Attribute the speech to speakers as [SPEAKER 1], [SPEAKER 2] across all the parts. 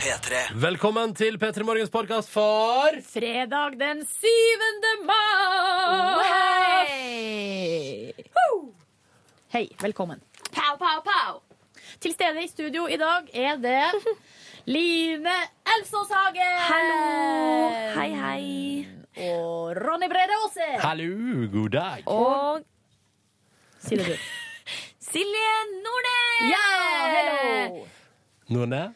[SPEAKER 1] P3.
[SPEAKER 2] Velkommen til P3 Morgens podkast for
[SPEAKER 3] Fredag den 7. mai! Hei! Hei, velkommen.
[SPEAKER 4] Pow, pow, pow!
[SPEAKER 3] Til stede i studio i dag er det Line Elsås Hagen!
[SPEAKER 4] Hallo! Hei, hei.
[SPEAKER 3] Og Ronny Brede Aase!
[SPEAKER 2] Hallo, god dag.
[SPEAKER 4] Og
[SPEAKER 3] Sier det du.
[SPEAKER 4] Silje Nordnes!
[SPEAKER 3] Ja! Hello!
[SPEAKER 2] Nordnes?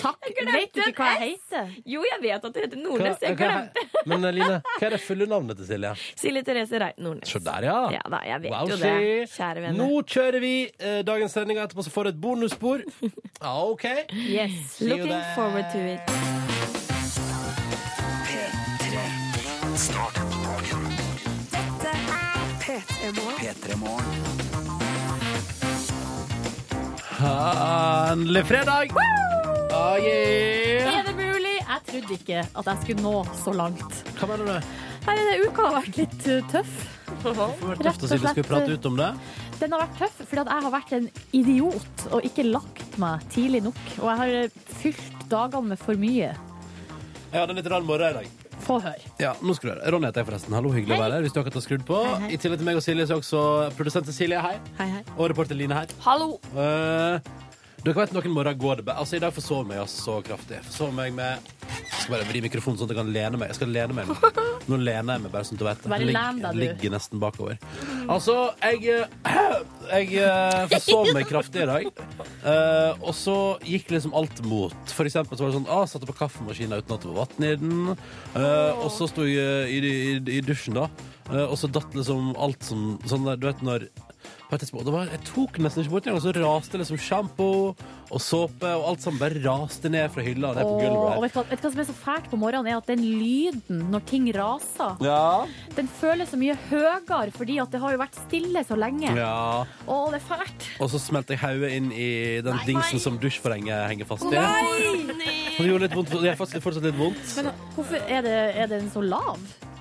[SPEAKER 3] Takk. Vet du ikke hva jeg heter?
[SPEAKER 4] Jo, jeg vet at du heter
[SPEAKER 2] Hva-
[SPEAKER 4] Nordnes. Jeg
[SPEAKER 2] hva-
[SPEAKER 4] glemte
[SPEAKER 2] Men eh, Line, hva er det fulle navnet til Silje?
[SPEAKER 4] Silje Therese Reit Nordnes.
[SPEAKER 2] Se der, ja.
[SPEAKER 4] Ja da, jeg vet jo
[SPEAKER 2] Wowsy.
[SPEAKER 4] det. Kjære venner.
[SPEAKER 2] Nå kjører vi eh, dagens sending, og etterpå så får du et bonusspor. Ja, OK.
[SPEAKER 3] Yes.
[SPEAKER 2] See you
[SPEAKER 4] Looking
[SPEAKER 2] there.
[SPEAKER 4] forward to it.
[SPEAKER 1] P3. Start dagen. Dette er P3 Morgen.
[SPEAKER 2] Herlig fredag! Ah, yeah.
[SPEAKER 3] Er det mulig? Jeg trodde ikke at jeg skulle nå så langt.
[SPEAKER 2] Hva mener du?
[SPEAKER 3] Her er det uka har vært litt uh, tøff.
[SPEAKER 2] Det var tøft å si vi skulle prate ut om det.
[SPEAKER 3] Den har vært tøff, fordi at jeg har vært en idiot og ikke lagt meg tidlig nok. Og jeg har eh, fylt dagene med for mye.
[SPEAKER 2] Jeg hadde en litt rar morgen i dag.
[SPEAKER 3] Få høre.
[SPEAKER 2] Ja, nå skal du høre. Ronny heter jeg forresten. Hallo, hyggelig å være her. Hvis du akkurat har skrudd på.
[SPEAKER 3] Hei, hei.
[SPEAKER 2] I tillegg til meg og Silje så er også produsent Cecilie her.
[SPEAKER 3] Hei, hei.
[SPEAKER 2] Og reporter Line her.
[SPEAKER 4] Hallo!
[SPEAKER 2] Eh, dere vet noen morgener går det bra. Altså, I dag forsov meg altså så kraftig. Jeg Forsov meg med Jeg skal bare vri mikrofonen sånn at jeg kan lene meg. Jeg skal lene meg Nå Nå lener jeg meg bare sånn at du vet det.
[SPEAKER 3] Bare
[SPEAKER 2] Jeg
[SPEAKER 3] len deg,
[SPEAKER 2] jeg
[SPEAKER 3] du.
[SPEAKER 2] ligger nesten bakover. Altså, jeg eh, Jeg eh, forsov meg kraftig i dag. Eh, og så gikk liksom alt mot. For eksempel så var det sånn ah, Satte på kaffemaskinen uten at det var vann i den. Eh, og så sto jeg eh, i, i, i dusjen, da. Eh, og så datt liksom alt som sånn der, Du vet når på et tidspunkt, det var, Jeg tok nesten ikke bort engang, og så raste liksom sjampo og såpe og alt sammen bare raste ned fra hylla og ned på
[SPEAKER 3] Og, og
[SPEAKER 2] gulvet.
[SPEAKER 3] vet, du hva, vet du hva som er så fælt på morgenen, er at den lyden når ting raser,
[SPEAKER 2] der. Ja.
[SPEAKER 3] den føles så mye høyere fordi at det har jo vært stille så lenge.
[SPEAKER 2] ja.
[SPEAKER 3] Å, det er fælt.
[SPEAKER 2] Og så smelte jeg hodet inn i den dingsen som dusjforhenget henger fast i. Og Det gjorde litt vondt. Det gjør faktisk fortsatt litt vondt.
[SPEAKER 3] Men hvorfor er, det, er den så lav?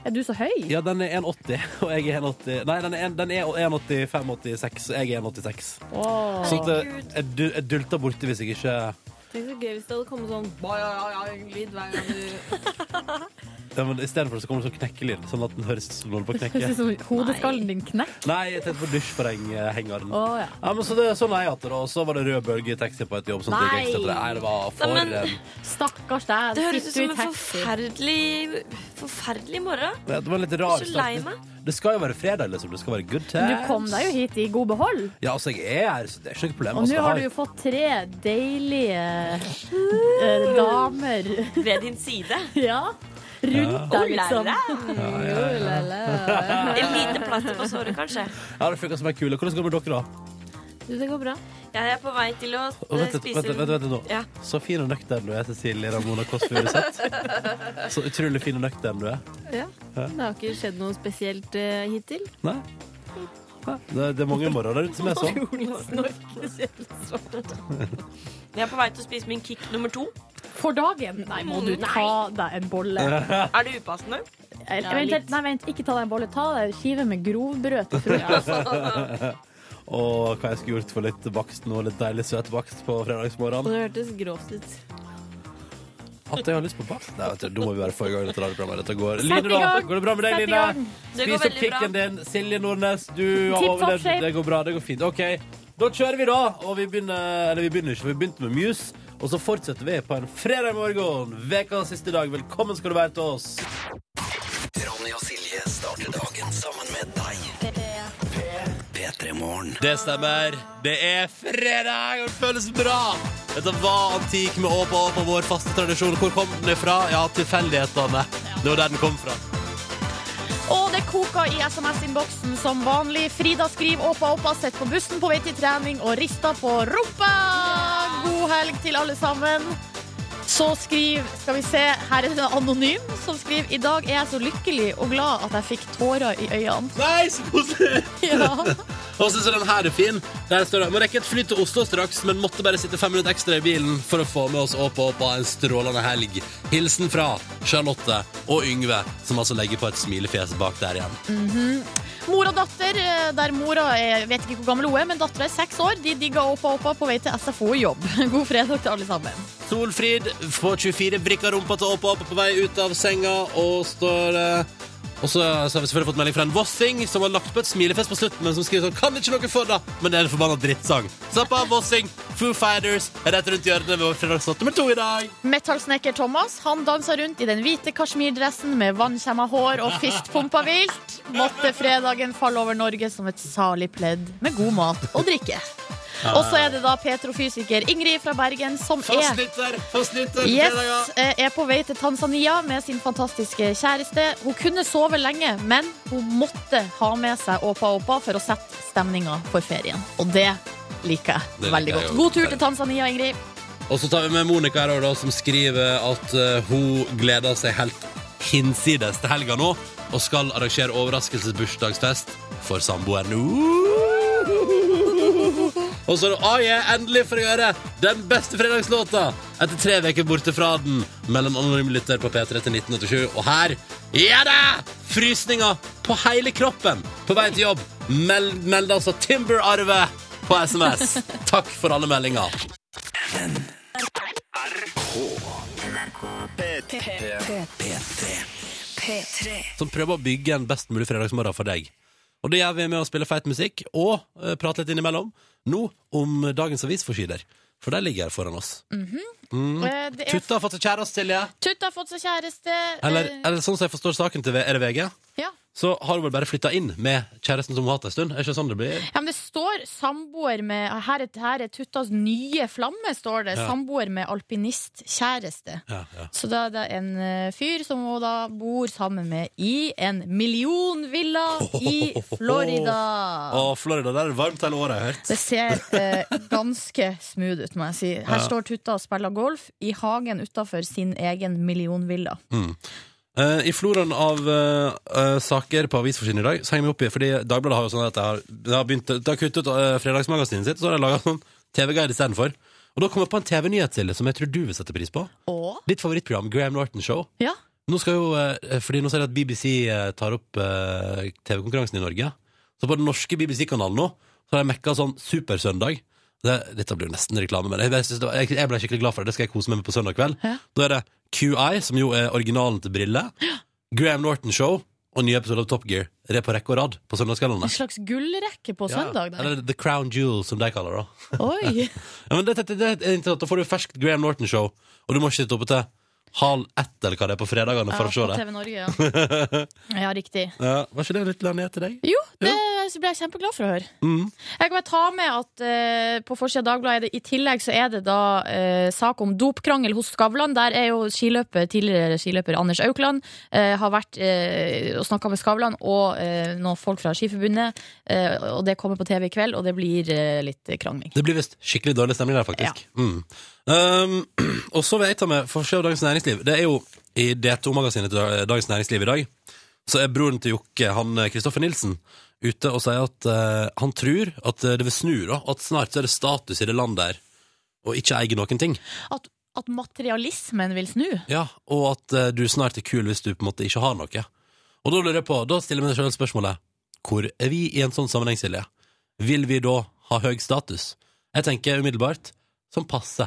[SPEAKER 3] Er du så høy?
[SPEAKER 2] Ja, den er 1,80, og jeg er 1,80 Nei, den er, en- den er 1,85-86, og jeg er 1,86.
[SPEAKER 3] Åh.
[SPEAKER 2] Så at, eh, jeg, du- jeg dulter borti hvis jeg ikke
[SPEAKER 4] Tenk så gøy hvis det hadde kommet sånn lyd hver gang du
[SPEAKER 2] ja, men I stedet for det så kommer det sånn knekkelyd, sånn at den høres ut som den holder på å
[SPEAKER 3] Det
[SPEAKER 2] knekke.
[SPEAKER 3] Høres ut som hodeskallen din knekker.
[SPEAKER 2] Nei, jeg tenkte på dusjforhenghengeren.
[SPEAKER 3] Å, ja.
[SPEAKER 2] Ja, men så det, sånn har jeg hatt det, da. Og så var det rød bølge i taxi på et jobb. Sånn at det gikk
[SPEAKER 3] Nei.
[SPEAKER 2] ekstra til det. Nei, det var for
[SPEAKER 4] Nei, men-
[SPEAKER 2] eh,
[SPEAKER 3] Stakkars deg.
[SPEAKER 4] Det høres ut som
[SPEAKER 3] sitter du i
[SPEAKER 4] en
[SPEAKER 3] taxi.
[SPEAKER 4] forferdelig forferdelig morgen.
[SPEAKER 2] Det var en litt
[SPEAKER 4] Jeg
[SPEAKER 2] rar
[SPEAKER 4] er så lei
[SPEAKER 2] start. Det skal jo være fredag, liksom. Det skal være good
[SPEAKER 3] Men
[SPEAKER 2] times.
[SPEAKER 3] Du kom deg jo hit i god behold.
[SPEAKER 2] Ja, altså, jeg er her, så det er ikke noe problem.
[SPEAKER 3] Og
[SPEAKER 2] Altså,
[SPEAKER 3] nå har du
[SPEAKER 2] jeg
[SPEAKER 3] jo fått tre deilige eh, damer
[SPEAKER 4] Ved din side.
[SPEAKER 3] ja, rundt deg,
[SPEAKER 4] Oh,
[SPEAKER 3] liksom.
[SPEAKER 4] la,
[SPEAKER 3] Oh, la, la.
[SPEAKER 4] Et lite plaster på såret, kanskje.
[SPEAKER 2] Ja, det funker som ei kule. Hvordan går det med dere, da?
[SPEAKER 3] Du, det går bra.
[SPEAKER 4] Jeg er på vei til å
[SPEAKER 2] Og
[SPEAKER 4] eh,
[SPEAKER 2] vent, litt,
[SPEAKER 4] spise
[SPEAKER 2] vent, vent, vent, litt nå.
[SPEAKER 4] Ja.
[SPEAKER 2] Så fin og nøktern du er, Cecilie Ramona Kåss Furuseth. Så utrolig fin og nøktern du er.
[SPEAKER 5] Det har ikke skjedd noe spesielt eh, hittil.
[SPEAKER 2] Nei? Nei, Det, det er mange morgener der ute som er sånn.
[SPEAKER 4] Jeg er på vei til å spise min kick nummer to.
[SPEAKER 3] For dagen? Nei, må
[SPEAKER 4] Mm,
[SPEAKER 3] du ta deg en bolle.
[SPEAKER 4] Er det upassende?
[SPEAKER 3] Eller, vent, litt. nei, vent, ikke ta deg en bolle. Ta deg en skive med grovbrød til frokost.
[SPEAKER 2] sånn. Og hva jeg skulle gjort for litt bakst nå, litt deilig søt bakst på fredagsmorgen.
[SPEAKER 5] Og det hørtes grovt ut.
[SPEAKER 2] At jeg har lyst på bakst? Nei, vet du, da må vi være få i gang dette radioprogrammet. Dette går.
[SPEAKER 3] i
[SPEAKER 2] Line, da?
[SPEAKER 3] gang.
[SPEAKER 2] Går det bra med deg,
[SPEAKER 3] Sett i gang.
[SPEAKER 2] Line?
[SPEAKER 4] Det
[SPEAKER 2] Spis
[SPEAKER 4] går
[SPEAKER 2] opp
[SPEAKER 4] veldig bra.
[SPEAKER 2] kicken din. Silje Nordnes, du har
[SPEAKER 3] Tipp topp
[SPEAKER 2] overlevd.
[SPEAKER 3] shape.
[SPEAKER 2] Det går bra. Det går fint. OK, da kjører vi, da. Og vi begynner Eller vi begynner ikke, for vi begynte med Muse. Og så fortsetter vi på en fredag morgen. Vekas siste dag. Velkommen skal du være til oss.
[SPEAKER 1] Ronny og Silje starter dagen sammen med deg. P3 Morgen.
[SPEAKER 2] Det stemmer. Det er fredag, og det føles bra. Dette var Antik med Åp og Åp og vår faste tradisjon. Hvor kom den ifra? Ja, tilfeldighetene. Det var der den kom fra.
[SPEAKER 3] Og det koker i SMS-innboksen som vanlig. Frida skriver åpa åpa, sett på bussen på vei til trening og rista på rumpa. God helg til alle sammen. Så skriver, skal vi se, her er det en anonym som skriver I dag er jeg så lykkelig og glad at jeg fikk tårer i øynene.
[SPEAKER 2] Nei, så koselig!
[SPEAKER 3] Ja.
[SPEAKER 2] Og så så den her er fin. Der står det Må rekke et fly til Oslo straks, men måtte bare sitte fem minutter ekstra i bilen for å få med oss opp og opp av en strålende helg. Hilsen fra Charlotte og Yngve, som altså legger på et smilefjes bak der igjen.
[SPEAKER 3] Mhm. Mor og datter, eh, der mora er, vet ikke hvor gammel hun er, men dattera er seks år. De digger Åpa Åpa på vei til SFO og jobb. God fredag til alle sammen.
[SPEAKER 2] Solfrid får 24 brikker rumpa til opp og opp på vei ut av senga og står eh, Og så, så har vi selvfølgelig fått melding fra en vossing som har lagt på et smilefest på slutten, men som skriver sånn Kan ikke noe for det, men det er en forbanna drittsang. Slapp av, vossing. Foo Fighters er rett rundt hjørnet ved vår fredagslåt nummer to i dag.
[SPEAKER 3] Metallsnekker Thomas han dansa rundt i den hvite kasjmirdressen med vannkjemma hår og fistpumpa vilt. Måtte fredagen falle over Norge som et salig pledd med god mat og drikke. Og så er det da petrofysiker Ingrid fra Bergen som er
[SPEAKER 2] Fastnytter, fastnytter,
[SPEAKER 3] Yes,
[SPEAKER 2] fredager.
[SPEAKER 3] eh, er på vei til Tanzania med sin fantastiske kjæreste. Hun kunne sove lenge, men hun måtte ha med seg Åpa Åpa for å sette stemninga for ferien. Og det liker jeg
[SPEAKER 2] Det liker
[SPEAKER 3] veldig
[SPEAKER 2] jeg
[SPEAKER 3] godt.
[SPEAKER 2] også.
[SPEAKER 3] God tur til Tanzania, Ingrid.
[SPEAKER 2] Og så tar vi med Monica her også, da, som skriver at eh, hun gleder seg helt hinsides til helga nå, og skal arrangere overraskelsesbursdagsfest for samboeren. Uhuhuhu. Og så er det «Ah, jeg er endelig for å gjøre den beste fredagslåta etter tre uker borte fra den, mellom anonym lytter på P3 til 1987. Og her ja da! Frysninger på hele kroppen på vei til jobb. Meld, meld altså Timber-arve på SMS. Takk for alle meldinger. som prøver å bygge en best mulig fredagsmorgen for deg. Og det gjør vi med å spille feit musikk og eh, prate litt innimellom. Nå om dagens avisforsider, for de ligger her foran oss.
[SPEAKER 3] Eh, det er
[SPEAKER 2] Tutta har fått seg kjæreste, Silje.
[SPEAKER 3] Tut har fått seg kjæreste.
[SPEAKER 2] Eller,
[SPEAKER 3] Eh,
[SPEAKER 2] eller sånn som jeg forstår saken til er det VG,
[SPEAKER 3] ja.
[SPEAKER 2] så har hun vel bare flytta inn med kjæresten som hun har hatt en stund. Er ikke sånn det blir?
[SPEAKER 3] ja, men det står samboer med Her er, her er Tuttas nye flamme, står det.
[SPEAKER 2] Ja.
[SPEAKER 3] Samboer med alpinistkjæreste.
[SPEAKER 2] Ja, ja.
[SPEAKER 3] Så da er det en eh, fyr som hun da bor sammen med i en millionvilla i Florida.
[SPEAKER 2] Å, Florida, der er det varmt hele året, jeg har hørt.
[SPEAKER 3] Det ser eh, ganske smooth ut, må jeg si. Her står Tutta og spiller golf i hagen utafor sin egen millionvilla.
[SPEAKER 2] Eh, I floraen av eh, eh, saker på avisforsiden i dag Så henger vi opp i Fordi Dagbladet har jo sånn at de har, de har, begynt, de har kuttet ut eh, fredagsmagasinet sitt Så har de laget sånn TV-guide i stedet for Og da kommer jeg på en TV-nyhet til Som jeg tror du vil sette pris på
[SPEAKER 3] Og?
[SPEAKER 2] Ditt favorittprogram, Graham Norton Show
[SPEAKER 3] Ja.
[SPEAKER 2] Nå skal jo, eh, fordi nå ser jeg at BBC eh, tar opp eh, TV-konkurransen i Norge Så på den norske BBC-kanalen nå Så har jeg mekka sånn Supersøndag det, Dette blir jo nesten reklame Men jeg, bare synes det var- jeg, jeg ble skikkelig glad for det Det skal jeg kose meg med på søndag kveld
[SPEAKER 3] Ja.
[SPEAKER 2] Da er det QI, som jo er originalen til Brille Graham Norton Show og nye episoder av Top Gear. Det er på rekke og rad på søndagskveldene.
[SPEAKER 3] En slags gullrekke på søndag.
[SPEAKER 2] Ja,
[SPEAKER 3] Der.
[SPEAKER 2] eller The Crown Jewel, som de kaller det. da.
[SPEAKER 3] Oi!
[SPEAKER 2] Ja, men det, det, det er interessant. Da får du ferskt Graham Norton Show, og du må ikke sitte oppe til halv ett eller hva det er på fredagene for å se
[SPEAKER 3] på
[SPEAKER 2] det.
[SPEAKER 3] TV Norge, ja. ja, riktig.
[SPEAKER 2] Ja, var ikke det litt landet til deg? Mm.
[SPEAKER 3] Jo, det ble jeg kjempeglad for å høre. Jeg kan bare ta med at eh, på forsida av Dagbladet er det- i tillegg så er det da eh, sak om dopkrangel hos Skavlan. Der er jo skiløper, tidligere skiløper Anders Aukland eh, har vært eh, og snakka med Skavlan og eh, noen folk fra Skiforbundet. eh, og det kommer på TV i kveld, og det blir eh, litt krangling.
[SPEAKER 2] Det blir visst skikkelig dårlig stemning der, faktisk. Mm. Um, og så vil jeg ta med forskjell av Dagens Næringsliv. Det er jo i D2-magasinet til Dagens Næringsliv i dag, så er broren til Jokke, han Kristoffer Nilsen, ute og sier at eh, han tror at det vil snu, da. At snart så er det status i det landet der å ikke eie noen ting.
[SPEAKER 3] At, at materialismen vil snu.
[SPEAKER 2] Ja, Og at eh, du snart er kul hvis du på en måte ikke har noe. Og da lurer jeg på, da stiller jeg meg selv spørsmålet Hvor er vi i en sånn sammenheng, Silje? Vil vi da ha høy status? Jeg tenker umiddelbart som passe.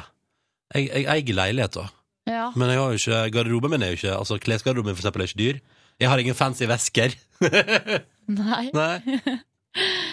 [SPEAKER 2] Jeg, jeg eier leilighet da,
[SPEAKER 3] Ja.
[SPEAKER 2] men jeg har jo ikke garderoben min er jo ikke Altså klesgarderoben min for eksempel er ikke dyr. Jeg har ingen fancy vesker.
[SPEAKER 3] Nei.
[SPEAKER 2] Nei.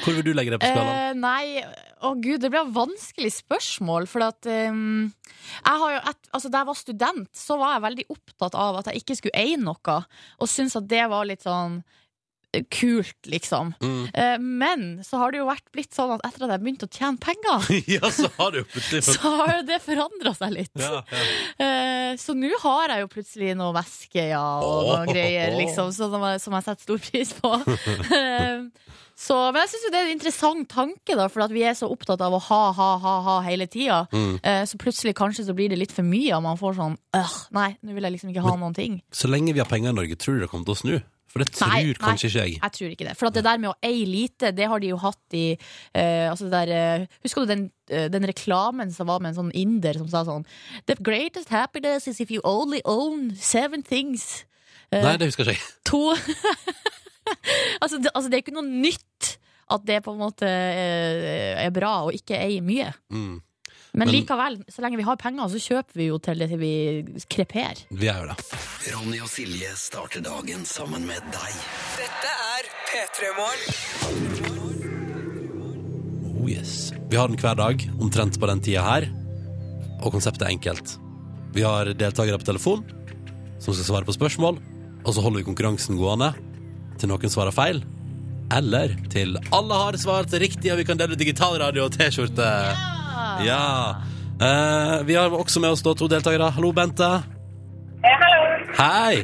[SPEAKER 2] Hvor vil du legge deg på skalaen?
[SPEAKER 3] Eh, nei, å gud, det ble et vanskelig spørsmål. For at ehm, jeg har jo et, altså, Da jeg var student, så var jeg veldig opptatt av at jeg ikke skulle eie noe. Og syntes at det var litt sånn eh, kult, liksom.
[SPEAKER 2] Mm.
[SPEAKER 3] Eh, men så har det jo vært blitt sånn at etter at jeg begynte å tjene penger,
[SPEAKER 2] ja, så har du jo plutselig
[SPEAKER 3] så
[SPEAKER 2] fått
[SPEAKER 3] har jo det forandra seg litt.
[SPEAKER 2] ja, ja.
[SPEAKER 3] Eh, så nå har jeg jo plutselig noe væske ja, og noe greier liksom, som, jeg- som jeg setter stor pris på. Eh, så, men jeg syns det er en interessant tanke, da, for at vi er så opptatt av å ha, ha, ha, ha hele tida.
[SPEAKER 2] Mm.
[SPEAKER 3] Eh, så plutselig kanskje så blir det litt for mye, og man får sånn øh, Nei, nå vil jeg liksom ikke ha noen ting.
[SPEAKER 2] Så lenge vi har penger i Norge, tror du det kommer til å snu? For det tror
[SPEAKER 3] Nei, nei.
[SPEAKER 2] kanskje ikke jeg.
[SPEAKER 3] Jeg tror ikke det. For at det der med å eie lite, det har de jo hatt i eh, altså det der, eh, Husker du den, eh, den reklamen som var med en sånn inder som sa sånn The greatest happiness is if you only own seven things. Eh,
[SPEAKER 2] Nei, det husker ikke jeg.
[SPEAKER 3] To altså, det, altså, det er ikke noe nytt at det på en måte eh, er bra å ikke eie mye.
[SPEAKER 2] Mm.
[SPEAKER 3] Men,
[SPEAKER 2] Men-
[SPEAKER 3] likevel, så lenge vi har penger, så kjøper vi jo til det til vi kreper.
[SPEAKER 2] Vi er jo det.
[SPEAKER 6] Ronny og Silje starter dagen sammen med deg.
[SPEAKER 7] Dette er P3 Morgen.
[SPEAKER 2] Oh yes. Vi har den hver dag, omtrent på den tida her. Og konseptet er enkelt. Vi har deltakere på telefon som skal svare på spørsmål. Og så holder vi konkurransen gående til noen svarer feil. Eller til alle har svart riktig, og vi kan dele ut digitalradio og T-skjorte. Ja! Eh, vi har også med oss da to deltakere. Hallo, Bente. Hei.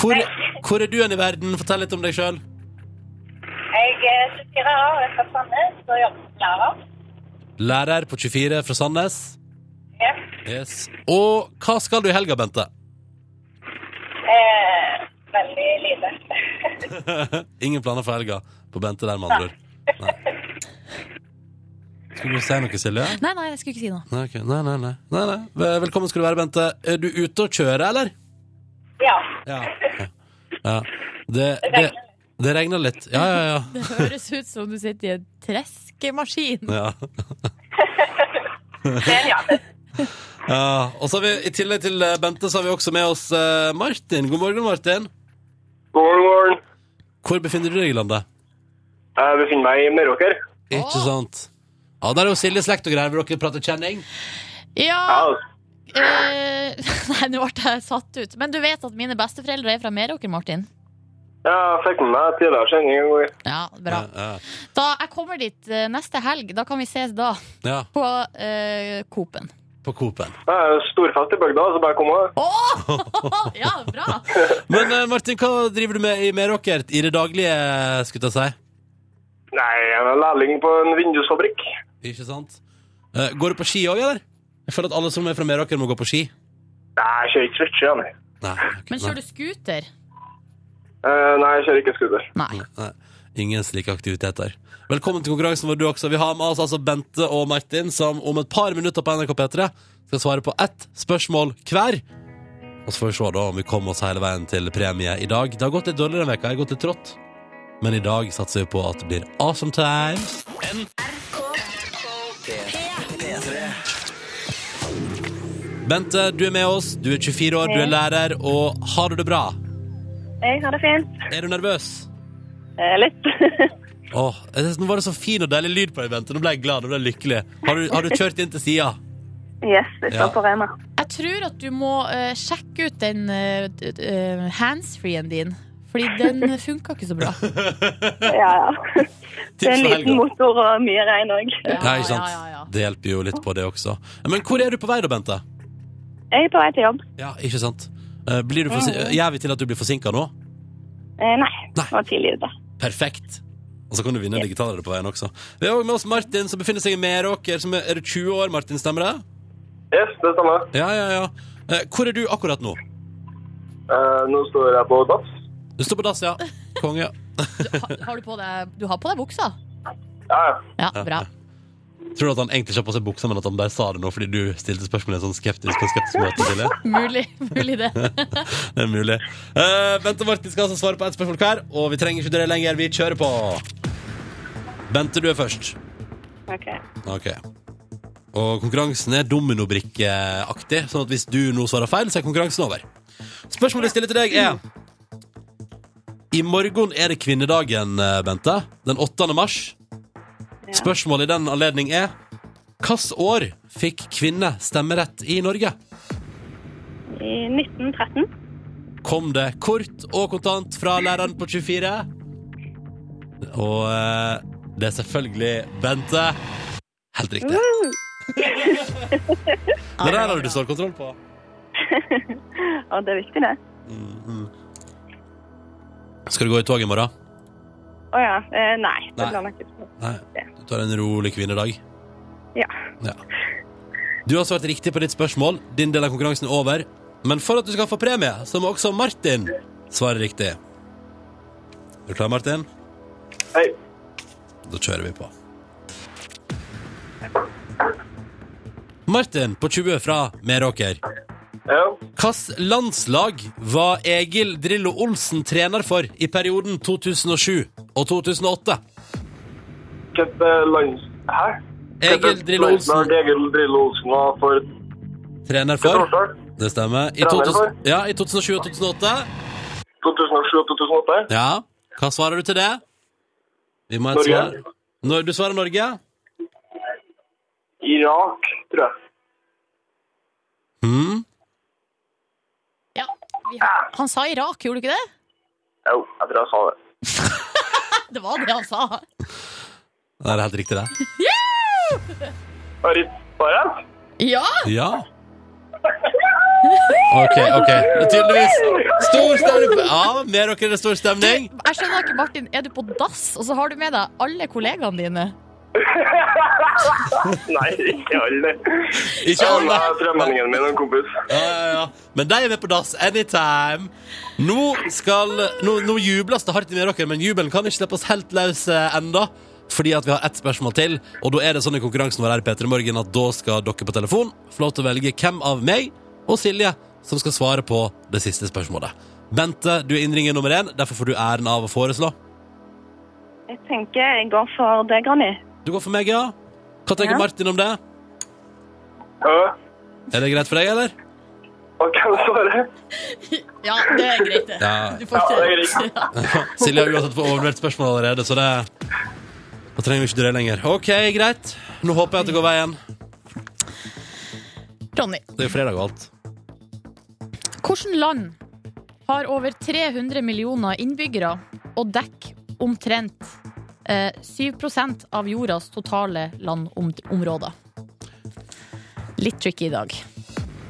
[SPEAKER 2] Hvor, hvor er du hen i verden? Fortell litt om deg sjøl.
[SPEAKER 1] Jeg er 24 år, jeg er fra Sandnes og jobber som lærer.
[SPEAKER 2] Lærer på 24 fra Sandnes.
[SPEAKER 1] Ja.
[SPEAKER 2] Yes. Og hva skal du i helga, Bente?
[SPEAKER 1] Eh, veldig lite.
[SPEAKER 2] Ingen planer for helga på Bente der, med andre ord. Nei. Skulle du si noe, Silje?
[SPEAKER 3] Nei, nei, jeg skulle ikke si noe.
[SPEAKER 2] Nei, ok. nei, nei, nei. nei, nei. Vel- Velkommen skal du være, Bente. Er du ute og kjører, eller?
[SPEAKER 1] Ja.
[SPEAKER 2] Ja. ja. Det, det, det regner litt. Ja, ja, ja.
[SPEAKER 3] Det høres ut som du sitter i en treskemaskin.
[SPEAKER 2] ja.
[SPEAKER 1] Men ja, det
[SPEAKER 2] ja. Og så har vi, I tillegg til eh, Bente så har vi også med oss eh, Martin. God morgen, Martin.
[SPEAKER 8] God morgen, god morgen.
[SPEAKER 2] Hvor befinner du deg i landet?
[SPEAKER 8] Jeg befinner meg i Meråker.
[SPEAKER 2] Ikke sant? Ja, Der er jo Silje slekt og greier. Vil dere prate kjenning?
[SPEAKER 3] Ja,
[SPEAKER 8] Ja,
[SPEAKER 3] eh, Nei, nå ble jeg satt ut. Men du vet at mine besteforeldre er fra Meråker, Martin?
[SPEAKER 8] jeg fikk med meg tidligere kjenning en gang.
[SPEAKER 3] Ja, bra.
[SPEAKER 2] Ja,
[SPEAKER 3] Da jeg kommer dit eh, neste helg. Da kan vi ses da,
[SPEAKER 2] ja. ja.
[SPEAKER 3] på eh, Coop-en.
[SPEAKER 2] På Coop-en.
[SPEAKER 8] Det er jo storfest i bygda, så bare kom av.
[SPEAKER 3] Å! ja, bra!
[SPEAKER 2] Men eh, Martin, hva driver du med i Meråker i det daglige, skulle jeg si?
[SPEAKER 8] Nei, jeg er lærling på en vindusfabrikk.
[SPEAKER 2] Ikke sant? Eh, går du på ski òg, eller? Jeg føler at alle som er fra Meråker, må gå på ski.
[SPEAKER 8] Nei, jeg kjører ikke switcher, nei.
[SPEAKER 2] Nei, ok,
[SPEAKER 3] Men kjører du scooter?
[SPEAKER 8] Eh, nei, jeg kjører ikke scooter.
[SPEAKER 3] Nei.
[SPEAKER 2] nei, nei. Ingen slike aktiviteter. Velkommen til konkurransen vår, du også. Vi har med oss altså Bente og Martin, som om et par minutter på NRK P3 skal svare på ett spørsmål hver. Og så får vi se da om vi kommer oss hele veien til premie i dag. Det har gått litt dårligere enn veka, jeg har gått litt trått. Men i dag satser vi på at det blir awesome times. Bente, du er med oss. Du er 24 år, du er lærer, og har du det bra?
[SPEAKER 1] jeg har det fint.
[SPEAKER 2] Er du nervøs?
[SPEAKER 1] Eh, litt.
[SPEAKER 2] Åh, jeg synes- nå var det så fin og deilig lyd på deg, Bente. Nå ble jeg glad, nå ble jeg lykkelig. Har du, har du kjørt inn til sida?
[SPEAKER 1] yes, vi
[SPEAKER 2] Ja.
[SPEAKER 1] står på Rema.
[SPEAKER 3] Jeg tror at du må eh, sjekke ut den eh, d- d- eh, handsfree-en din. Fordi den funka ikke så bra.
[SPEAKER 1] Ja, ja. Det er en liten motor og mye regn òg.
[SPEAKER 2] Ja, ikke sant?
[SPEAKER 3] Ja, ja, ja.
[SPEAKER 2] Det hjelper jo litt på det også. Men hvor er du på vei da, Bente?
[SPEAKER 1] Jeg er på vei til jobb.
[SPEAKER 2] Ja, ikke sant? Eh, Blir du forsi- Gjør vi til at du blir forsinket nå?
[SPEAKER 1] Eh, nei,
[SPEAKER 2] Nei.
[SPEAKER 1] det var tidlig ute.
[SPEAKER 2] Perfekt. Og så kan du vinne en digitalradio på veien også. Vi har også med oss Martin, som befinner seg i Meråker. Som er, er du 20 år, Martin? Stemmer det?
[SPEAKER 8] Yes, det stemmer.
[SPEAKER 2] Ja, ja, ja. Eh, Hvor er du akkurat nå?
[SPEAKER 8] Eh, nå står jeg på DAS.
[SPEAKER 2] Du står på dass, ja. Konge.
[SPEAKER 3] Har, har du, på deg, du har på deg buksa?
[SPEAKER 8] Ja, ja.
[SPEAKER 3] Ja, bra.
[SPEAKER 2] Eh, Tror du at han egentlig ikke har på seg buksa, men at han bare sa det nå fordi du stilte spørsmålet i en sånn skeptisk og skeptisk måte til det?
[SPEAKER 3] Mulig, mulig det.
[SPEAKER 2] Det er mulig. Eh, Bente og Martin skal altså svare på ett spørsmål hver, og vi trenger ikke drøye lenger. Vi kjører på. Bente, du er først.
[SPEAKER 1] Ok.
[SPEAKER 2] Ok. Og konkurransen er dominobrikkeaktig, sånn at hvis du nå svarer feil, så er konkurransen over. Spørsmålet jeg stiller til deg er I morgen er det kvinnedagen, eh, Bente. Den 8. mars. Spørsmålet i den anledning er Hvilket år fikk kvinner stemmerett i Norge?
[SPEAKER 1] I 1913
[SPEAKER 2] kom det kort og kontant fra læreren på 24. Og eh, det er selvfølgelig Bente. Helt riktig. Det der har du stålkontroll på.
[SPEAKER 1] Og det er viktig, det.
[SPEAKER 2] Mm, Skal du gå i tog i morgen?
[SPEAKER 1] Å ja. Eh, nei. Det
[SPEAKER 2] Nei.
[SPEAKER 1] blir nok ikke sånn.
[SPEAKER 2] Nei. Du tar en rolig kvinnedag.
[SPEAKER 1] Ja.
[SPEAKER 2] Ja. Du har svart riktig på ditt spørsmål. Din del av konkurransen er over. Men for at du skal få premie, så må også Martin svare riktig. Er du klar, Martin?
[SPEAKER 9] Hei.
[SPEAKER 2] Da kjører vi på. Martin på 20 fra Meråker.
[SPEAKER 9] Ja.
[SPEAKER 2] Hvilket landslag var Egil Drillo Olsen trener for i perioden 2007 og 2008?
[SPEAKER 9] Hvilket eh, lands... Hæ?
[SPEAKER 2] Egil
[SPEAKER 9] Hvilket
[SPEAKER 2] Drillo Olsen.
[SPEAKER 9] landslag Egil Drillo Olsen var for
[SPEAKER 2] Trener
[SPEAKER 9] Hvilket
[SPEAKER 2] for?
[SPEAKER 9] årstall?
[SPEAKER 2] Det stemmer. I,
[SPEAKER 9] Trener
[SPEAKER 2] 2000
[SPEAKER 9] for?
[SPEAKER 2] ja, i 2007 og 2008?
[SPEAKER 9] 2007 og 2008?
[SPEAKER 2] Ja. Hva svarer du til det? Vi må ha et
[SPEAKER 9] Norge.
[SPEAKER 2] svar. Når du svarer Norge?
[SPEAKER 9] Irak, tror jeg.
[SPEAKER 2] Hmm?
[SPEAKER 3] Ja, vi har- han sa Irak, gjorde du ikke det?
[SPEAKER 9] Jo, jeg tror jeg sa det.
[SPEAKER 3] Det var det han sa.
[SPEAKER 2] Nei, det er helt riktig, det.
[SPEAKER 9] Har jeg bare rett?
[SPEAKER 3] Ja!
[SPEAKER 2] Ja. OK, OK. Tydeligvis. Stor stemning. Ja, Meråker er det stor stemning.
[SPEAKER 3] Jeg skjønner ikke, Martin, er du på dass, og så har du med deg alle kollegaene dine?
[SPEAKER 9] Nei, ikke alle.
[SPEAKER 2] Ikke
[SPEAKER 9] Jeg
[SPEAKER 2] alle.
[SPEAKER 9] har tremenningen min og en kompis.
[SPEAKER 2] Ja, ja, ja. Men de er med på dass anytime. Nå, skal, nå, nå jubles det hardt i Meråker, men jubelen kan ikke slippes helt løs eh, enda. Fordi at vi har ett spørsmål til, og da er det sånn i konkurransen vår her, i Peter i Morgen, at da skal dere på telefon få lov til å velge hvem av meg og Silje som skal svare på det siste spørsmålet. Bente, du er innringer nummer én, derfor får du æren av å foreslå.
[SPEAKER 1] Jeg tenker jeg går for deg, Ronny.
[SPEAKER 2] Du går for meg, ja? Hva tenker
[SPEAKER 1] Ja.
[SPEAKER 2] Martin om det?
[SPEAKER 9] Ja.
[SPEAKER 2] Er det greit for deg, eller?
[SPEAKER 9] Og hvem svarer?
[SPEAKER 3] Ja, det er greit, det.
[SPEAKER 2] Ja.
[SPEAKER 3] Du får
[SPEAKER 9] Ja, det er
[SPEAKER 3] ikke ja,
[SPEAKER 2] Silje har uansett fått overlevert spørsmål allerede, så det Da trenger vi ikke drøye lenger. OK, greit. Nå håper jeg at det går veien.
[SPEAKER 3] Ronny,
[SPEAKER 2] Det er jo fredag og alt.
[SPEAKER 3] hvilket land har over 300 millioner innbyggere og dekker omtrent eh, 7 av jordas totale landområder? Litt tricky i dag.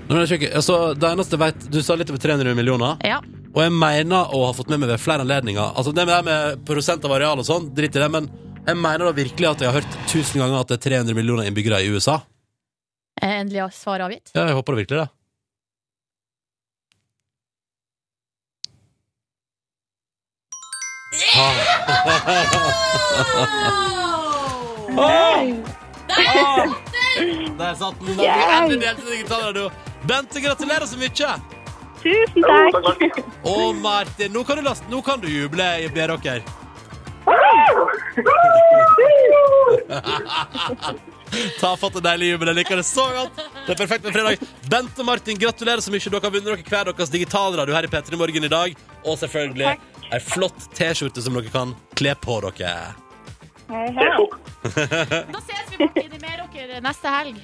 [SPEAKER 2] Nå er det ikke- altså, det eneste jeg vet Du sa litt over 300 millioner,
[SPEAKER 3] Ja.
[SPEAKER 2] og jeg mener å ha fått med meg ved flere anledninger Altså, det med, det med prosent av areal og sånn, drit i det, men jeg mener da virkelig at jeg har hørt tusen ganger at det er 300 millioner innbyggere i USA.
[SPEAKER 3] Er Eh, Endelig svar avgitt.
[SPEAKER 2] Ja, jeg håper det virkelig det. Ah. Der satt den! Da vi endelig delte digitalradio. Bente, gratulerer så mye!
[SPEAKER 1] Tusen
[SPEAKER 9] Jo,
[SPEAKER 1] takk!
[SPEAKER 9] takk, takk.
[SPEAKER 2] Og Martin, nå kan du, laste, nå kan du juble i Beråker. Tafatt og deilig jubel. Jeg liker det så godt. Det er perfekt med fredag. Bente og Martin, gratulerer så mye. Dere har vunnet dere hver deres digitalradio her i P3 Morgen i dag. Og selvfølgelig ei flott T-skjorte som dere kan kle på dere.
[SPEAKER 1] Hei,
[SPEAKER 9] Det
[SPEAKER 1] hei.
[SPEAKER 9] er fort.
[SPEAKER 3] Da ses vi Martin, i Meråker neste helg.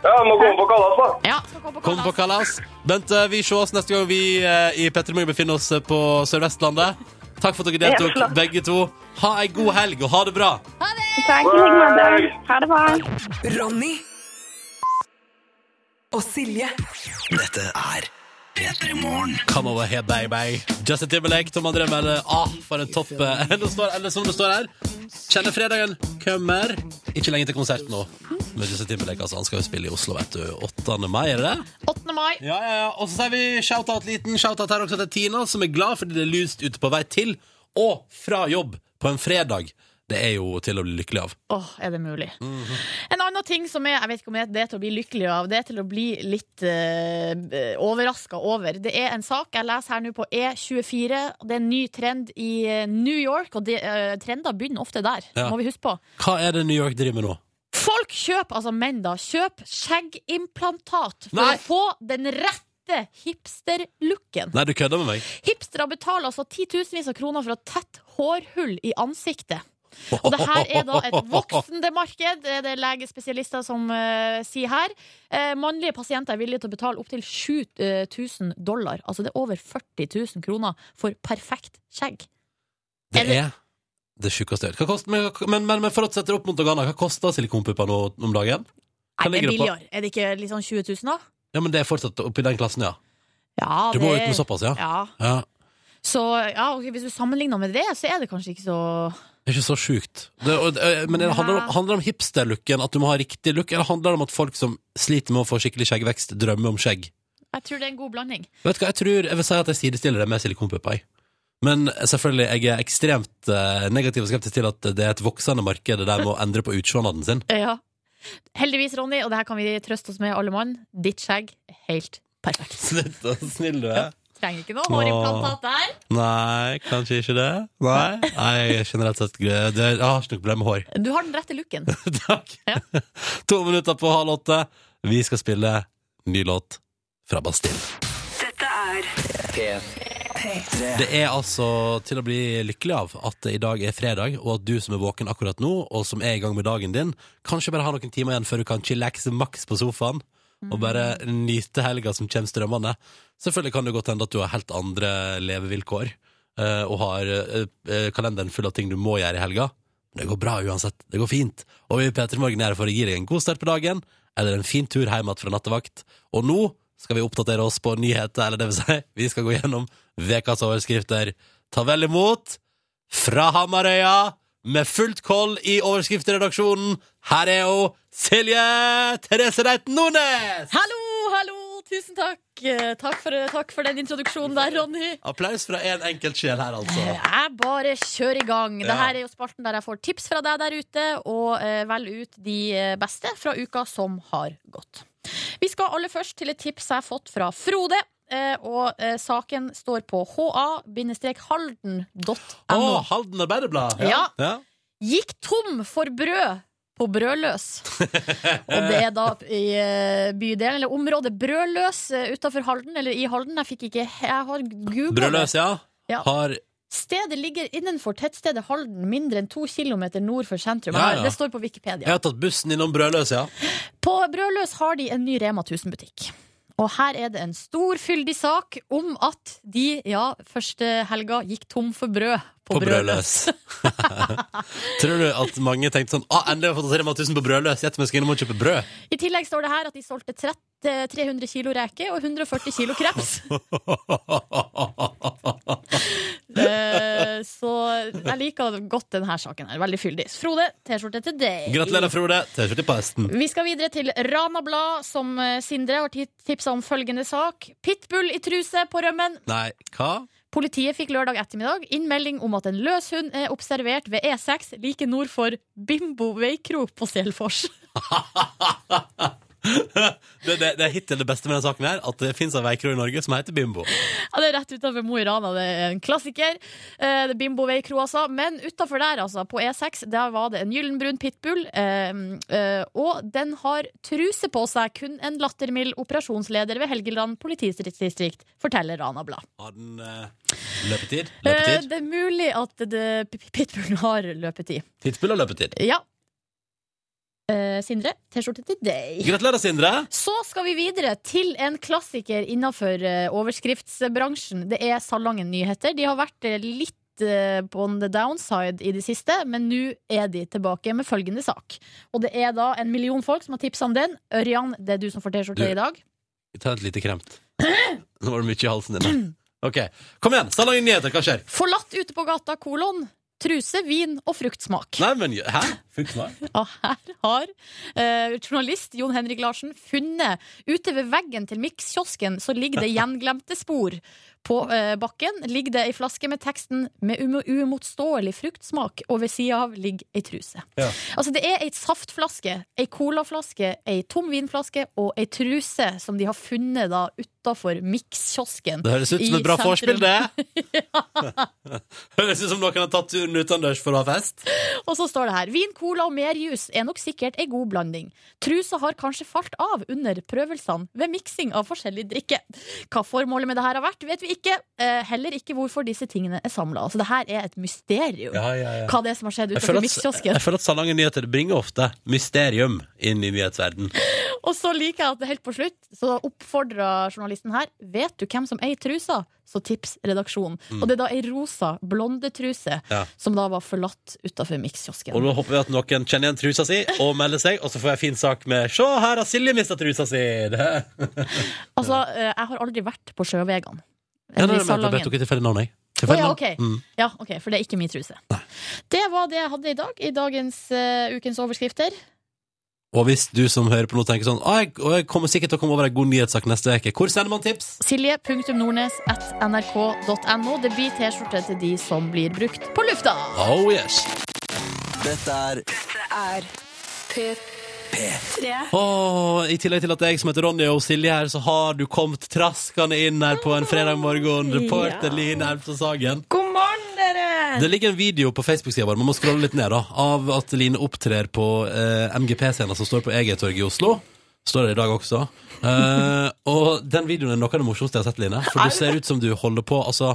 [SPEAKER 9] Ja, jeg må komme på kallas, da.
[SPEAKER 3] Ja, skal komme på
[SPEAKER 2] Kom på
[SPEAKER 3] kalas.
[SPEAKER 2] kalas. Bente, vi ses neste gang vi eh, i P3 Morgen befinner oss eh, på Sør-Vestlandet. Takk for at dere
[SPEAKER 1] Ja,
[SPEAKER 2] deltok,
[SPEAKER 1] flott.
[SPEAKER 2] begge to. Ha ei god helg, og ha det bra.
[SPEAKER 1] Takk i like måte. Ha det bra.
[SPEAKER 10] Ronny og Silje.
[SPEAKER 11] Dette er P3 Morgen.
[SPEAKER 2] Come over here, baby. Justin Timberlake, Tom André Melle. Ah, for en topp eh, Eller, står, eller som det står her. Kjenner fredagen kommer. Ikke lenge til konsert nå. Men Justin Timberlake, altså, han skal jo spille i Oslo, vet du. 8. mai, er det det?
[SPEAKER 3] 8. mai.
[SPEAKER 2] Ja, ja, ja. Og så sier vi shout-out liten shout-out her også til Tina, som er glad fordi det er lyst ute på vei til og fra jobb på en fredag. Det er jo til å bli lykkelig av.
[SPEAKER 3] Åh, er det mulig?
[SPEAKER 2] Mhm.
[SPEAKER 3] En annen ting som er, jeg vet ikke om det er til å bli lykkelig av, det er til å bli litt uh, overraska over. Det er en sak jeg leser her nå på E24. og Det er en ny trend i eh, New York, og de, eh, trender begynner ofte der,
[SPEAKER 2] Ja.
[SPEAKER 3] må vi huske på.
[SPEAKER 2] Hva er det New York driver med nå?
[SPEAKER 3] Folk kjøper, altså menn da, kjøp skjeggimplantat for
[SPEAKER 2] Nei.
[SPEAKER 3] å få den rette hipster-looken.
[SPEAKER 2] Nei, du kødder med meg.
[SPEAKER 3] Hipstere betaler altså titusenvis av kroner for å tette hårhull i ansiktet. Og det her er da et voksende marked, det er det legespesialister som eh, sier her. Eh, mannlige pasienter er villige til å betale opptil 7000 dollar. Altså det er over 40 000 kroner for perfekt skjegg.
[SPEAKER 2] Det er det sjukeste jeg har hørt. Hva koster- Men, men, men, men for å sette det opp mot noe annet, hva koster silikonpupper nå om dagen? Hva
[SPEAKER 3] Nei, det er
[SPEAKER 2] ligger det på?
[SPEAKER 3] billigere. Er det ikke liksom 20 000, da?
[SPEAKER 2] Ja, men det er fortsatt oppi den klassen, ja.
[SPEAKER 3] Ja,
[SPEAKER 2] Du
[SPEAKER 3] det...
[SPEAKER 2] må ut med såpass, ja.
[SPEAKER 3] Ja.
[SPEAKER 2] ja.
[SPEAKER 3] Så ja, ok, hvis du sammenligner med det, så er det kanskje ikke så
[SPEAKER 2] Det er ikke så sjukt. Det, og, det- men det handler, om,
[SPEAKER 3] Nei.
[SPEAKER 2] handler det om hipster-looken, at du må ha riktig look, eller handler det om at folk som sliter med å få skikkelig skjeggvekst, drømmer om skjegg?
[SPEAKER 3] Jeg tror det er en god blanding.
[SPEAKER 2] Vet du hva, jeg tror, jeg vil si at jeg sidestiller det med silikonpupper, jeg. Men eh, selvfølgelig, jeg er ekstremt eh, negativ og skeptisk til at det er et voksende marked det der med å endre på utseendet sin.
[SPEAKER 3] Ja. Heldigvis, Ronny, og det her kan vi trøste oss med, alle mann, ditt skjegg helt perfekt.
[SPEAKER 2] Snill, så sånn snill du er.
[SPEAKER 3] Trenger ikke noe hårimplantat der.
[SPEAKER 2] Nei, kanskje ikke det. Nei, Nei jeg er generelt sett grø- det- Jeg har ikke noe problem med hår.
[SPEAKER 3] Du har den rette looken.
[SPEAKER 2] Takk.
[SPEAKER 3] Ja.
[SPEAKER 2] To minutter på halv åtte. Vi skal spille ny låt fra Bastille. Det er altså til å bli lykkelig av at det i dag er fredag, og at du som er våken akkurat nå, og som er i gang med dagen din, kanskje bare har noen timer igjen før du kan chillaxe maks på sofaen. Og bare nyte helga som kommer strømmende. Selvfølgelig kan det godt hende at du har helt andre levevilkår, eh, og har eh, eh, kalenderen full av ting du må gjøre i helga. Men det går bra uansett. Det går fint. Og vi i P3 Morgen er her for å gi deg en god start på dagen, eller en fin tur hjem igjen fra nattevakt. Og nå skal vi oppdatere oss på nyheter, eller det vil si, vi skal gå gjennom ukas overskrifter. Ta vel imot fra Hamarøya, med fullt koll i overskriftsredaksjonen. Her er hun, Silje Therese Reiten Nordnes!
[SPEAKER 3] Hallo, hallo, tusen takk. Eh, Takk for, takk for den introduksjonen der, Ronny.
[SPEAKER 2] Applaus fra en enkelt sjel her, altså.
[SPEAKER 3] Jeg bare kjører i gang.
[SPEAKER 2] Ja.
[SPEAKER 3] Dette er jo spalten der jeg får tips fra deg der ute, og eh, velger ut de eh, beste fra uka som har gått. Vi skal aller først til et tips jeg har fått fra Frode. eh, Og eh, saken står på ha-halden.no.
[SPEAKER 2] Å, Halden Arbeiderblad!
[SPEAKER 3] Ja.
[SPEAKER 2] ja.
[SPEAKER 3] Gikk tom for brød på Brødløs. Og det er da i eh, bydelen, eller området Brødløs utafor Halden, eller i Halden. Jeg fikk ikke Jeg har googla det.
[SPEAKER 2] Brødløs, ja.
[SPEAKER 3] Ja.
[SPEAKER 2] Har
[SPEAKER 3] Stedet ligger innenfor tettstedet Halden, mindre enn to kilometer nord for sentrum.
[SPEAKER 2] Ja, ja.
[SPEAKER 3] Det står på Wikipedia.
[SPEAKER 2] Jeg har tatt bussen innom Brødløs, ja.
[SPEAKER 3] På Brødløs har de en ny Rema 1000-butikk. Og her er det en stor, fyldig sak om at de, ja, første helga gikk tom for brød på,
[SPEAKER 2] på brødløs. Tror du at mange tenkte sånn ah, Endelig har jeg fått Rema 1000 på brødløs, gjett om jeg skal innom og kjøpe brød.
[SPEAKER 3] I tillegg står det her at de solgte 30, 300 kilo reker og 140 kilo kreps. Eh, så jeg liker godt denne saken her. Veldig fyldig. Frode, T-skjorte til deg.
[SPEAKER 2] Gratulerer, Frode. T-skjorte i posten.
[SPEAKER 3] Vi skal videre til Rana Blad, som eh, Sindre har tipsa om følgende sak. Pitbull i truse på rømmen.
[SPEAKER 2] Nei, hva?
[SPEAKER 3] Politiet fikk lørdag ettermiddag innmelding om at en løs hund er observert ved E6 like nord for Bimbo veikrok på Selfors.
[SPEAKER 2] Det, det, det er hittil det beste med denne saken her, at det fins en veikro i Norge som heter Bimbo.
[SPEAKER 3] Ja, det er rett utenfor Mo i Rana, det er en klassiker. Eh, det er Bimbo veikro, altså. Men utafor der, altså, på E6, der var det en gyllenbrun pitbull. Eh, eh, og den har truse på seg, kun en lattermild operasjonsleder ved Helgeland politidistrikt, forteller Rana Blad.
[SPEAKER 2] Har den eh, løpetid?
[SPEAKER 3] Eh,
[SPEAKER 2] Løpetid?
[SPEAKER 3] det er mulig at det, pitbullen har løpetid.
[SPEAKER 2] Tidsspill og løpetid.
[SPEAKER 3] Ja. Eh, Sindre, T-skjorte til deg.
[SPEAKER 2] Gratulerer, Sindre.
[SPEAKER 3] Så skal vi videre til en klassiker innenfor eh, overskriftsbransjen. Det er Salangen Nyheter. De har vært eh, litt eh, på on the downside i det siste, men nå er de tilbake med følgende sak. Og det er da en million folk som har tipsa om den. Ørjan, det er du som får
[SPEAKER 2] Du-
[SPEAKER 3] T-skjorte i dag.
[SPEAKER 2] Ta et lite kremt. Nå var det mye i halsen din. Ok, Kom igjen, salong nyheter. Hva skjer?
[SPEAKER 3] Forlatt ute på gata, kolon. Truse, vin og fruktsmak.
[SPEAKER 2] Nei, men Hæ? Funker det?
[SPEAKER 3] Og her har eh, journalist Jon Henrik Larsen funnet Ute ved veggen til Mix-kiosken så ligger det gjenglemte spor. På eh, bakken ligger det ei flaske med teksten 'Med umo- uimotståelig fruktsmak', og ved sida av ligger ei truse.
[SPEAKER 2] Ja.
[SPEAKER 3] Altså Det er ei saftflaske, ei colaflaske, ei tom vinflaske og ei truse som de har funnet da utafor Mix-kiosken.
[SPEAKER 2] Det høres ut som
[SPEAKER 3] i
[SPEAKER 2] et bra
[SPEAKER 3] sentrum.
[SPEAKER 2] vorspiel, det. høres ut som noen har tatt turen utendørs for å ha fest.
[SPEAKER 3] Og så står det her Vin, cola og mer jus er nok sikkert ei god blanding. Trusa har kanskje falt av under prøvelsene ved miksing av forskjellig drikke. Hva formålet med det her har vært, vet vi ikke. Eh, heller ikke hvorfor disse tingene er samla. Altså, det her er et mysterium. Hva det er som har skjedd
[SPEAKER 2] Jeg
[SPEAKER 3] utenfor
[SPEAKER 2] føler, at,
[SPEAKER 3] mikskiosken.
[SPEAKER 2] jeg føler at Salangen Nyheter bringer ofte mysterium inn i nyhetsverden.
[SPEAKER 3] Og så liker jeg at det helt på slutt så oppfordrer journalisten her Vet du hvem som eier trusa? Så tips redaksjonen. Og det er da ei rosa blondetruse
[SPEAKER 2] Mm. Ja.
[SPEAKER 3] som da var forlatt utafor mikskiosken.
[SPEAKER 2] Og nå håper vi at noen kjenner igjen trusa si og melder seg, og så får jeg fin sak med 'Se, her har Silje mista trusa si'. Det.
[SPEAKER 3] Altså, eh, jeg har aldri vært på sjøvegene.
[SPEAKER 2] Ja, nei,
[SPEAKER 3] Eller
[SPEAKER 2] nei, men
[SPEAKER 3] i
[SPEAKER 2] jeg bare
[SPEAKER 3] Salangen.
[SPEAKER 2] tok et tilfeldig navn, jeg.
[SPEAKER 3] Å
[SPEAKER 2] Tilfeldig
[SPEAKER 3] ja,
[SPEAKER 2] navn.
[SPEAKER 3] ok.
[SPEAKER 2] Mm.
[SPEAKER 3] ja, ok. For det er ikke min truse. Det var det jeg hadde i dag i dagens eh, ukens overskrifter.
[SPEAKER 2] Og hvis du som hører på nå tenker sånn «Å, jeg, å, jeg kommer sikkert til å komme over en god nyhetssak neste uke, hvor sender man tips?
[SPEAKER 3] Silje.nordnes.nrk.no. Det blir T-skjorte til de som blir brukt på lufta.
[SPEAKER 2] Oh yes!
[SPEAKER 12] Dette er
[SPEAKER 2] Åh, I tillegg til at jeg som heter Ronny og Silje her, så har du kommet traskende inn her på en fredag morgen. Reporter Line Elvstad Sagen.
[SPEAKER 13] God morgen, dere!
[SPEAKER 2] Det ligger en video på Facebook-sida vår man må scrolle litt ned da, av at Line opptrer på eh, MGP-scenen som står på Egertorget i Oslo. Står det i dag også. Eh, og den videoen er noe av det morsomste jeg har sett, Line. For du ser ut som du holder på altså,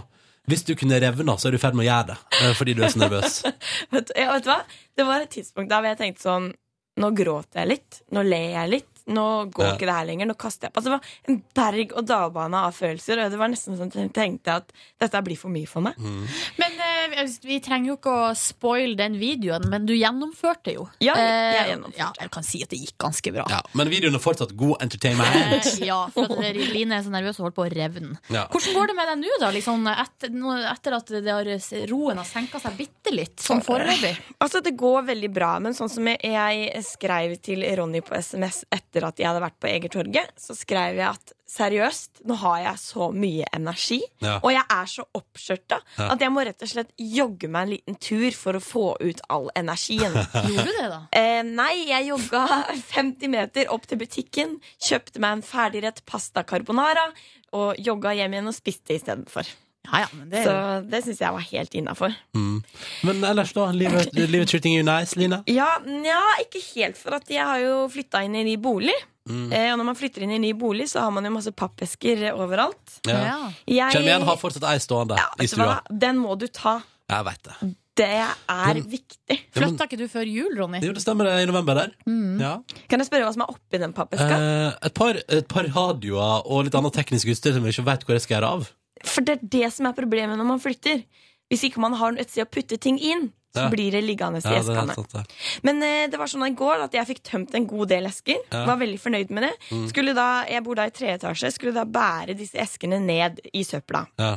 [SPEAKER 2] Hvis du kunne revna, så er du i ferd med å gjøre det. eh, fordi du er så nervøs.
[SPEAKER 4] Vet, ja, vet du hva? Det var et tidspunkt der hvor jeg tenkte sånn Nå gråter jeg litt. Nå ler jeg litt. Nå går
[SPEAKER 2] Ja.
[SPEAKER 4] ikke det her lenger. Nå kaster jeg på. Altså, det var en berg-og-dal-bane av følelser. Og det var nesten sånn at jeg tenkte at dette blir for mye for meg.
[SPEAKER 2] Mm.
[SPEAKER 3] Men eh, vi trenger jo ikke å spoile den videoen, men du gjennomførte jo.
[SPEAKER 4] Ja, jeg
[SPEAKER 3] Eh,
[SPEAKER 4] gjennomførte.
[SPEAKER 3] Ja, jeg kan si at det gikk ganske bra.
[SPEAKER 2] Ja, men videoen er fortsatt god entertainment.
[SPEAKER 3] Eh, Ja, for at det- Line er så nervøs og holdt på å revne.
[SPEAKER 2] Ja.
[SPEAKER 3] Hvordan går det med deg nå, da? Liksom etter, nå- etter at det har, roen har senka seg bitte litt, sånn foreløpig?
[SPEAKER 4] Altså, det går veldig bra, men sånn som jeg, jeg skrev til Ronny på SMS etter at jeg hadde vært på Egertorget, så skrev jeg at seriøst, nå har jeg så mye energi,
[SPEAKER 2] Ja.
[SPEAKER 4] og jeg er så oppskjørta
[SPEAKER 2] Ja.
[SPEAKER 4] at jeg må rett og slett jogge meg en liten tur for å få ut all energien.
[SPEAKER 3] Gjorde du det, da?
[SPEAKER 4] Eh, nei, jeg jogga 50 meter opp til butikken, kjøpte meg en ferdigrett pasta carbonara og jogga hjem igjen og spiste istedenfor.
[SPEAKER 3] Ja, ja, men det er
[SPEAKER 4] Så
[SPEAKER 3] jo
[SPEAKER 4] det syns jeg var helt innafor.
[SPEAKER 2] Mm. Men ellers, da? Livet, livet treating you nice, Line?
[SPEAKER 4] Ja, nja, ikke helt, for at jeg har jo flytta inn i ny bolig.
[SPEAKER 2] Mm.
[SPEAKER 4] Eh, og når man flytter inn i ny bolig, så har man jo masse pappesker overalt.
[SPEAKER 2] Ja.
[SPEAKER 3] ja.
[SPEAKER 4] Jeg,
[SPEAKER 2] Kjenn igjen, har fortsatt ei stående
[SPEAKER 4] ja,
[SPEAKER 2] i
[SPEAKER 4] vet du
[SPEAKER 2] stua.
[SPEAKER 4] hva? Den må du ta.
[SPEAKER 2] Jeg veit det.
[SPEAKER 4] Det er viktig.
[SPEAKER 2] Ja, men,
[SPEAKER 3] Flytta ikke du før jul, Ronny? Mm.
[SPEAKER 2] jo, det stemmer, det er i november der.
[SPEAKER 4] Mm.
[SPEAKER 2] Ja.
[SPEAKER 4] Kan jeg spørre hva som er oppi den pappeska?
[SPEAKER 2] Eh, et, par, et par radioer og litt annet teknisk utstyr som jeg ikke veit hvor jeg skal gjøre av.
[SPEAKER 4] For det er det som er problemet når man flytter. Hvis ikke man har et sted å putte ting inn, så
[SPEAKER 2] Ja.
[SPEAKER 4] blir det liggende i
[SPEAKER 2] Ja, det er
[SPEAKER 4] eskene.
[SPEAKER 2] helt sant, det.
[SPEAKER 4] Men eh, det var sånn i går at jeg fikk tømt en god del esker.
[SPEAKER 2] Ja. Mm.
[SPEAKER 4] Var veldig fornøyd med det. Skulle da, Jeg bor da i tre etasje. Skulle da bære disse eskene ned i søpla.
[SPEAKER 2] Ja,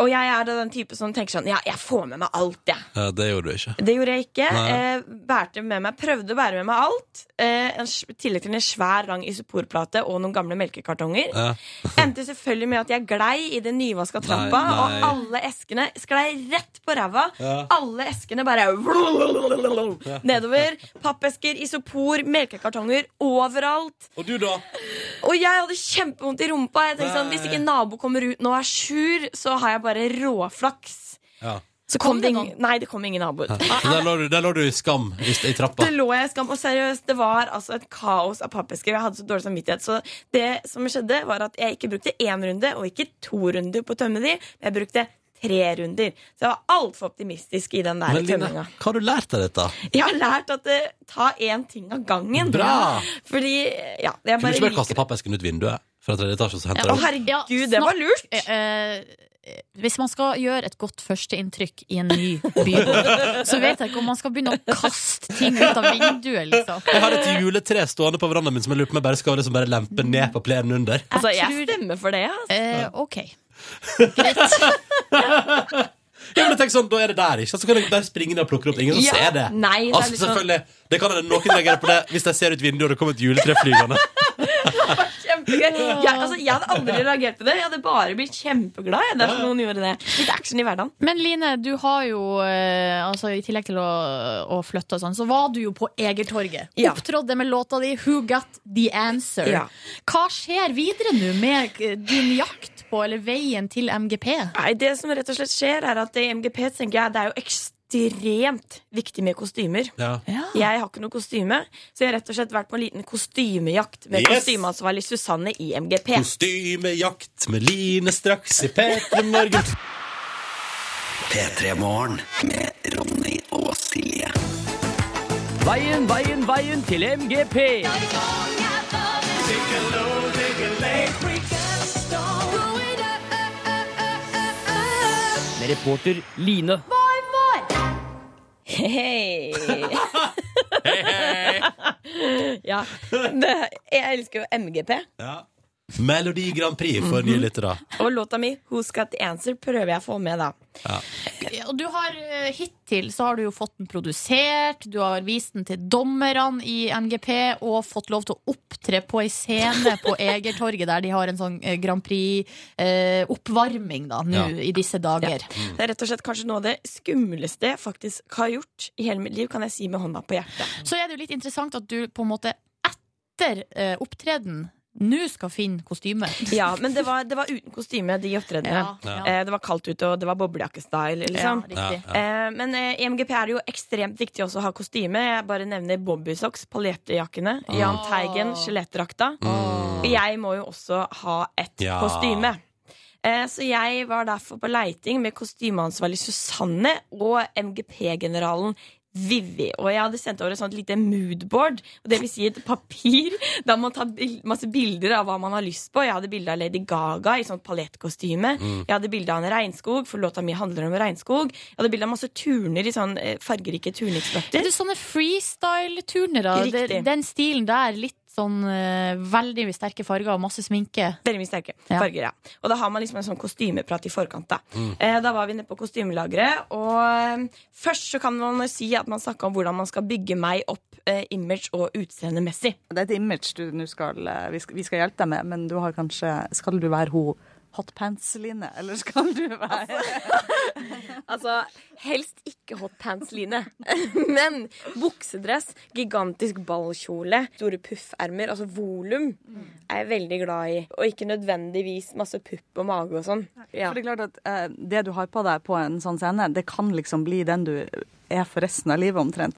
[SPEAKER 4] Og jeg er da den type som tenker sånn Ja, jeg får med meg alt, jeg.
[SPEAKER 2] ja, det gjorde du ikke.
[SPEAKER 4] Det gjorde jeg ikke.
[SPEAKER 2] Nei.
[SPEAKER 4] Eh, bærte med meg, Prøvde å bære med meg alt. Eh, en s- I tillegg til en svær, lang isoporplate og noen gamle melkekartonger.
[SPEAKER 2] Ja.
[SPEAKER 4] Endte selvfølgelig med at jeg glei i den nyvaska trappa,
[SPEAKER 2] Nei, nei.
[SPEAKER 4] og alle eskene sklei rett på ræva.
[SPEAKER 2] Ja.
[SPEAKER 4] Alle eskene bare nedover. Pappesker, isopor, melkekartonger overalt.
[SPEAKER 2] Og du, da?
[SPEAKER 4] Og jeg hadde kjempevondt i rumpa. Jeg tenkte sånn,
[SPEAKER 2] Nei.
[SPEAKER 4] Hvis ikke nabo kommer ut nå og er sur, så har jeg bare råflaks.
[SPEAKER 2] Ja.
[SPEAKER 4] Så kom, det ingen, nei, det kom ingen naboer.
[SPEAKER 2] Så Der, lå du, der lå du i skam i, i trappa.
[SPEAKER 4] Det lå jeg i skam, og seriøst, det var altså et kaos av pappesker. og Jeg hadde så dårlig samvittighet. Så det som skjedde, var at jeg ikke brukte én runde, og ikke to runder på å tømme de. Men jeg brukte tre runder. Så jeg var altfor optimistisk i den der
[SPEAKER 2] Men Line,
[SPEAKER 4] tømminga.
[SPEAKER 2] hva har du lært av dette?
[SPEAKER 4] Jeg har lært at det ta én ting av gangen.
[SPEAKER 2] Bra!
[SPEAKER 4] Fordi ja, jeg
[SPEAKER 2] Kunne du
[SPEAKER 4] bare
[SPEAKER 2] ikke bare
[SPEAKER 4] liker
[SPEAKER 2] kaste pappesken ut vinduet? Fra tredje etasje og så henter
[SPEAKER 4] Å,
[SPEAKER 2] jeg opp?
[SPEAKER 4] herregud,
[SPEAKER 3] Ja,
[SPEAKER 4] det var
[SPEAKER 3] snakk-
[SPEAKER 4] lurt!
[SPEAKER 3] Eh, eh, hvis man skal gjøre et godt førsteinntrykk i en ny by, så vet jeg ikke om man skal begynne å kaste ting ut av vinduet, liksom.
[SPEAKER 2] Jeg har et juletre stående på verandaen min som jeg lurer på om jeg bare skal liksom bare
[SPEAKER 4] Mm.
[SPEAKER 2] lempe ned på plenen under.
[SPEAKER 4] Altså,
[SPEAKER 3] jeg
[SPEAKER 4] jeg stemmer for det. Altså.
[SPEAKER 3] Eh, ok.
[SPEAKER 2] Ja, men jeg tenker sånn, Da er det der, ikke sant? Så kan jeg bare springe ned og plukke det opp. Ingen som
[SPEAKER 4] Ja,
[SPEAKER 2] ser det.
[SPEAKER 4] nei, det er
[SPEAKER 2] altså,
[SPEAKER 4] litt sånn-
[SPEAKER 2] selvfølgelig, det kan hende noen reagere på det hvis de ser ut vinduet og det kommer et juletre flygende.
[SPEAKER 4] Kjempegøy. Jeg, altså, jeg hadde aldri reagert på det. Jeg hadde bare blitt kjempeglad jeg, dersom noen gjorde det. Litt action i hverdagen.
[SPEAKER 3] Men Line, du har jo, eh, altså, i tillegg til å, å flytte og sånn, så var du jo på Egertorget.
[SPEAKER 4] Ja.
[SPEAKER 3] Opptrådde med låta di 'Who Got The Answer'.
[SPEAKER 4] Ja.
[SPEAKER 3] Hva skjer videre nå med eh, din jakt på, eller veien til MGP?
[SPEAKER 4] Nei, det som rett og slett skjer, er at i MGP tenker jeg det er jo ekstremt viktig med kostymer.
[SPEAKER 2] Ja.
[SPEAKER 4] Jeg har ikke noe kostyme, så jeg har rett og slett vært på en liten kostymejakt med
[SPEAKER 2] Yes!
[SPEAKER 4] kostymeansvarlig Susanne i MGP.
[SPEAKER 2] Kostymejakt med Line straks i P3 Morgen.
[SPEAKER 12] P3 Morgen med Ronny og Silje.
[SPEAKER 1] Veien, veien, veien til MGP. Med reporter Line.
[SPEAKER 4] Hei! ja. Det, jeg elsker jo MGP.
[SPEAKER 2] Ja. Melodi Grand Prix
[SPEAKER 4] Mhm.
[SPEAKER 2] for nye lyttere.
[SPEAKER 4] Og låta mi 'Who's Got The Answer' prøver jeg å få med, da.
[SPEAKER 2] Ja.
[SPEAKER 3] Og du har eh, hittil så har du jo fått den produsert, du har vist den til dommerne i NGP og fått lov til å opptre på ei scene på Egertorget der de har en sånn eh, Grand Prix-oppvarming da, nå
[SPEAKER 4] Ja.
[SPEAKER 3] i disse dager.
[SPEAKER 4] Det er rett og slett kanskje noe av det skumleste jeg faktisk har gjort i hele mitt liv, kan jeg si med hånda på hjertet.
[SPEAKER 3] Så er det jo litt interessant at du på en måte etter eh, opptreden nå skal finne kostyme.
[SPEAKER 4] Ja, men det var, det var uten kostyme, de opptredenene.
[SPEAKER 3] Ja, ja.
[SPEAKER 4] Eh, Det var kaldt ute, og det var boblejakkestyle. Liksom.
[SPEAKER 3] Ja, riktig. Ja,
[SPEAKER 4] Eh, Men eh, i MGP er det jo ekstremt viktig også å ha kostyme. Jeg bare nevner bobbysocks, paljettjakkene,
[SPEAKER 3] Mm.
[SPEAKER 4] Jahn Teigen, skjelettdrakta. Og jeg må jo også ha et
[SPEAKER 8] Ja.
[SPEAKER 4] kostyme. Eh, Så jeg var derfor på leiting med kostymeansvarlig Susanne og MGP-generalen Vivi. Og jeg hadde sendt over et sånt lite moodboard, og det vil si et papir der man tar bil masse bilder av hva man har lyst på. Jeg hadde bilde av Lady Gaga i sånt paljettkostyme.
[SPEAKER 8] Mm.
[SPEAKER 4] Jeg hadde bilde av en regnskog, for låta mi handler om regnskog. Jeg hadde bilde av masse turner i sånn eh, fargerike turningsdrakter.
[SPEAKER 3] Er det sånne freestyle-turnere?
[SPEAKER 4] Riktig.
[SPEAKER 3] Det- Den stilen der, litt sånn eh, veldig sterke farger og masse sminke.
[SPEAKER 4] Veldig mye sterke farger, ja. Og da har man liksom en sånn kostymeprat i forkant, da.
[SPEAKER 3] Mm.
[SPEAKER 4] Eh, da var vi nede på kostymelageret, og eh, først så kan man jo si at man snakka om hvordan man skal bygge meg opp eh, image og utseendemessig.
[SPEAKER 14] Det er et image du nå skal, eh, vi skal Vi skal hjelpe deg med, men du har kanskje Skal du være hun hotpants-Line, eller skal du være
[SPEAKER 8] Altså, helst ikke hotpants, Line. Men buksedress, gigantisk ballkjole, store puffermer, altså volum,
[SPEAKER 14] Mm.
[SPEAKER 8] er jeg veldig glad i. Og ikke nødvendigvis masse pupp og mage og sånn. Ja.
[SPEAKER 14] For det er klart at eh, det du har på deg på en sånn scene, det kan liksom bli den du er for resten av livet, omtrent.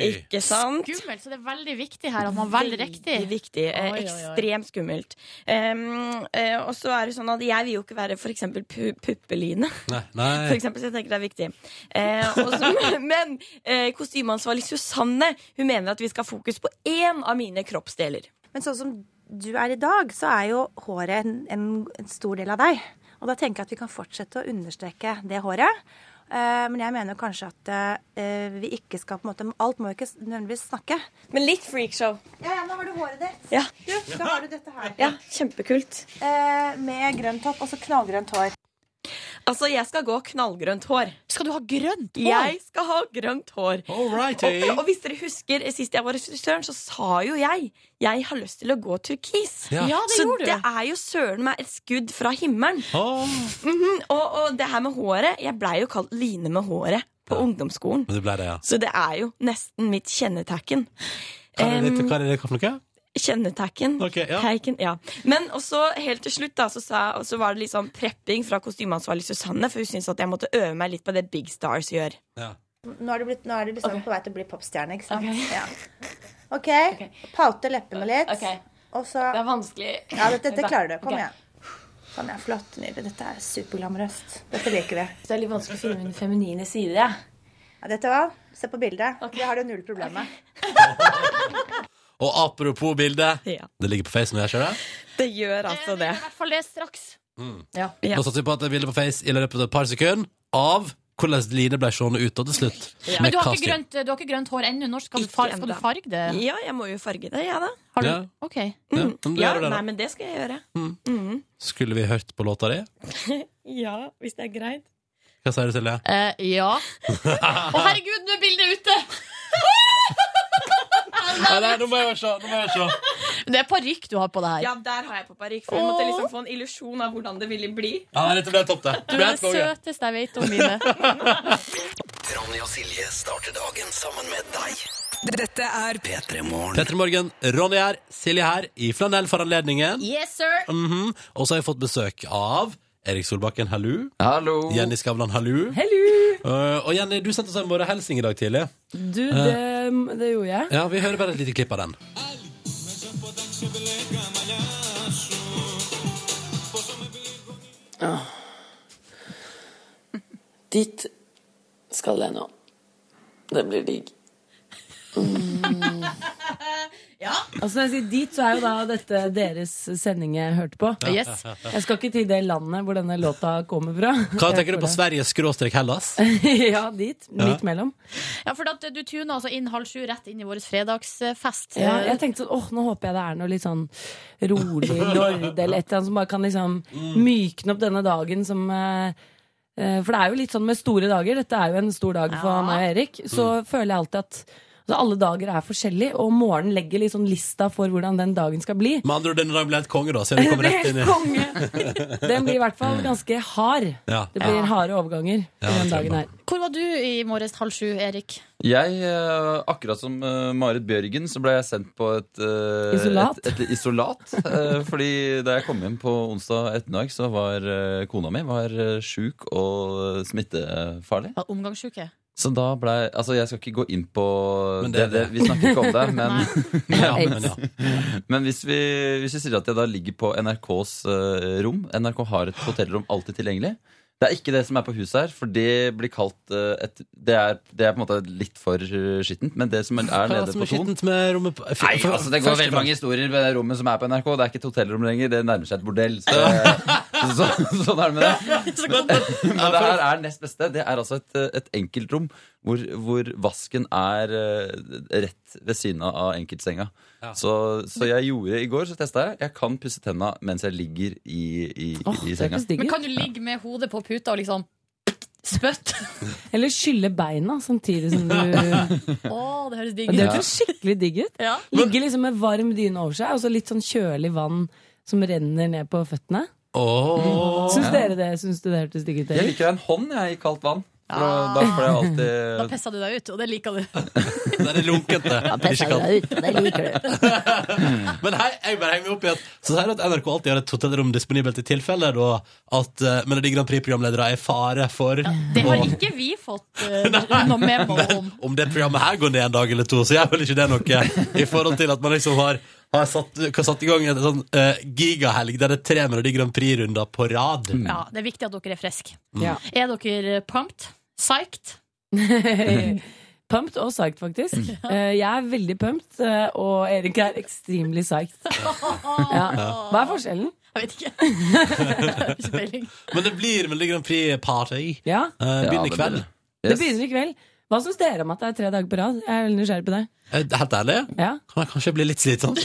[SPEAKER 4] Ikke sant?
[SPEAKER 3] Skummelt, så det er veldig viktig her at man velger riktig.
[SPEAKER 4] Veldig viktig. Eh,
[SPEAKER 3] Oi, oi, oi.
[SPEAKER 4] ekstremt skummelt. Um, eh, og så er det sånn at jeg vil jo ikke være for eksempel pu puppeline.
[SPEAKER 2] Nei, nei.
[SPEAKER 4] For eksempel, så jeg tenker det er viktig. Eh, og så- men eh, kostymeansvarlig Susanne hun mener at vi skal ha fokus på én av mine kroppsdeler.
[SPEAKER 1] Men sånn som du er i dag, så er jo håret en, en, en stor del av deg. Og da tenker jeg at vi kan fortsette å understreke det håret. Eh, men jeg mener kanskje at eh, vi ikke skal på en måte Alt må jo ikke nødvendigvis snakke.
[SPEAKER 4] Men litt freakshow.
[SPEAKER 1] Ja, ja, nå har du håret ditt.
[SPEAKER 4] Ja.
[SPEAKER 1] Du, da har du dette her.
[SPEAKER 4] Ja, kjempekult.
[SPEAKER 1] Eh, med grønn topp, altså knallgrønt hår.
[SPEAKER 4] Altså, jeg skal gå knallgrønt hår.
[SPEAKER 3] Skal du ha grønt
[SPEAKER 1] hår?
[SPEAKER 4] Jeg skal ha grønt hår.
[SPEAKER 2] Alrighty.
[SPEAKER 4] Og, og hvis dere husker, eh, sist jeg var hos frisøren, så sa jo jeg jeg har lyst til å gå turkis.
[SPEAKER 8] Ja. Ja, det
[SPEAKER 4] så
[SPEAKER 8] gjorde du.
[SPEAKER 4] det er jo søren meg et skudd fra himmelen. Mhm, og, og det her med håret Jeg blei jo kalt Line med håret på ungdomsskolen.
[SPEAKER 2] Men det ble det, ja.
[SPEAKER 4] Så det er jo nesten mitt kjennetegn.
[SPEAKER 2] Hva er det,
[SPEAKER 4] Em,
[SPEAKER 2] hva er det for noe?
[SPEAKER 4] Kjennetecken.
[SPEAKER 2] Ok, ja.
[SPEAKER 4] Teiken, ja. Men også helt til slutt da, så, sa, så var det litt sånn prepping fra kostymeansvarlig Susanne, for hun syntes at jeg måtte øve meg litt på det Big Stars gjør.
[SPEAKER 1] Nå er du, blitt, nå er du liksom på vei til å bli popstjerne, ikke sant? Ja. OK. Paute leppene litt. Og så Det er vanskelig. Ja, dette, dette klarer du. Kom
[SPEAKER 8] Ok.
[SPEAKER 1] igjen. Kom igjen, Flott. Nydelig. Dette er superglamorøst. Dette liker vi.
[SPEAKER 8] Det er litt vanskelig å finne min feminine side, jeg.
[SPEAKER 1] Ja, dette hva? Se på bildet. Det har du null problem med.
[SPEAKER 2] Og apropos bildet, det ligger på Face når jeg ser det.
[SPEAKER 4] Det gjør altså det.
[SPEAKER 3] I hvert fall det straks.
[SPEAKER 2] Mm.
[SPEAKER 3] Ja.
[SPEAKER 2] Da satser vi på at det er bilde på Face i løpet av et par sekunder av hvordan Line ble seende ut da til slutt.
[SPEAKER 3] Men
[SPEAKER 2] Med
[SPEAKER 3] du har, ikke
[SPEAKER 2] casting.
[SPEAKER 3] grønt, du har ikke grønt hår ennå. Når skal du, far, skal du
[SPEAKER 4] enda.
[SPEAKER 3] farge det?
[SPEAKER 4] Ja, jeg må jo farge det, jeg ja, da.
[SPEAKER 3] Har du?
[SPEAKER 2] Ja.
[SPEAKER 3] Ok.
[SPEAKER 2] Ja,
[SPEAKER 3] Mm.
[SPEAKER 2] men du
[SPEAKER 4] Ja,
[SPEAKER 2] gjør det, da. Mm.
[SPEAKER 4] nei, men det skal jeg gjøre. Mhm.
[SPEAKER 2] Skulle vi hørt på låta di?
[SPEAKER 4] ja, hvis det er greit.
[SPEAKER 2] Hva sier du, Silje?
[SPEAKER 3] Eh, ja. Å, herregud, nå er bildet ute!
[SPEAKER 2] Nei, nei, nå må jeg se. Nå må jeg se.
[SPEAKER 3] Det er parykk du har på det her.
[SPEAKER 4] Ja, der har jeg på parykk, for jeg måtte liksom få en illusjon av hvordan det ville bli.
[SPEAKER 2] Ja, nei, dette ble topp, det.
[SPEAKER 3] Du
[SPEAKER 2] Ble
[SPEAKER 3] er
[SPEAKER 2] helt
[SPEAKER 3] det
[SPEAKER 2] konge.
[SPEAKER 3] søteste jeg vet om mine.
[SPEAKER 15] Ronny og Silje starter dagen sammen med deg.
[SPEAKER 16] Dette er
[SPEAKER 15] P3 Morgen.
[SPEAKER 2] Petter Morgen, Ronny her, Silje her, i flanell for anledningen.
[SPEAKER 3] Yes, sir!
[SPEAKER 2] Mhm. Og så har jeg fått besøk av Erik Solbakken, hallo. Jenny Skavlan, hallo. Eh, og Jenny, du sendte oss en morgenhilsing i dag tidlig.
[SPEAKER 17] Du,
[SPEAKER 2] Eh.
[SPEAKER 17] det, det gjorde jeg.
[SPEAKER 2] Ja, Vi hører bare et lite klipp av den.
[SPEAKER 17] Åh. Dit skal jeg nå. Det blir digg. Mm.
[SPEAKER 3] Ja,
[SPEAKER 17] Altså, når jeg sier dit, så er jo da dette deres sending jeg hørte på.
[SPEAKER 2] Ja. Yes.
[SPEAKER 17] Jeg skal ikke til det landet hvor denne låta kommer fra.
[SPEAKER 2] Hva tenker du på Sverige skråstrek Hellas?
[SPEAKER 17] ja, dit. Midt
[SPEAKER 2] Ja.
[SPEAKER 17] mellom.
[SPEAKER 18] Ja, for at du tuner altså inn halv sju rett inn i vår fredagsfest. Eh,
[SPEAKER 17] Ja, jeg tenkte sånn, åh, nå håper jeg det er noe litt sånn rolig lorde eller et eller annet som bare kan liksom
[SPEAKER 18] Mm.
[SPEAKER 17] mykne opp denne dagen som eh, eh, For det er jo litt sånn med store dager. Dette er jo en stor dag for
[SPEAKER 18] Ja. Mm.
[SPEAKER 17] meg og Erik. Så føler jeg alltid at altså, alle dager er forskjellige, og morgenen legger liksom lista for hvordan den dagen skal bli.
[SPEAKER 2] Med andre ord, denne dagen blir helt konge, da. Siden du kommer rett inn i
[SPEAKER 17] Den blir i hvert fall ganske hard.
[SPEAKER 2] Ja.
[SPEAKER 17] Det blir
[SPEAKER 18] Mm. Ja.
[SPEAKER 17] harde overganger i den dagen her.
[SPEAKER 18] Hvor var du i morges halv sju, Erik?
[SPEAKER 9] Jeg, eh, akkurat som eh, Marit Bjørgen, så ble jeg sendt på et eh,
[SPEAKER 17] Isolat.
[SPEAKER 9] Et, et isolat eh, fordi da jeg kom hjem på onsdag ettermiddag, så var eh, kona mi var eh, sjuk og smittefarlig.
[SPEAKER 18] Ja, Omgangsuke?
[SPEAKER 9] Så da ble jeg Altså, jeg skal ikke gå inn på
[SPEAKER 2] Men
[SPEAKER 9] det,
[SPEAKER 2] det er
[SPEAKER 9] det,
[SPEAKER 2] det.
[SPEAKER 9] Vi snakker ikke om det, men
[SPEAKER 2] Nei. Ja, men ja.
[SPEAKER 9] Men hvis vi, hvis vi sier at jeg da ligger på NRKs eh, rom NRK har et hotellrom alltid tilgjengelig. Det er ikke det som er på huset her, for det blir kalt eh, et Det er, det er på en måte litt for eh, skittent, men det som er
[SPEAKER 2] Hva er det
[SPEAKER 9] nede
[SPEAKER 2] som
[SPEAKER 9] på
[SPEAKER 2] er
[SPEAKER 9] Thon
[SPEAKER 2] skittent med rommet på-
[SPEAKER 9] Nei, altså Det går
[SPEAKER 2] Først og
[SPEAKER 9] veldig mange
[SPEAKER 2] fremst.
[SPEAKER 9] historier ved det rommet som er på NRK. Det er ikke et hotellrom lenger, det nærmer seg et bordell. Så, så, sånn er det med det. Men det her er nest beste. Det er altså et, et enkeltrom hvor, hvor vasken er eh, rett ved siden av enkeltsenga.
[SPEAKER 2] Ja.
[SPEAKER 9] Så, så jeg gjorde i går, så testa jeg. Jeg kan pusse tenna mens jeg ligger i, i, i senga.
[SPEAKER 18] Men kan du ligge med hodet på puta og liksom spytte?
[SPEAKER 17] Eller skylle beina samtidig som du
[SPEAKER 18] Å, det høres digg
[SPEAKER 17] Og Det
[SPEAKER 18] ut.
[SPEAKER 17] hørtes skikkelig digg ut.
[SPEAKER 18] Ja.
[SPEAKER 17] Ligge liksom med varm dyne over seg, og så litt sånn kjølig vann som renner ned på føttene.
[SPEAKER 9] Åh.
[SPEAKER 17] Syns
[SPEAKER 9] Ja.
[SPEAKER 17] dere det? Syns du det hørtes digg ut?
[SPEAKER 9] Jeg
[SPEAKER 17] Erik?
[SPEAKER 9] liker en hånd jeg, i kaldt vann. For da
[SPEAKER 17] Ah.
[SPEAKER 9] får jeg
[SPEAKER 2] Eh,
[SPEAKER 18] Da
[SPEAKER 9] alltid
[SPEAKER 18] pissa du deg ut, og det liker du.
[SPEAKER 2] Der er lunkete. Ikke kaldt.
[SPEAKER 9] Mm.
[SPEAKER 2] Men hei, jeg bare henger meg opp i at Så sier du at NRK alltid har et hotellrom disponibelt i tilfelle da at eh, Melodi Grand Prix-programledere er i fare for
[SPEAKER 18] Det har
[SPEAKER 2] å-
[SPEAKER 18] ikke vi fått eh, noe memo om.
[SPEAKER 2] Men om det programmet her går ned en dag eller to, så gjør vel ikke det noe i forhold til at man liksom har, har satt, har satt i gang en sånn eh, gigahelg der det er tre Melodi Grand Prix-runder på rad.
[SPEAKER 18] Ja, det er viktig at dere er friske.
[SPEAKER 2] Ja.
[SPEAKER 18] Er dere pumped? Psyched?
[SPEAKER 17] Pumped og psyched, faktisk. Eh, Jeg er veldig pumped, eh, og Erik er extremely psyched. Ja. Hva er forskjellen?
[SPEAKER 18] Jeg vet ikke. Ikke peiling.
[SPEAKER 2] Men det blir Melodi Grand Prix-party.
[SPEAKER 17] Ja.
[SPEAKER 2] Eh,
[SPEAKER 9] Ja,
[SPEAKER 2] begynner i
[SPEAKER 9] det
[SPEAKER 2] kveld.
[SPEAKER 9] blir det.
[SPEAKER 17] Det begynner i kveld. Hva syns dere om at det er tre dager på rad? Jeg er veldig nysgjerrig på det.
[SPEAKER 2] Eh, Helt ærlig,
[SPEAKER 17] Ja.
[SPEAKER 2] kan jeg kanskje bli litt slitsom.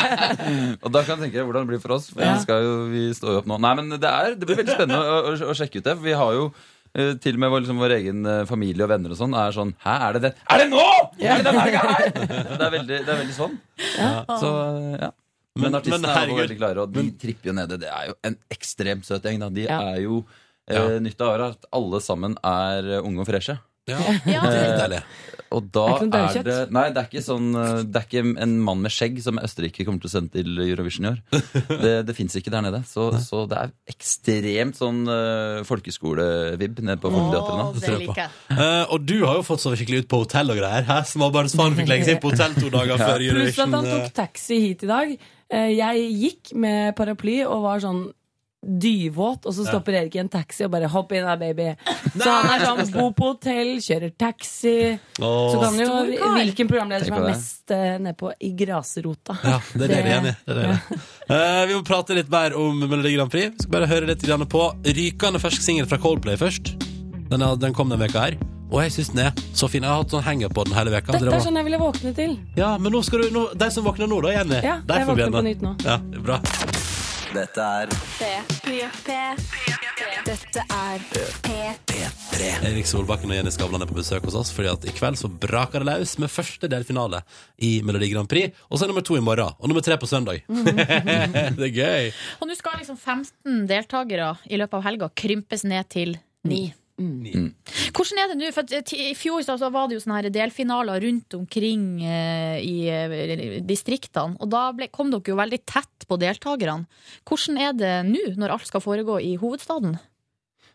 [SPEAKER 9] Og da kan jeg tenke hvordan det blir for oss. For vi, skal jo, vi står jo opp nå. Nei, men det, er, det blir veldig spennende å, å, å sjekke ut det. For vi har jo eh, til og med vår, liksom, vår egen eh, familie og venner og sånn er sånn Hæ, er det det? Er det nå?! Er det den helga her?! Så Det er veldig, det er veldig sånn. Så eh, ja. Men,
[SPEAKER 2] Men-
[SPEAKER 9] artistene er
[SPEAKER 2] men
[SPEAKER 9] jo
[SPEAKER 2] herregud.
[SPEAKER 9] veldig klare, og de tripper jo nede. Det er jo en ekstremt søt gjeng. Da. De
[SPEAKER 2] Ja.
[SPEAKER 9] er jo eh,
[SPEAKER 2] Ja.
[SPEAKER 9] nytt av året at alle sammen er eh, unge og freshe.
[SPEAKER 2] Ja.
[SPEAKER 9] Eh, og da
[SPEAKER 2] Det er ikke noe
[SPEAKER 9] er
[SPEAKER 2] daukjøtt.
[SPEAKER 9] det Nei, det er ikke sånn eh, Det er ikke en mann med skjegg som Østerrike kommer til å sende til Eurovision i år. Det, det fins ikke der nede. Så, så det er ekstremt sånn uh, folkeskole-vibb nede på Folketeatret nå.
[SPEAKER 2] tror jeg på. Eh, og du har jo fått sove skikkelig ut på hotell og greier. Hæ? Småbarnsfaren fikk legge seg inn på hotell to dager
[SPEAKER 9] Ja.
[SPEAKER 2] før
[SPEAKER 17] Pluss at
[SPEAKER 2] Eurovision. eh,
[SPEAKER 17] han tok taxi hit i dag. Eh, Jeg gikk med paraply og var sånn dyvåt, og så
[SPEAKER 2] Ja.
[SPEAKER 17] stopper Erik i en taxi og bare 'hopp inn her, baby'. Så han er sånn bo på hotell, kjører taxi.
[SPEAKER 2] Åh.
[SPEAKER 17] Så kan jo
[SPEAKER 2] Stor kar.
[SPEAKER 17] hvilken programleder
[SPEAKER 2] Tenk
[SPEAKER 17] som
[SPEAKER 2] på
[SPEAKER 17] er
[SPEAKER 2] det.
[SPEAKER 17] mest eh, nedpå i grasrota.
[SPEAKER 2] Ja, det er dere enig i. Det er dere. Eh, vi må prate litt mer om Melodi Grand Prix. Vi skal bare høre litt grann på rykende fersk singel fra Coldplay først. Den, er, den kom denne veka her. Og jeg syns den er så fin. Jeg har hatt sånn henger på den hele veka.
[SPEAKER 17] Dette
[SPEAKER 2] Det
[SPEAKER 17] er
[SPEAKER 2] var-
[SPEAKER 17] sånn jeg ville våkne til.
[SPEAKER 2] Ja, men nå skal du, nå, de som våkner nå, da, Jenny.
[SPEAKER 17] Ja,
[SPEAKER 2] de
[SPEAKER 17] jeg
[SPEAKER 2] får bli
[SPEAKER 17] våkner på
[SPEAKER 2] igjen da.
[SPEAKER 17] nytt nå.
[SPEAKER 2] Ja, det er bra.
[SPEAKER 19] Dette er
[SPEAKER 8] Dette er P3.
[SPEAKER 2] Erik Solbakken og Jenny Skavlan er på besøk hos oss, fordi at i kveld så braker det løs med første delfinale i Melodi Grand Prix. Og så er nummer to i morgen, og nummer tre på søndag.
[SPEAKER 17] Mhm.
[SPEAKER 2] det er gøy.
[SPEAKER 18] Og nå skal liksom 15 deltakere i løpet av helga krympes ned til ni.
[SPEAKER 2] Mm.
[SPEAKER 18] Hvordan er det nå? For at, eh, ti- I fjor så så var det jo sånne her delfinaler rundt omkring eh, i eh, distriktene. Og da ble, kom dere jo veldig tett på deltakerne. Hvordan er det nå, når alt skal foregå i hovedstaden?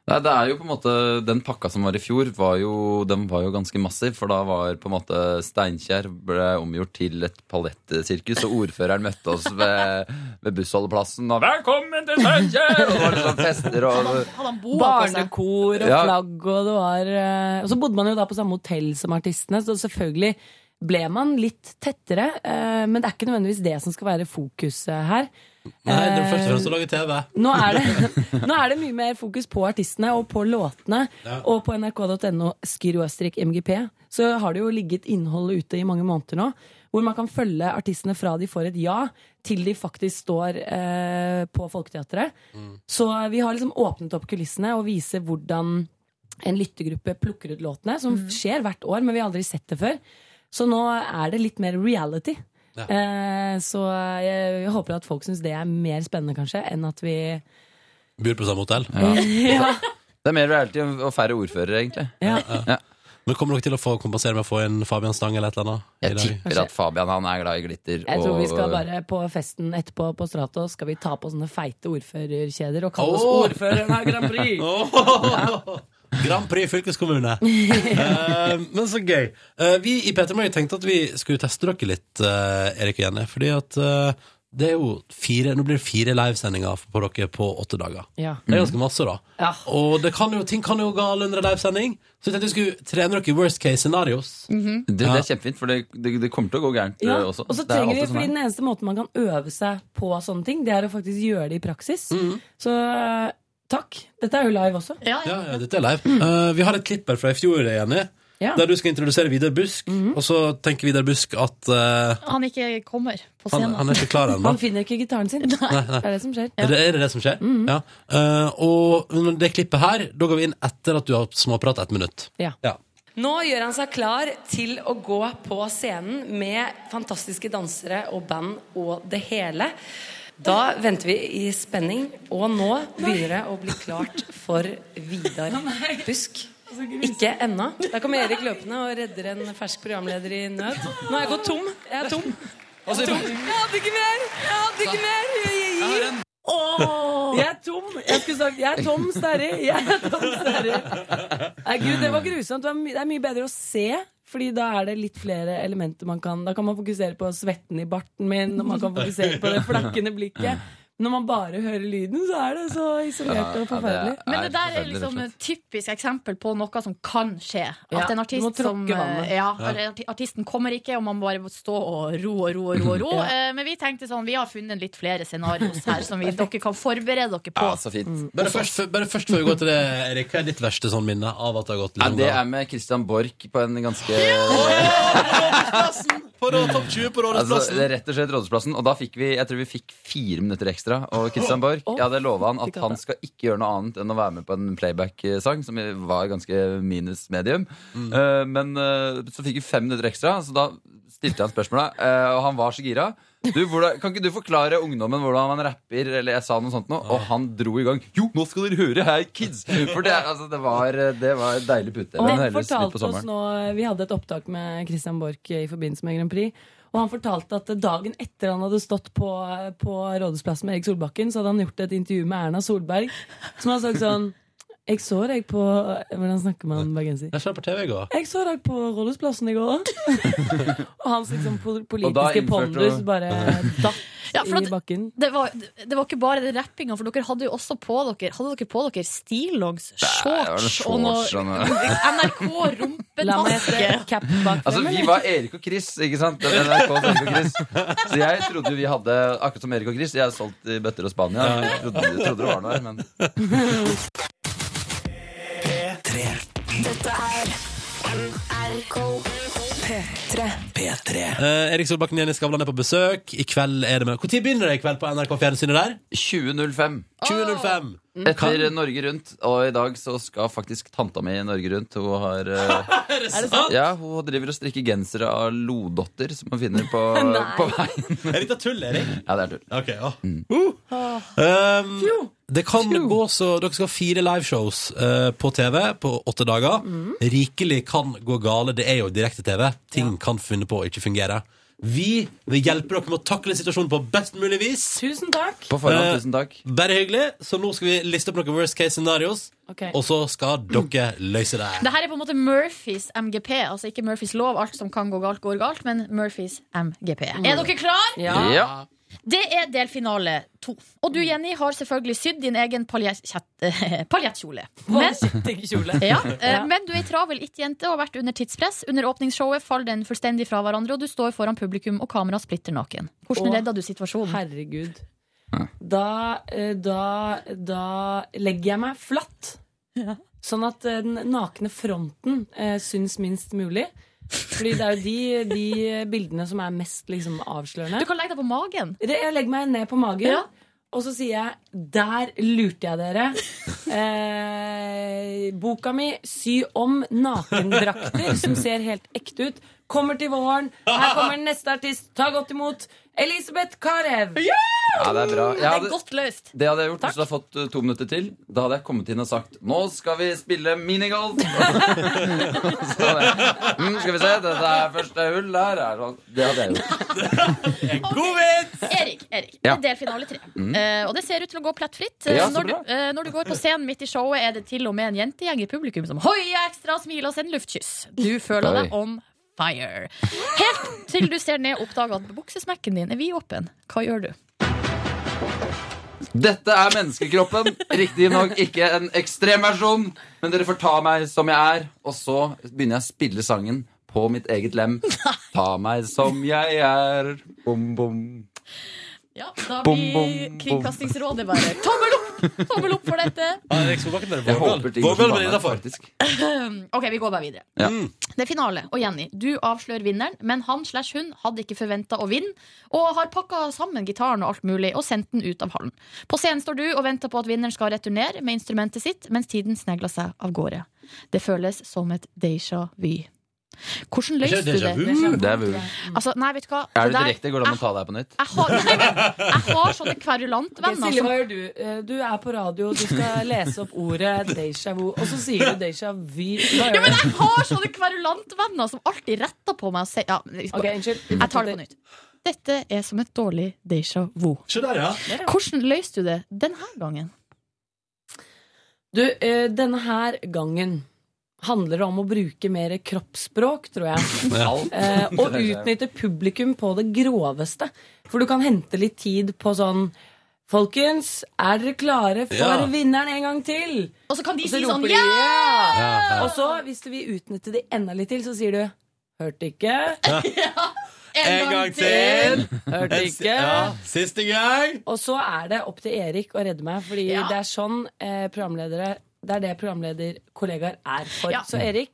[SPEAKER 9] Nei, det er jo på en måte Den pakka som var i fjor, var jo, den var jo ganske massiv. For da var på en måte Steinkjer ble omgjort til et palettsirkus, og ordføreren møtte oss ved, ved bussholdeplassen. Og 'Velkommen til Steinkjer!' Og det var liksom fester og
[SPEAKER 17] Barnekor og
[SPEAKER 9] Ja.
[SPEAKER 17] flagg, og det var eh, Og så bodde man jo da på samme hotell som artistene, så selvfølgelig ble man litt tettere. eh, Men det er ikke nødvendigvis det som skal være fokuset her.
[SPEAKER 2] Nei, det er
[SPEAKER 17] Eh,
[SPEAKER 2] først og fremst å lage TV.
[SPEAKER 17] nå er, det, nå er det mye mer fokus på artistene og på låtene.
[SPEAKER 2] Ja.
[SPEAKER 17] Og på nrk.no mgp så har det jo ligget innhold ute i mange måneder nå. Hvor man kan følge artistene fra de får et ja, til de faktisk står eh, på Folketeatret. Så vi har liksom åpnet opp kulissene og viser hvordan en lyttegruppe plukker ut låtene. Som skjer hvert år, men vi har aldri sett det før. Så nå er det litt mer reality.
[SPEAKER 2] Ja.
[SPEAKER 17] Eh, så jeg, jeg håper at folk syns det er mer spennende, kanskje, enn at vi
[SPEAKER 2] Bor på samme hotell.
[SPEAKER 17] Ja.
[SPEAKER 9] Det er mer reality og færre ordførere, egentlig.
[SPEAKER 2] Men kommer dere til å få kompensere med å få inn Fabian Stang eller et eller annet? i
[SPEAKER 9] Jeg
[SPEAKER 2] dag?
[SPEAKER 9] tipper at Fabian han er glad i glitter.
[SPEAKER 17] Jeg tror
[SPEAKER 9] og-
[SPEAKER 17] vi skal bare på festen etterpå på Stratos skal vi ta på sånne feite ordførerkjeder og kalle oss
[SPEAKER 2] Åh!
[SPEAKER 17] ordføreren av Grand Prix.
[SPEAKER 2] Grand Prix fylkeskommune. Eh, men så gøy. Eh, vi i Peter Morgen tenkte at vi skulle teste dere litt, eh, Erik og Jenny. Fordi at eh, det er jo fire, nå blir det fire livesendinger på dere på åtte dager.
[SPEAKER 17] Ja.
[SPEAKER 2] Det er ganske masse, da.
[SPEAKER 17] Mm. Ja.
[SPEAKER 2] Og det kan jo, ting kan jo gå galt under en livesending. Så jeg tenkte vi skulle trene dere i worst case scenarios.
[SPEAKER 9] Det, det er kjempefint, for det, det, det kommer til å gå gærent
[SPEAKER 17] Ja,
[SPEAKER 9] eh,
[SPEAKER 17] og
[SPEAKER 9] også.
[SPEAKER 17] så
[SPEAKER 9] Det er
[SPEAKER 17] trenger vi,
[SPEAKER 9] alltid sånn
[SPEAKER 17] fordi
[SPEAKER 9] her.
[SPEAKER 17] Den eneste måten man kan øve seg på sånne ting, det er å faktisk gjøre det i praksis.
[SPEAKER 9] Mm.
[SPEAKER 17] Så eh, takk. Dette er jo live også.
[SPEAKER 2] Ja, ja, dette er live. Eh, vi har et klipp her fra i fjor, Jenny.
[SPEAKER 17] Ja.
[SPEAKER 2] Der du skal introdusere Vidar Busk. Og så tenker Vidar Busk at eh,
[SPEAKER 18] Han ikke kommer på
[SPEAKER 2] Han-
[SPEAKER 18] scenen.
[SPEAKER 2] han er ikke klar ennå.
[SPEAKER 17] Han finner ikke gitaren sin.
[SPEAKER 2] Nei, nei.
[SPEAKER 17] Det er det som skjer.
[SPEAKER 2] Er, det, er det det som skjer? Ja. Eh, og men det klippet her, da går vi inn etter at du har småprat ett minutt.
[SPEAKER 17] Ja. Nå gjør han seg klar til å gå på scenen med fantastiske dansere og band og det hele. Da venter vi i spenning, og nå begynner det å bli klart for Vidar Busk. Ikke ennå. Der kommer Erik løpende og redder en fersk programleder i nød. Nå er jeg gått tom. Jeg er tom. Jeg er tom. Jeg hadde ikke mer! Jeg hadde ikke mer! Jeg gir. Åh, Jeg er tom. Jeg skulle sagt jeg er tom Sterri. Jeg er tom Sterri. Nei, Gud, det var grusomt. Det er, my det er mye bedre å se. Fordi da er det litt flere elementer man kan Da kan man fokusere på svetten i barten min, og man kan fokusere på det flakkende blikket. Når man bare hører lyden, så er det så isolert og forferdelig.
[SPEAKER 18] Men det der er liksom et typisk eksempel på noe som kan skje. At
[SPEAKER 17] Ja,
[SPEAKER 18] en
[SPEAKER 17] du må
[SPEAKER 18] artist som
[SPEAKER 17] tråkke vannet.
[SPEAKER 18] eh, ja,
[SPEAKER 17] Ja.
[SPEAKER 18] eller arti- Artisten kommer ikke, og man må bare må stå og ro og ro og ro. og ro Eh,
[SPEAKER 17] Ja.
[SPEAKER 18] Men vi tenkte sånn, vi har funnet litt flere scenarioer her som vi, dere kan forberede dere på.
[SPEAKER 9] Ja, så fint.
[SPEAKER 2] Bare først, bare først før vi går til det, Erik, hva er ditt verste sånn minne av at det har gått
[SPEAKER 9] Ja,
[SPEAKER 2] lang
[SPEAKER 9] det er med Christian Borch på en ganske
[SPEAKER 2] På topp 20 på
[SPEAKER 9] Altså, det er rett og slett Rådhusplassen. Og da fikk vi jeg tror vi fikk fire minutter ekstra. Og Christian Borch, jeg hadde lova han at han skal ikke gjøre noe annet enn å være med på en playback-sang, som var ganske minus medium.
[SPEAKER 20] Mm.
[SPEAKER 9] Eh, men eh, så fikk vi fem minutter ekstra, så da stilte han spørsmålet, eh, og han var så gira. Du, hvordan, kan ikke du forklare ungdommen hvordan man rapper? Eller jeg sa noe sånt nå, og han dro i gang. Jo, nå skal dere høre her, kids! For det, er- altså, det, var, det var en deilig pute.
[SPEAKER 17] Og
[SPEAKER 9] men
[SPEAKER 17] han
[SPEAKER 9] heldigvis midt på
[SPEAKER 17] fortalte oss
[SPEAKER 9] sommeren.
[SPEAKER 17] nå Vi hadde et opptak med Christian Borch i forbindelse med Grand Prix. Og han fortalte at dagen etter han hadde stått på, på Rådhusplassen med Erik Solbakken, så hadde han gjort et intervju med Erna Solberg, som han sagt sånn Jeg så deg på Hvordan snakker man bergenser?
[SPEAKER 2] Jeg så på TV i går.
[SPEAKER 17] Jeg så deg på Rådhusplassen i går. og hans liksom po-
[SPEAKER 2] da
[SPEAKER 17] politiske
[SPEAKER 2] innførte
[SPEAKER 17] pondus
[SPEAKER 2] du-
[SPEAKER 17] bare datt
[SPEAKER 18] Ja, for at-
[SPEAKER 17] i bakken.
[SPEAKER 18] Det var, det var ikke bare den rappinga, for dere hadde jo også på dere Hadde dere på dere stillongs,
[SPEAKER 9] var noen
[SPEAKER 18] shorts og
[SPEAKER 9] shorts og noe-
[SPEAKER 18] noe NRK-rumpedaske?
[SPEAKER 9] Altså, vi var Erik og Chris, ikke sant? Den NRK og Erik og Chris. Så jeg trodde jo vi hadde, akkurat som Erik og Chris, jeg har solgt i bøtter og Spania. Jeg trodde, jeg trodde det var noe her, men
[SPEAKER 8] Dette er NRK P3.
[SPEAKER 2] P3. Eh, Erik Solbakken Jenny Skavlan er på besøk. I kveld er det med Når begynner det i kveld på NRK Fjernsynet der?
[SPEAKER 9] 2005.
[SPEAKER 2] 2005.
[SPEAKER 9] Etter Norge Rundt, og i dag så skal faktisk tanta mi i Norge Rundt. Hun har eh,
[SPEAKER 2] Er det sant?
[SPEAKER 9] Ja, hun driver og strikker gensere av lodotter som hun finner på, på veien.
[SPEAKER 2] Er dette tull, Erik?
[SPEAKER 9] Ja, det er tull. Mm.
[SPEAKER 2] Ok, ja.
[SPEAKER 17] Ah.
[SPEAKER 2] Um, det kan gå så Dere skal ha fire liveshows eh, på TV på åtte dager.
[SPEAKER 17] Mm.
[SPEAKER 2] Rikelig kan gå gale. Det er jo direkte-TV. Ting kan finne på å ikke fungere. Vi vil hjelpe dere med å takle situasjonen på best mulig vis. Eh,
[SPEAKER 17] Tusen takk.
[SPEAKER 9] På forhånd, tusen takk.
[SPEAKER 2] Bare hyggelig. Så nå skal vi liste opp noen worst case scenarios,
[SPEAKER 18] Ok.
[SPEAKER 2] og så skal dere løse det.
[SPEAKER 18] Det her er på en måte Murphys MGP, altså ikke Murphys lov. Alt som kan gå galt, går galt, men Murphys MGP. Er dere klare?
[SPEAKER 2] Ja. Ja.
[SPEAKER 3] Det er delfinale to. Og du, Jenny, har selvfølgelig sydd din egen paljettkjett- paljettkjole. Men, ja, eh, men du er ei travel it-jente og har vært under tidspress. Under åpningsshowet faller den fullstendig fra hverandre, og du står foran publikum og kamera splitter naken. Hvordan
[SPEAKER 17] Åh,
[SPEAKER 3] redda du situasjonen?
[SPEAKER 17] Herregud. Da, eh, da, da legger jeg meg flatt. Sånn at eh, den nakne fronten eh, syns minst mulig. Fordi det er jo de, de bildene som er mest liksom, avslørende.
[SPEAKER 3] Du kan legge deg på magen.
[SPEAKER 17] Jeg legger meg ned på magen.
[SPEAKER 3] Ja.
[SPEAKER 17] Og så sier jeg 'der lurte jeg dere'. Eh, boka mi 'Sy om nakendrakter' som ser helt ekte ut. Kommer til våren. Her kommer neste artist. Ta godt imot Elisabeth Carew.
[SPEAKER 9] Ja, det er bra. Jeg hadde-
[SPEAKER 3] løst.
[SPEAKER 9] Det hadde jeg gjort hvis du hadde fått eh, to minutter til. Da hadde jeg kommet inn og sagt 'Nå skal vi spille minigolf'! Så hadde jeg, mm, skal vi se, dette er første hull her. er sånn. Det hadde jeg gjort.
[SPEAKER 3] God vits! Erik, Erik
[SPEAKER 9] Ja.
[SPEAKER 3] det er delfinale tre.
[SPEAKER 9] Mm.
[SPEAKER 3] Eh, og det ser ut til å gå plettfritt. Eh,
[SPEAKER 9] Ja, så
[SPEAKER 3] når, du,
[SPEAKER 9] bra.
[SPEAKER 3] eh, når du går på scenen midt i showet, er det til og med en jentegjeng i publikum som hoier ekstra, smiler og sender luftkyss. Du føler deg
[SPEAKER 21] Oi.
[SPEAKER 3] on fire. Helt til du ser ned og oppdager at buksesmekken din er vidåpen. Hva gjør du?
[SPEAKER 9] Dette er menneskekroppen. Riktignok ikke en ekstrem versjon, men dere får ta meg som jeg er. Og så begynner jeg å spille sangen på mitt eget lem. Ta meg som jeg er. Bom, bom.
[SPEAKER 3] Ja, da
[SPEAKER 9] Bom,
[SPEAKER 3] blir
[SPEAKER 9] bom, bom.
[SPEAKER 3] Kringkastingsrådet bare tommel opp! Tommel opp for dette.
[SPEAKER 9] Jeg håper ting går som vanlig, faktisk. Mm.
[SPEAKER 3] OK, vi går bare videre.
[SPEAKER 9] Ja.
[SPEAKER 3] Det er finale. Og Jenny, du avslører vinneren, men han slash hun hadde ikke forventa å vinne, og har pakka sammen gitaren og alt mulig og sendt den ut av hallen. På scenen står du og venter på at vinneren skal returnere med instrumentet sitt, mens tiden snegler seg av gårde. Det føles som et déjà vu. Hvordan
[SPEAKER 9] Det er
[SPEAKER 3] løste
[SPEAKER 9] ikke
[SPEAKER 3] du det?
[SPEAKER 9] déjà vu. Det er vu. Ah.
[SPEAKER 3] Altså, nei, vet du hva?
[SPEAKER 9] Er det
[SPEAKER 3] der-
[SPEAKER 9] direkte? Går det an å ta deg på nytt?
[SPEAKER 3] Jeg har, nei, men jeg har sånne kverulantvenner.
[SPEAKER 17] Silje,
[SPEAKER 3] som-
[SPEAKER 17] hva gjør du? Eh, Du er på radio, du skal lese opp ordet déjà vu, og så sier du déjà vu. Hva gjør
[SPEAKER 3] Ja, men
[SPEAKER 17] du?
[SPEAKER 3] jeg har sånne kverulantvenner som alltid retter på meg og sier ja, men-
[SPEAKER 17] Ok, unnskyld.
[SPEAKER 3] Jeg tar det på nytt. Dette er som et dårlig déjà vu. Hvordan løste du det denne gangen?
[SPEAKER 17] Du, eh, denne her gangen handler det om å bruke mer kroppsspråk, tror jeg.
[SPEAKER 9] Ja. Alt.
[SPEAKER 17] Eh, og utnytte publikum på det groveste. For du kan hente litt tid på sånn Folkens, er dere klare for
[SPEAKER 9] Ja.
[SPEAKER 17] vinneren en gang til?
[SPEAKER 3] Og så kan de si
[SPEAKER 17] roper
[SPEAKER 3] sånn,
[SPEAKER 17] de,
[SPEAKER 3] «Ja!»
[SPEAKER 17] «Ja!»
[SPEAKER 3] Ja.
[SPEAKER 17] Og så, hvis du vil utnytte det enda litt til, så sier du Hørte ikke. Hørte ikke.
[SPEAKER 2] Siste gang.
[SPEAKER 17] Og så er det opp til Erik å redde meg, fordi det er sånn eh, programledere Det er det programlederkollegaer er for.
[SPEAKER 3] Ja.
[SPEAKER 17] Så Erik,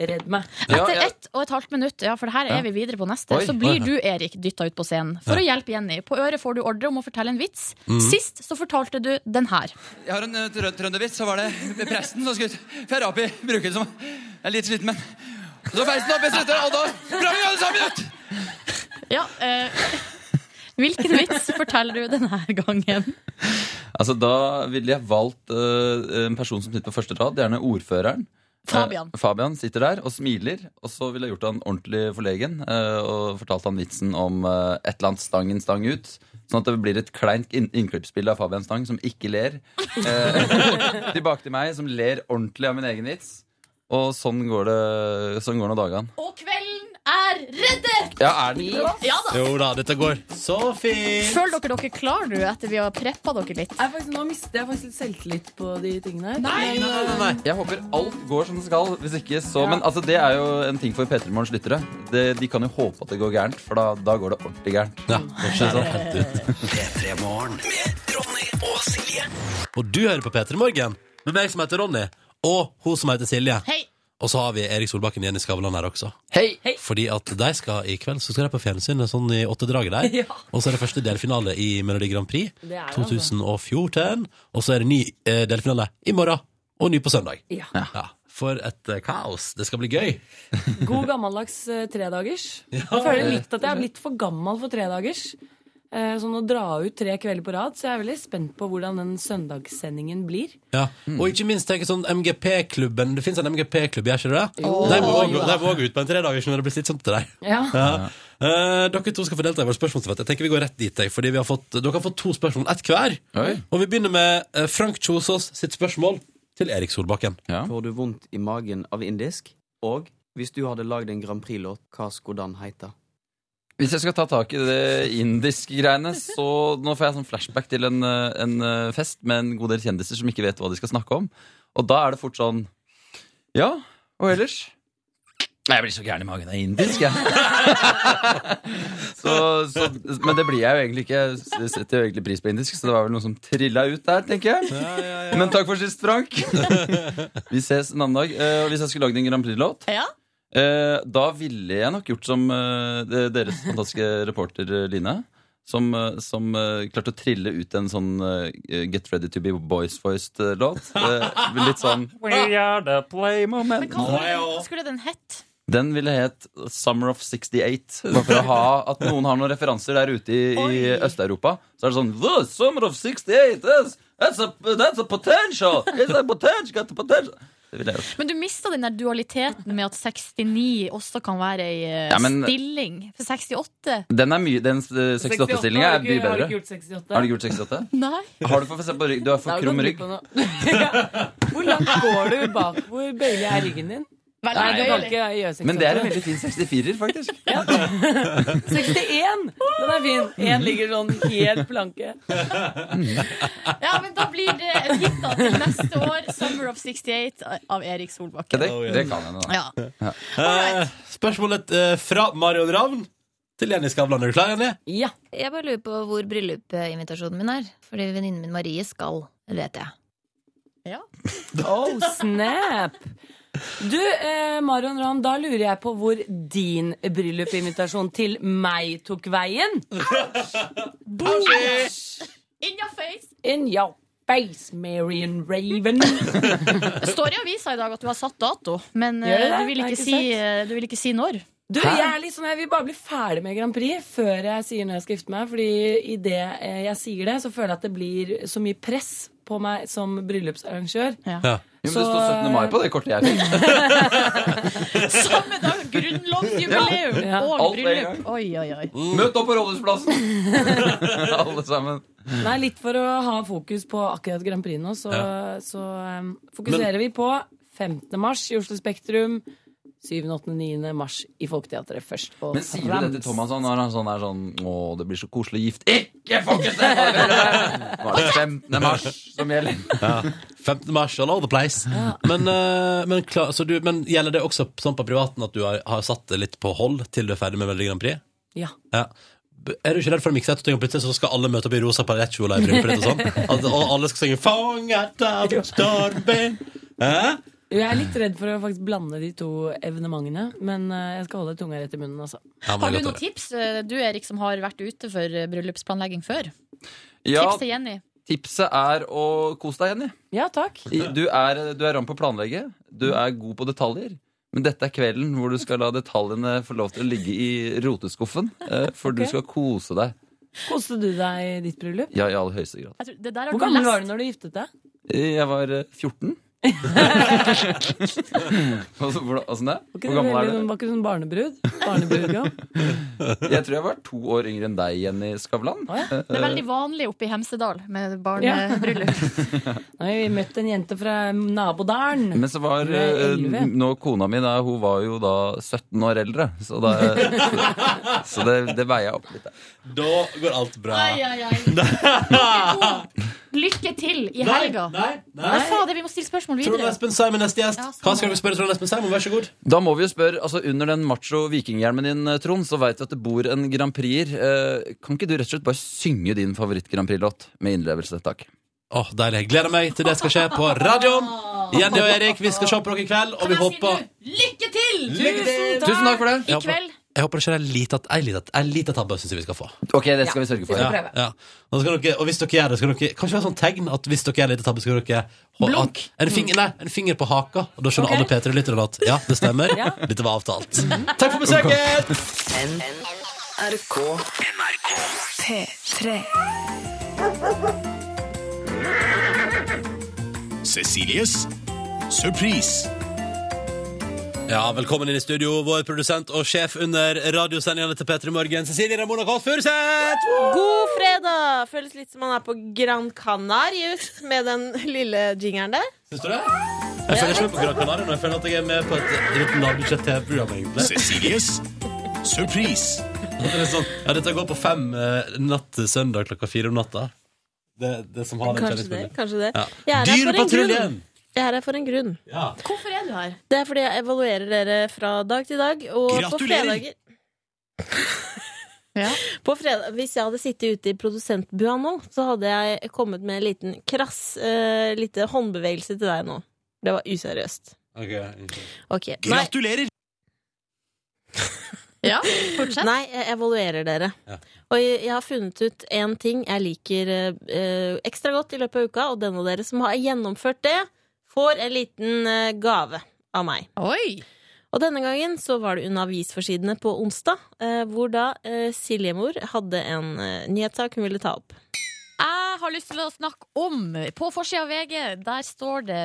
[SPEAKER 17] redd meg.
[SPEAKER 3] Etter ett og et halvt minutt, ja, for her er
[SPEAKER 17] Ja.
[SPEAKER 3] vi videre på neste,
[SPEAKER 17] Oi.
[SPEAKER 3] så blir du, Erik, dytta ut på scenen for å hjelpe Jenny. På øret får du ordre om å fortelle en vits. Sist så fortalte du den her.
[SPEAKER 22] Jeg har en eh, trø trøndervits. Så var det presten som skulle feire opp i bruken som Jeg er litt sliten, men Og Så feis den opp i slutten, og da sprang vi alle sammen ut!
[SPEAKER 3] Ja, eh, hvilken vits forteller du denne gangen?
[SPEAKER 9] Altså, da ville jeg valgt eh, en person som sitter på første rad, gjerne ordføreren.
[SPEAKER 3] Fabian.
[SPEAKER 9] Eh, Fabian sitter der og smiler, og så ville jeg gjort han ordentlig forlegen eh, og fortalt han vitsen om eh, et eller annet stangen stang ut. Sånn at det blir et kleint inn innklippsspill av Fabian Stang som ikke ler. Eh, tilbake til meg som ler ordentlig av min egen vits. Og sånn går det sånn går nå dagene.
[SPEAKER 3] Og kvelden er reddet!
[SPEAKER 9] Ja, er den ikke bra?
[SPEAKER 3] Ja da.
[SPEAKER 2] Jo da, dette går så fint.
[SPEAKER 3] Føler dere dere klar nå etter vi har preppa dere litt?
[SPEAKER 17] Jeg faktisk, nå mister jeg faktisk litt selvtillit på de tingene her.
[SPEAKER 3] Nei,
[SPEAKER 17] Men, eh,
[SPEAKER 9] Jeg håper alt går som det skal. Hvis ikke så
[SPEAKER 17] Ja.
[SPEAKER 9] Men altså, det er jo en ting for P3 Morgens lyttere. Det, de kan jo håpe at det går gærent, for da, da går det ordentlig gærent.
[SPEAKER 1] P3 Morgen med Ronny og Silje.
[SPEAKER 2] Og du hører på P3 Morgen med meg som heter Ronny, og hun som heter Silje.
[SPEAKER 3] Hei.
[SPEAKER 2] Og så har vi Erik Solbakken igjen i Skavlan her også.
[SPEAKER 9] Hei.
[SPEAKER 2] Fordi at de skal i kveld så skal de på fjernsynet sånn i åttedraget der.
[SPEAKER 17] Ja.
[SPEAKER 2] Og så er det første delfinale i Melodi Grand Prix
[SPEAKER 17] Det er det, altså.
[SPEAKER 2] 2014. Og så er det ny eh, delfinale i morgen, og ny på søndag.
[SPEAKER 17] Ja.
[SPEAKER 2] Ja. For et eh, kaos. Det skal bli gøy.
[SPEAKER 17] God gammeldags eh, tredagers.
[SPEAKER 2] Ja.
[SPEAKER 17] Jeg føler litt at jeg er blitt for gammel for tredagers. Eh, Sånn å dra ut tre kvelder på rad. Så jeg er veldig spent på hvordan den søndagssendingen blir.
[SPEAKER 2] Ja. Og ikke minst tenker jeg sånn MGP-klubben. Det fins en MGP-klubb, gjør ikke det?
[SPEAKER 17] Jo.
[SPEAKER 2] De må
[SPEAKER 17] Jo
[SPEAKER 2] også- de må også ut på en tredager når det blir slitsomt til deg.
[SPEAKER 17] Ja.
[SPEAKER 2] Eh, dere to skal få delta i vår spørsmålsdebatt. Jeg tenker vi går rett dit, jeg, fordi vi har fått, dere har fått to spørsmål, ett hver.
[SPEAKER 12] Oi.
[SPEAKER 2] Og vi begynner med eh, Frank Kjosås sitt spørsmål til Erik Solbakken.
[SPEAKER 12] Får du vondt i magen av indisk? Og hvis du hadde lagd en Grand Prix-låt, hva skulle den hete?
[SPEAKER 9] Hvis jeg skal ta tak i det indiske greiene, så nå får jeg sånn flashback til en, eh, en eh, fest med en god del kjendiser som ikke vet hva de skal snakke om. Og da er det fort sånn Ja, og ellers? Nei, Jeg blir så gæren i magen av indisk, jeg. så, så, men det blir jeg jo egentlig ikke. Jeg setter jo egentlig pris på indisk, så det var vel noe som trilla ut der, tenker jeg. Men takk for sist, Frank. Vi ses en annen dag. Eh, og hvis jeg skulle lagd en Grand Prix-låt,
[SPEAKER 3] Ja.
[SPEAKER 9] eh, da ville jeg nok gjort som eh, de- deres fantastiske reporter eh, Line. Som, eh, som eh, klarte å trille ut en sånn eh, Get Ready To Be Boys-voiced-låt. litt sånn
[SPEAKER 3] We
[SPEAKER 5] Ah.
[SPEAKER 9] are the play moment.
[SPEAKER 3] Hva skulle den hett?
[SPEAKER 9] Den ville het Summer of 68. Bare for å ha at noen har noen referanser der ute i, i Øst-Europa. Så er det sånn The Summer of 68! That's, that's, a, that's a potential! It's a potential, got the potential. Det ville jeg gjort.
[SPEAKER 3] Men du mista den der dualiteten med at 69 også kan være ei eh,
[SPEAKER 9] Ja, men-
[SPEAKER 3] stilling. For 68
[SPEAKER 9] Den, er mye- den 68-stillinga er mye
[SPEAKER 3] Har
[SPEAKER 9] bedre.
[SPEAKER 3] du ikke gjort 68?
[SPEAKER 9] Har du ikke gjort 68?
[SPEAKER 3] Nei.
[SPEAKER 9] Har du for, for eksempel, rygg- du har
[SPEAKER 17] Da
[SPEAKER 9] for
[SPEAKER 17] kan
[SPEAKER 9] krum
[SPEAKER 17] du
[SPEAKER 9] rygg.
[SPEAKER 17] på noe. Hvor langt går du bak? Hvor bøyelig er ryggen din?
[SPEAKER 9] Veldig
[SPEAKER 17] Nei, du kan
[SPEAKER 9] bøyelig.
[SPEAKER 17] ikke gjøre sånn. 68.
[SPEAKER 9] Men det er en veldig fin 64-er, faktisk.
[SPEAKER 17] 61! Den er fin. Én ligger sånn helt planke.
[SPEAKER 3] Ja, men da blir det en hit da til neste år. 'Summer of 68' av Erik Solbakken.
[SPEAKER 2] Det-
[SPEAKER 23] Oh,
[SPEAKER 2] det kan jeg nå, da.
[SPEAKER 3] Ja.
[SPEAKER 2] Eh, spørsmålet eh, fra Marion Ravn til Jenny Skavlan. Er du klar, Jenny?
[SPEAKER 23] Ja. Jeg bare lurer på hvor bryllupinvitasjonen min er. Fordi venninnen min Marie skal. Det vet jeg.
[SPEAKER 17] Oh, snap! Du, eh, Marion Ravn, da lurer jeg på hvor din bryllupinvitasjon til meg tok veien. Ouch!
[SPEAKER 3] In your face!
[SPEAKER 17] In your face, Marion Raven.
[SPEAKER 3] Det står i avisa i dag at du har satt dato, men
[SPEAKER 17] Gjør det
[SPEAKER 3] eh,
[SPEAKER 17] det?
[SPEAKER 3] du vil
[SPEAKER 17] Har jeg ikke
[SPEAKER 3] ikke, si,
[SPEAKER 17] sett?
[SPEAKER 3] eh, du vil ikke si når.
[SPEAKER 17] Du, jeg er litt sånn, jeg vil bare bli ferdig med Grand Prix før jeg sier når jeg skal gifte meg. Fordi idet jeg sier det, så føler jeg at det blir så mye press på meg som bryllupsarrangør.
[SPEAKER 9] Ja. Jo, men det
[SPEAKER 17] Så-
[SPEAKER 9] står 17. mai på det kortet jeg fikk.
[SPEAKER 3] Samme dag! Grunnlovsjubileum
[SPEAKER 17] Ja.
[SPEAKER 3] og
[SPEAKER 9] Alt med en Mm.
[SPEAKER 3] bryllup. Oi, oi, oi.
[SPEAKER 9] Møt opp på Rådhusplassen! Alle sammen.
[SPEAKER 17] Nei, litt for å ha fokus på akkurat Grand Prix nå, så, så um, fokuserer vi på 15. mars i Oslo Spektrum. 7., 8., 9. mars i Folketeatret først. og
[SPEAKER 9] Men sier du det
[SPEAKER 17] fremst.
[SPEAKER 9] til Thomas sånn, når han sånn er sånn Å, det blir så koselig gift. Ikke fokus! Nå er det 15. mars som gjelder.
[SPEAKER 2] Ja. 15. mars, all over the place. Men, eh, men, klar, så du, men gjelder det også sånn på privaten at du har, har satt det litt på hold til du er ferdig med Melodi Grand Prix?
[SPEAKER 17] Ja.
[SPEAKER 2] Ja. B- Er du ikke redd for å mikse et og ting, og plutselig så skal alle møte opp i rosa palettkjole i bryllupet ditt og sånn? At, og alle skal synge 'Fanget av stormen'? Hæ?
[SPEAKER 17] Jeg er litt redd for å faktisk blande de to evenementene, men eh, jeg skal holde tunga rett i munnen, altså.
[SPEAKER 9] Ja, men
[SPEAKER 3] Har du
[SPEAKER 9] godt å
[SPEAKER 3] noen tips, eh, du Erik, som har vært ute for eh, bryllupsplanlegging før?
[SPEAKER 9] Ja,
[SPEAKER 3] Tips til Jenny.
[SPEAKER 9] tipset er å kose deg, Jenny.
[SPEAKER 17] Ja, takk.
[SPEAKER 9] I- Du er, du er ram på å planlegge. Du er god på detaljer. Men dette er kvelden hvor du skal la detaljene få lov til å ligge i roteskuffen. eh, For
[SPEAKER 17] Ok.
[SPEAKER 9] du skal kose deg.
[SPEAKER 17] Koste du deg i ditt bryllup?
[SPEAKER 9] Ja, i aller høyeste grad.
[SPEAKER 17] Hvor gammel var du når du giftet deg?
[SPEAKER 9] Eh, Jeg var eh, 14. Altså, hvordan- Åssen det?
[SPEAKER 17] Var ikke
[SPEAKER 9] Hvor
[SPEAKER 17] du
[SPEAKER 9] gammel
[SPEAKER 17] veldig,
[SPEAKER 9] er du?
[SPEAKER 17] var ikke du sånn barnebrud? Barnebrudgam?
[SPEAKER 9] Jeg tror jeg var to år yngre enn deg, Jenny Skavlan. Eh,
[SPEAKER 3] Det er veldig vanlig oppe i Hemsedal med barnebryllup.
[SPEAKER 17] Nei, vi møtte en jente fra nabodalen.
[SPEAKER 9] Men så var
[SPEAKER 17] Hun er
[SPEAKER 9] eh,
[SPEAKER 17] elleve.
[SPEAKER 9] nå kona mi da, hun var jo da 17 år eldre, så, da, så, så det, det veier opp litt.
[SPEAKER 2] Da går alt bra.
[SPEAKER 3] Ai, ai, ai. Lykke til i helga.
[SPEAKER 2] nei.
[SPEAKER 3] Jeg sa det, vi må stille spørsmål
[SPEAKER 2] Trond
[SPEAKER 3] videre.
[SPEAKER 2] Espen Seim er neste gjest.
[SPEAKER 3] Ja,
[SPEAKER 2] Hva skal vi spørre Trond Espen Seim om? Vær så god.
[SPEAKER 9] Da må vi jo spørre, altså Under den macho vikinghjelmen din, eh, Trond, så veit vi at det bor en Grand Prix-er. Eh, Kan ikke du rett og slett bare synge din favoritt-Grand Prix-låt med innlevelse? Takk.
[SPEAKER 2] Åh, Deilig. Gleder meg til det skal skje på radioen. Jenny og Erik, vi skal se på dere i kveld, og vi håper
[SPEAKER 3] Lykke til!
[SPEAKER 2] Lykke til!
[SPEAKER 3] I kveld.
[SPEAKER 2] Jeg håper det skjer en liten ei lita- ei lita tabbe syns jeg vi skal få.
[SPEAKER 9] Ok, det skal vi sørge for.
[SPEAKER 2] Ja, ja. Og, så skal dere, og hvis dere gjør det, skal dere Kanskje det er sånn tegn at hvis dere gjør en liten tabbe, skal dere ha-
[SPEAKER 9] Blunk. Mm.
[SPEAKER 2] at- En finger, nei, en finger på haka, og da skjønner alle P3-lytterne at ja, det stemmer.
[SPEAKER 1] Ja.
[SPEAKER 2] Dette var avtalt. Takk for besøket!
[SPEAKER 1] NRK NRK
[SPEAKER 24] P3.
[SPEAKER 2] Cecilies surprise. Ja, velkommen inn i studio, vår produsent og sjef under radiosendingene til P3 Morgen, Cecilie Ramona Kåss Furuseth!
[SPEAKER 5] God fredag! Føles litt som man er på Gran Canarius med den lille jingeren der. Ah,
[SPEAKER 2] Syns du det? Jeg føler ikke med på Gran Canaria nå. Jeg føler at jeg er med på et litt lavbudsjett TV-program, egentlig.
[SPEAKER 1] Cecilies
[SPEAKER 2] surprise. Det er sånn, ja, dette går på fem eh, natt til søndag klokka fire om natta. Det, det som har den
[SPEAKER 5] Kanskje det.
[SPEAKER 2] kjenningsmelodien.
[SPEAKER 5] kanskje det.
[SPEAKER 2] Ja.
[SPEAKER 5] Jeg er her for en
[SPEAKER 2] Dyrepatruljen!
[SPEAKER 5] grunn. Jeg er her for en grunn.
[SPEAKER 4] Hvorfor er du her?
[SPEAKER 5] Det er fordi jeg evaluerer dere fra dag til dag. Og på
[SPEAKER 4] Gratulerer!
[SPEAKER 5] fredager På fredag, hvis jeg hadde sittet ute i produsentbua nå, så hadde jeg kommet med en liten krass uh, lite håndbevegelse til deg nå. Det var useriøst. Ok, nei.
[SPEAKER 2] Gratulerer!
[SPEAKER 5] Ja, fortsett. Nei, jeg evaluerer dere. Og jeg jeg har funnet ut én ting jeg liker eh, ekstra godt i løpet av uka, og den av dere som har gjennomført det, får en liten eh, gave av meg. Og denne gangen så var det under avisforsidene på onsdag, eh, hvor da eh, Siljemor hadde en eh, nyhetssak hun ville ta opp.
[SPEAKER 3] Jeg har lyst til å snakke om På forsida av VG der står det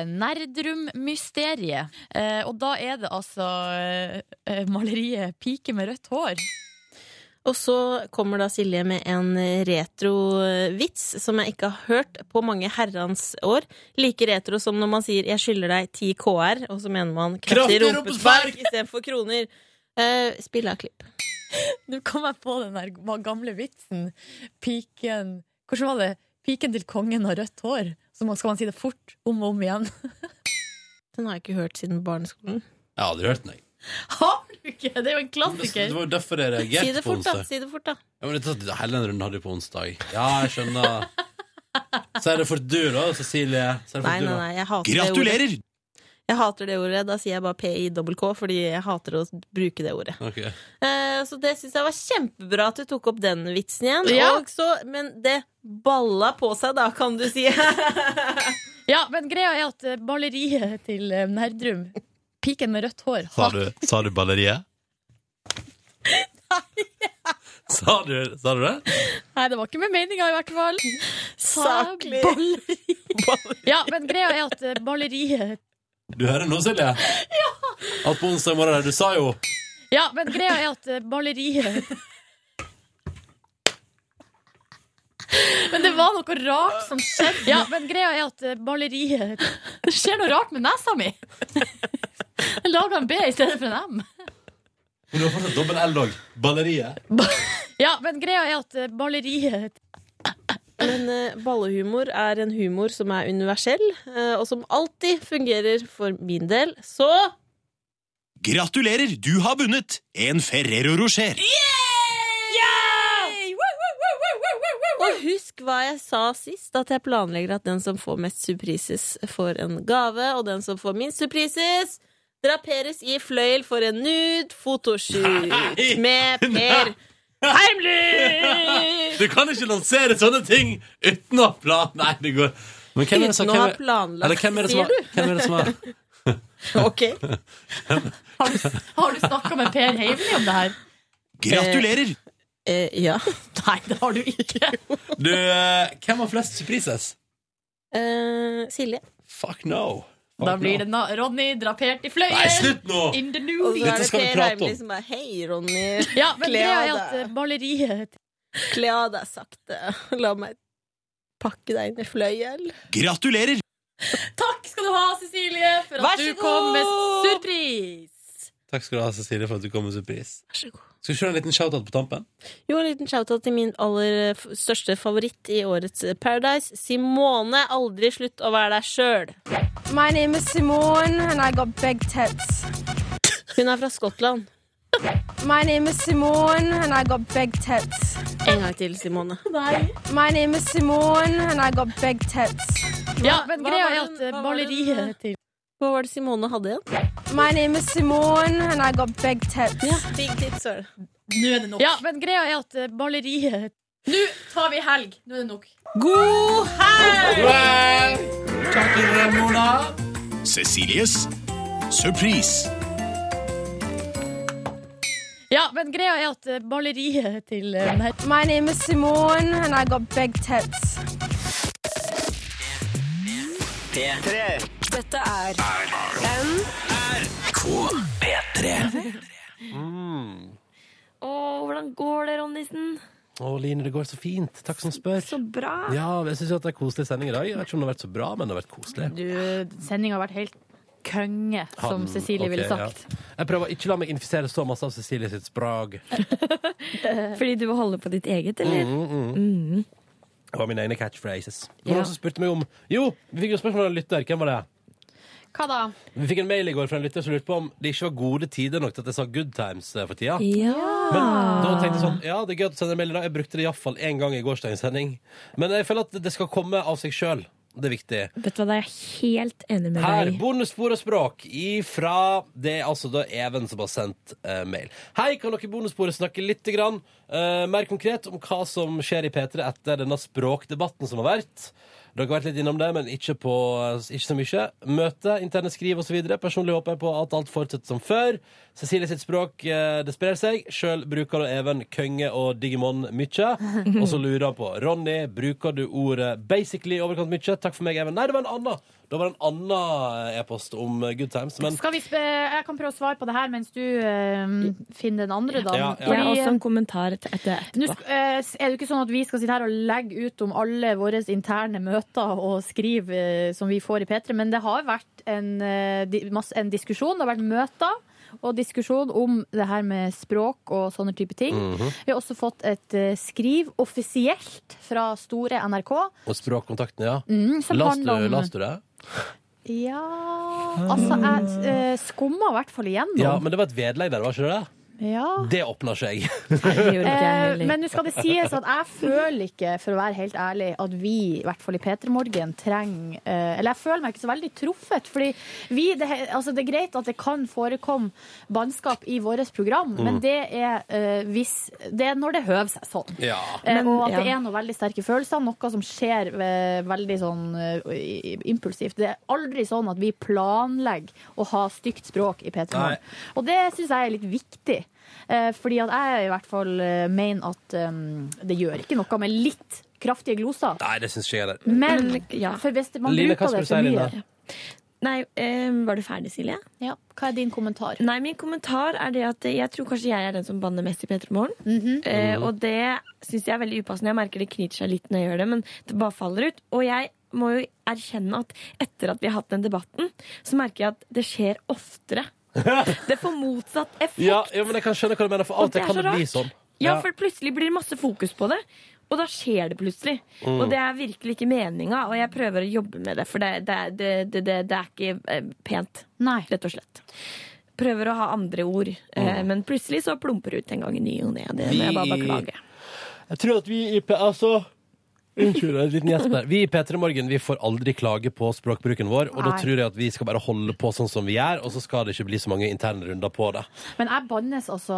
[SPEAKER 3] 'Nerdrum-mysteriet'. Eh, og da er det altså eh, eh, maleriet 'Pike med rødt hår'.
[SPEAKER 5] Og så kommer da Silje med en retrovits som jeg ikke har hørt på mange herrens år. Like retro som når man sier 'jeg skylder deg 10 KR', og så mener man 'kraftig
[SPEAKER 3] Kraftig
[SPEAKER 5] rumpespark'
[SPEAKER 3] rumpespark!
[SPEAKER 5] istedenfor kroner. Uh, spill av klipp.
[SPEAKER 3] Nå kom jeg på den der gamle vitsen. Piken Hvordan var det? Piken til kongen har rødt hår. Så må- skal man si det fort, om og om igjen.
[SPEAKER 5] Den har jeg ikke hørt siden barneskolen.
[SPEAKER 2] Jeg har aldri hørt den, jeg.
[SPEAKER 3] Har du ikke? Det er jo en
[SPEAKER 2] Det
[SPEAKER 3] klassiker.
[SPEAKER 2] var jo derfor jeg
[SPEAKER 5] Si
[SPEAKER 2] reagerte
[SPEAKER 5] det
[SPEAKER 2] på
[SPEAKER 5] fort, da.
[SPEAKER 2] onsdag.
[SPEAKER 5] Si det fort, da.
[SPEAKER 2] Ja, men dette, hele den runden hadde jeg på onsdag. Ja, jeg skjønner. Så er det for du, da, Cecilie. Så er det for
[SPEAKER 5] Nei,
[SPEAKER 2] du,
[SPEAKER 5] nei,
[SPEAKER 2] da.
[SPEAKER 5] nei, jeg hater det
[SPEAKER 2] Gratulerer!
[SPEAKER 5] ordet. Jeg hater det ordet. Da sier jeg bare PIWK, fordi jeg hater å bruke det ordet.
[SPEAKER 2] Ok.
[SPEAKER 5] Eh, Så det syns jeg var kjempebra at du tok opp den vitsen igjen.
[SPEAKER 3] Ja.
[SPEAKER 5] Og så, men det balla på seg, da, kan du si.
[SPEAKER 3] Ja, men greia er at eh, maleriet til eh, Nerdrum, piken med rødt hår
[SPEAKER 2] Sa du, sa du balleriet? Sa du, sa du det?
[SPEAKER 3] Nei, det var ikke med meninga, i hvert fall.
[SPEAKER 5] Saklig.
[SPEAKER 3] Ja, men greia er at eh, maleriet
[SPEAKER 2] Du hører nå, Silje? At på onsdag morgen Du sa jo
[SPEAKER 3] Ja, men greia er at eh, maleriet Men det var noe rart som skjedde. Ja, men greia er at eh, maleriet Det skjer noe rart med nesa mi! Jeg laga en B i stedet for en M.
[SPEAKER 2] Men du har fortsatt dobbel L òg. Balleriet.
[SPEAKER 3] Ja, men greia er at eh, maleriet
[SPEAKER 5] Men eh, ballehumor er en humor som er universell, eh, og som alltid fungerer for min del. Så
[SPEAKER 2] Gratulerer, du har vunnet en Ferrero Rocher.
[SPEAKER 5] Og husk hva jeg sa sist, at jeg planlegger at den som får mest surprises, får en gave, og den som får minst surprises, draperes i fløyel for en nude photoshoot
[SPEAKER 2] Nei!
[SPEAKER 5] med Per Heimly!
[SPEAKER 2] Du kan ikke lansere sånne ting uten å ha plan... Nei, det går Men hvem er det som
[SPEAKER 5] Uten å ha
[SPEAKER 2] hvem er-
[SPEAKER 5] planlagt,
[SPEAKER 2] Eller hvem er det som
[SPEAKER 5] sier
[SPEAKER 2] har
[SPEAKER 5] du?
[SPEAKER 2] Hvem er det som har
[SPEAKER 5] Ok.
[SPEAKER 3] Har du snakka med Per Heimly om det her?
[SPEAKER 2] Gratulerer!
[SPEAKER 5] Eh, ja.
[SPEAKER 3] Nei, det har du ikke.
[SPEAKER 2] Du, eh, hvem har flest surprises?
[SPEAKER 5] Eh, Silje.
[SPEAKER 2] Fuck no. Fuck
[SPEAKER 3] Da blir
[SPEAKER 2] no.
[SPEAKER 3] det na Ronny drapert i fløyen.
[SPEAKER 2] Nei, slutt nå!
[SPEAKER 3] In the
[SPEAKER 5] Og
[SPEAKER 3] new
[SPEAKER 5] så er det Per Heimly som er Hei, Ronny.
[SPEAKER 3] Ja, men
[SPEAKER 5] Kle
[SPEAKER 3] greia
[SPEAKER 5] av
[SPEAKER 3] er at
[SPEAKER 5] deg.
[SPEAKER 3] eh, maleriet
[SPEAKER 5] Kle av deg sakte. La meg pakke deg inn i fløyel.
[SPEAKER 2] Gratulerer!
[SPEAKER 3] Takk skal du ha, Cecilie, for
[SPEAKER 5] Vær
[SPEAKER 3] at du
[SPEAKER 5] så
[SPEAKER 3] kom med
[SPEAKER 5] god!
[SPEAKER 3] surprise!
[SPEAKER 2] Takk skal du ha, Cecilie, for at du kom med surprise.
[SPEAKER 5] Vær så god.
[SPEAKER 2] Skal vi kjøre en liten shoutout på tampen?
[SPEAKER 5] Jo, en liten shoutout til min aller eh, f- største favoritt i årets eh, Paradise. Simone, aldri slutt å være deg sjøl.
[SPEAKER 8] My name is Simone, and I got big tits.
[SPEAKER 5] Hun er fra Skottland.
[SPEAKER 8] My name is Simone, and I got big tits.
[SPEAKER 5] En gang til, Simone.
[SPEAKER 8] My name is Simone, and I got big tits.
[SPEAKER 3] Ja, men
[SPEAKER 5] Hva
[SPEAKER 3] greia
[SPEAKER 5] var
[SPEAKER 3] er
[SPEAKER 5] den-
[SPEAKER 3] at
[SPEAKER 5] hva
[SPEAKER 3] eh,
[SPEAKER 5] var den-
[SPEAKER 3] maleriet til
[SPEAKER 5] Hva var det Simone hadde igjen?
[SPEAKER 8] My name is Simone, and I got big tits.
[SPEAKER 5] Big tits, var det.
[SPEAKER 3] Nå er det nok. Ja, men greia er at eh, maleriet Nå tar vi helg. Nå er det nok.
[SPEAKER 5] God
[SPEAKER 3] helg!
[SPEAKER 1] Cecilies surprise.
[SPEAKER 3] Ja, men greia er at eh, maleriet til eh, den her-
[SPEAKER 8] My name is Simone, and I got big tits.
[SPEAKER 25] P3.
[SPEAKER 8] Dette er
[SPEAKER 25] P3.
[SPEAKER 26] Mm.
[SPEAKER 4] Å, hvordan går det, Ronnisen?
[SPEAKER 26] Å, Line, det går så fint. Takk som spør. Så
[SPEAKER 4] bra.
[SPEAKER 26] Ja, jeg syns det er koselig sending i dag. Jeg vet ikke om det har vært så bra, men det har vært koselig.
[SPEAKER 4] Du, sendinga har vært helt
[SPEAKER 3] konge, som
[SPEAKER 2] Han,
[SPEAKER 3] Cecilie
[SPEAKER 2] ok,
[SPEAKER 3] ville
[SPEAKER 2] ja.
[SPEAKER 3] sagt.
[SPEAKER 2] Jeg prøver å ikke la meg infisere så masse av Cecilie sitt språk.
[SPEAKER 4] Fordi du må holde på ditt eget, eller?
[SPEAKER 2] Mm, mm.
[SPEAKER 4] Mhm.
[SPEAKER 2] Det var mine egne catchphrases. Det
[SPEAKER 3] Ja.
[SPEAKER 2] var Noen som spurte meg om Jo, vi fikk jo spørsmål fra en lytter. Hvem var det?
[SPEAKER 3] Hva da?
[SPEAKER 2] Vi fikk en mail i går fra en lytter som lurte på om det ikke var gode tider nok til at jeg sa good times eh, for tida.
[SPEAKER 4] Ja.
[SPEAKER 2] Men da tenkte jeg sånn Ja, det er gøy at du sender mail i dag. Jeg brukte det iallfall én gang i gårsdagens sending. Men jeg føler at det skal komme av seg sjøl. Det er viktig.
[SPEAKER 4] Vet du hva, da er jeg helt enig med
[SPEAKER 2] Her,
[SPEAKER 4] deg.
[SPEAKER 2] bonusspor og språk ifra Det er altså da Even som har sendt eh, mail. Hei, kan dere i bonussporet snakke litt grann, eh, mer konkret om hva som skjer i P3 etter denne språkdebatten som har vært? Dere har vært litt innom det, men ikke, på, eh, ikke så mye. Møte, interne skriv osv. Personlig håper jeg på at alt fortsetter som før. Cecilie sitt språk eh, det sprer seg. Sjøl bruker da Even Kønge og Digimon mye. Og så lurer han på Ronny, bruker du ordet basically i overkant mye? Takk for meg, Even. Nei, det var en annen. Da var det en annen e-post om eh, good times. Men
[SPEAKER 3] Skal vi sp jeg kan prøve å svare på det her mens du eh, finner den andre,
[SPEAKER 2] Ja,
[SPEAKER 3] da.
[SPEAKER 2] ja.
[SPEAKER 4] Jeg har
[SPEAKER 3] Fordi, eh,
[SPEAKER 4] også en kommentar til etter
[SPEAKER 3] Nå
[SPEAKER 4] etterpå.
[SPEAKER 3] sk- eh, er det ikke sånn at vi skal sitte her og legge ut om alle våre interne møter og skriv eh, som vi får i P3, men det har vært en, eh, di- masse- en diskusjon. Det har vært møter og diskusjon om det her med språk og sånne type ting.
[SPEAKER 2] Mhm.
[SPEAKER 3] Vi har også fått et eh, skriv offisielt fra store NRK.
[SPEAKER 2] Og språkkontakten, ja.
[SPEAKER 3] Mm, som
[SPEAKER 2] Las du,
[SPEAKER 3] handler om-
[SPEAKER 2] las du det?
[SPEAKER 3] Ja Altså, jeg eh, skumma i hvert fall igjennom.
[SPEAKER 2] Ja, men det var et vedlegg der, var ikke det?
[SPEAKER 3] Ja.
[SPEAKER 2] Det åpna seg.
[SPEAKER 3] Eh, men nå skal det sies at jeg føler ikke, for å være helt ærlig, at vi, i hvert fall i P3 Morgen, trenger eh, Eller jeg føler meg ikke så veldig truffet. Fordi vi, det, he- altså det er greit at det kan forekomme bannskap i vårt program,
[SPEAKER 4] Mm.
[SPEAKER 3] men det er, eh, hvis, det er når det høver seg sånn.
[SPEAKER 2] Ja.
[SPEAKER 3] Eh,
[SPEAKER 4] Men-
[SPEAKER 3] og at det
[SPEAKER 4] ja.
[SPEAKER 3] er noen veldig sterke følelser, noe som skjer eh, veldig sånn eh, i- impulsivt. Det er aldri sånn at vi planlegger å ha stygt språk i P3
[SPEAKER 2] Nei.
[SPEAKER 3] Morgen. Og det syns jeg er litt viktig. Eh, fordi at jeg i hvert fall eh, mener at um, det gjør ikke noe med litt kraftige gloser.
[SPEAKER 2] Nei, det syns ikke jeg heller.
[SPEAKER 3] Men for hvis det- man
[SPEAKER 2] Line, hva skal
[SPEAKER 3] bruker det
[SPEAKER 2] du si,
[SPEAKER 3] for mye
[SPEAKER 2] Line?
[SPEAKER 4] Nei, eh, var du ferdig, Silje?
[SPEAKER 3] Ja, Hva er din kommentar?
[SPEAKER 4] Nei, min kommentar er det at jeg tror kanskje jeg er den som banner mest i P3 Morgen.
[SPEAKER 3] Mhm.
[SPEAKER 8] Mm.
[SPEAKER 4] eh, og det syns jeg er veldig upassende. Jeg merker det knyter seg litt når jeg gjør det, men det bare faller ut. Og jeg må jo erkjenne at etter at vi har hatt den debatten, så merker jeg at det skjer oftere. Det får motsatt effekt.
[SPEAKER 2] Ja, ja, men jeg kan skjønne hva du mener, for
[SPEAKER 4] Og
[SPEAKER 2] av og til
[SPEAKER 4] det er
[SPEAKER 2] kan det
[SPEAKER 4] så
[SPEAKER 2] bli
[SPEAKER 4] rart.
[SPEAKER 2] sånn.
[SPEAKER 4] Ja, for plutselig blir det masse fokus på det. Og da skjer det plutselig.
[SPEAKER 2] Mm.
[SPEAKER 4] Og det er virkelig ikke meninga, og jeg prøver å jobbe med det, for det, det, det, det, det, det er ikke eh, pent. Rett og slett. Prøver å ha andre ord, eh,
[SPEAKER 2] Mm.
[SPEAKER 4] men plutselig så plumper det ut en gang i ny og ne. og Det må jeg bare beklage.
[SPEAKER 2] Jeg tror at vi i P... Altså Unnskyld, en liten gjesp her. Vi i P3 Morgen vi får aldri klage på språkbruken vår, og da
[SPEAKER 3] Nei.
[SPEAKER 2] tror jeg at vi skal bare holde på sånn som vi gjør, og så skal det ikke bli så mange interne runder på det.
[SPEAKER 3] Men jeg bannes altså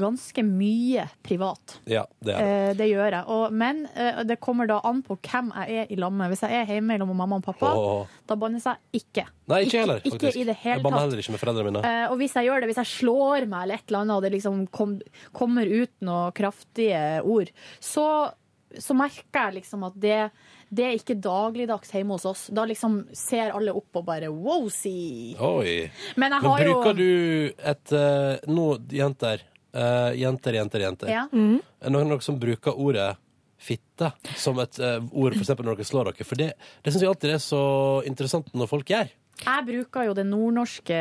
[SPEAKER 3] ganske mye privat.
[SPEAKER 2] Ja, det er det.
[SPEAKER 3] Eh, det gjør jeg. Og, men eh, det kommer da an på hvem jeg er i lag med. Hvis jeg er hjemme mellom mamma og pappa,
[SPEAKER 2] Åh.
[SPEAKER 3] da bannes jeg ikke.
[SPEAKER 2] Nei, ikke jeg heller,
[SPEAKER 3] Ikke-
[SPEAKER 2] faktisk.
[SPEAKER 3] Ikke i det hele
[SPEAKER 2] jeg banner
[SPEAKER 3] tatt.
[SPEAKER 2] heller ikke med foreldrene mine.
[SPEAKER 3] Eh, og hvis jeg gjør det, hvis jeg slår meg eller et eller annet, og det liksom kom, kommer ut noen kraftige ord, så, så merker jeg liksom at det, det er ikke dagligdags hjemme hos oss. Da liksom ser alle opp og bare wow, si.
[SPEAKER 2] Oi.
[SPEAKER 3] Men jeg har jo-
[SPEAKER 2] bruker du et eh, Nå, jenter. eh, jenter, jenter, jenter.
[SPEAKER 3] Ja.
[SPEAKER 4] Mhm.
[SPEAKER 2] Er det noen av dere som bruker ordet fitte som et eh, ord for eksempel når dere slår dere? For det, det syns jeg alltid er så interessant når folk gjør.
[SPEAKER 3] Jeg bruker jo den nordnorske,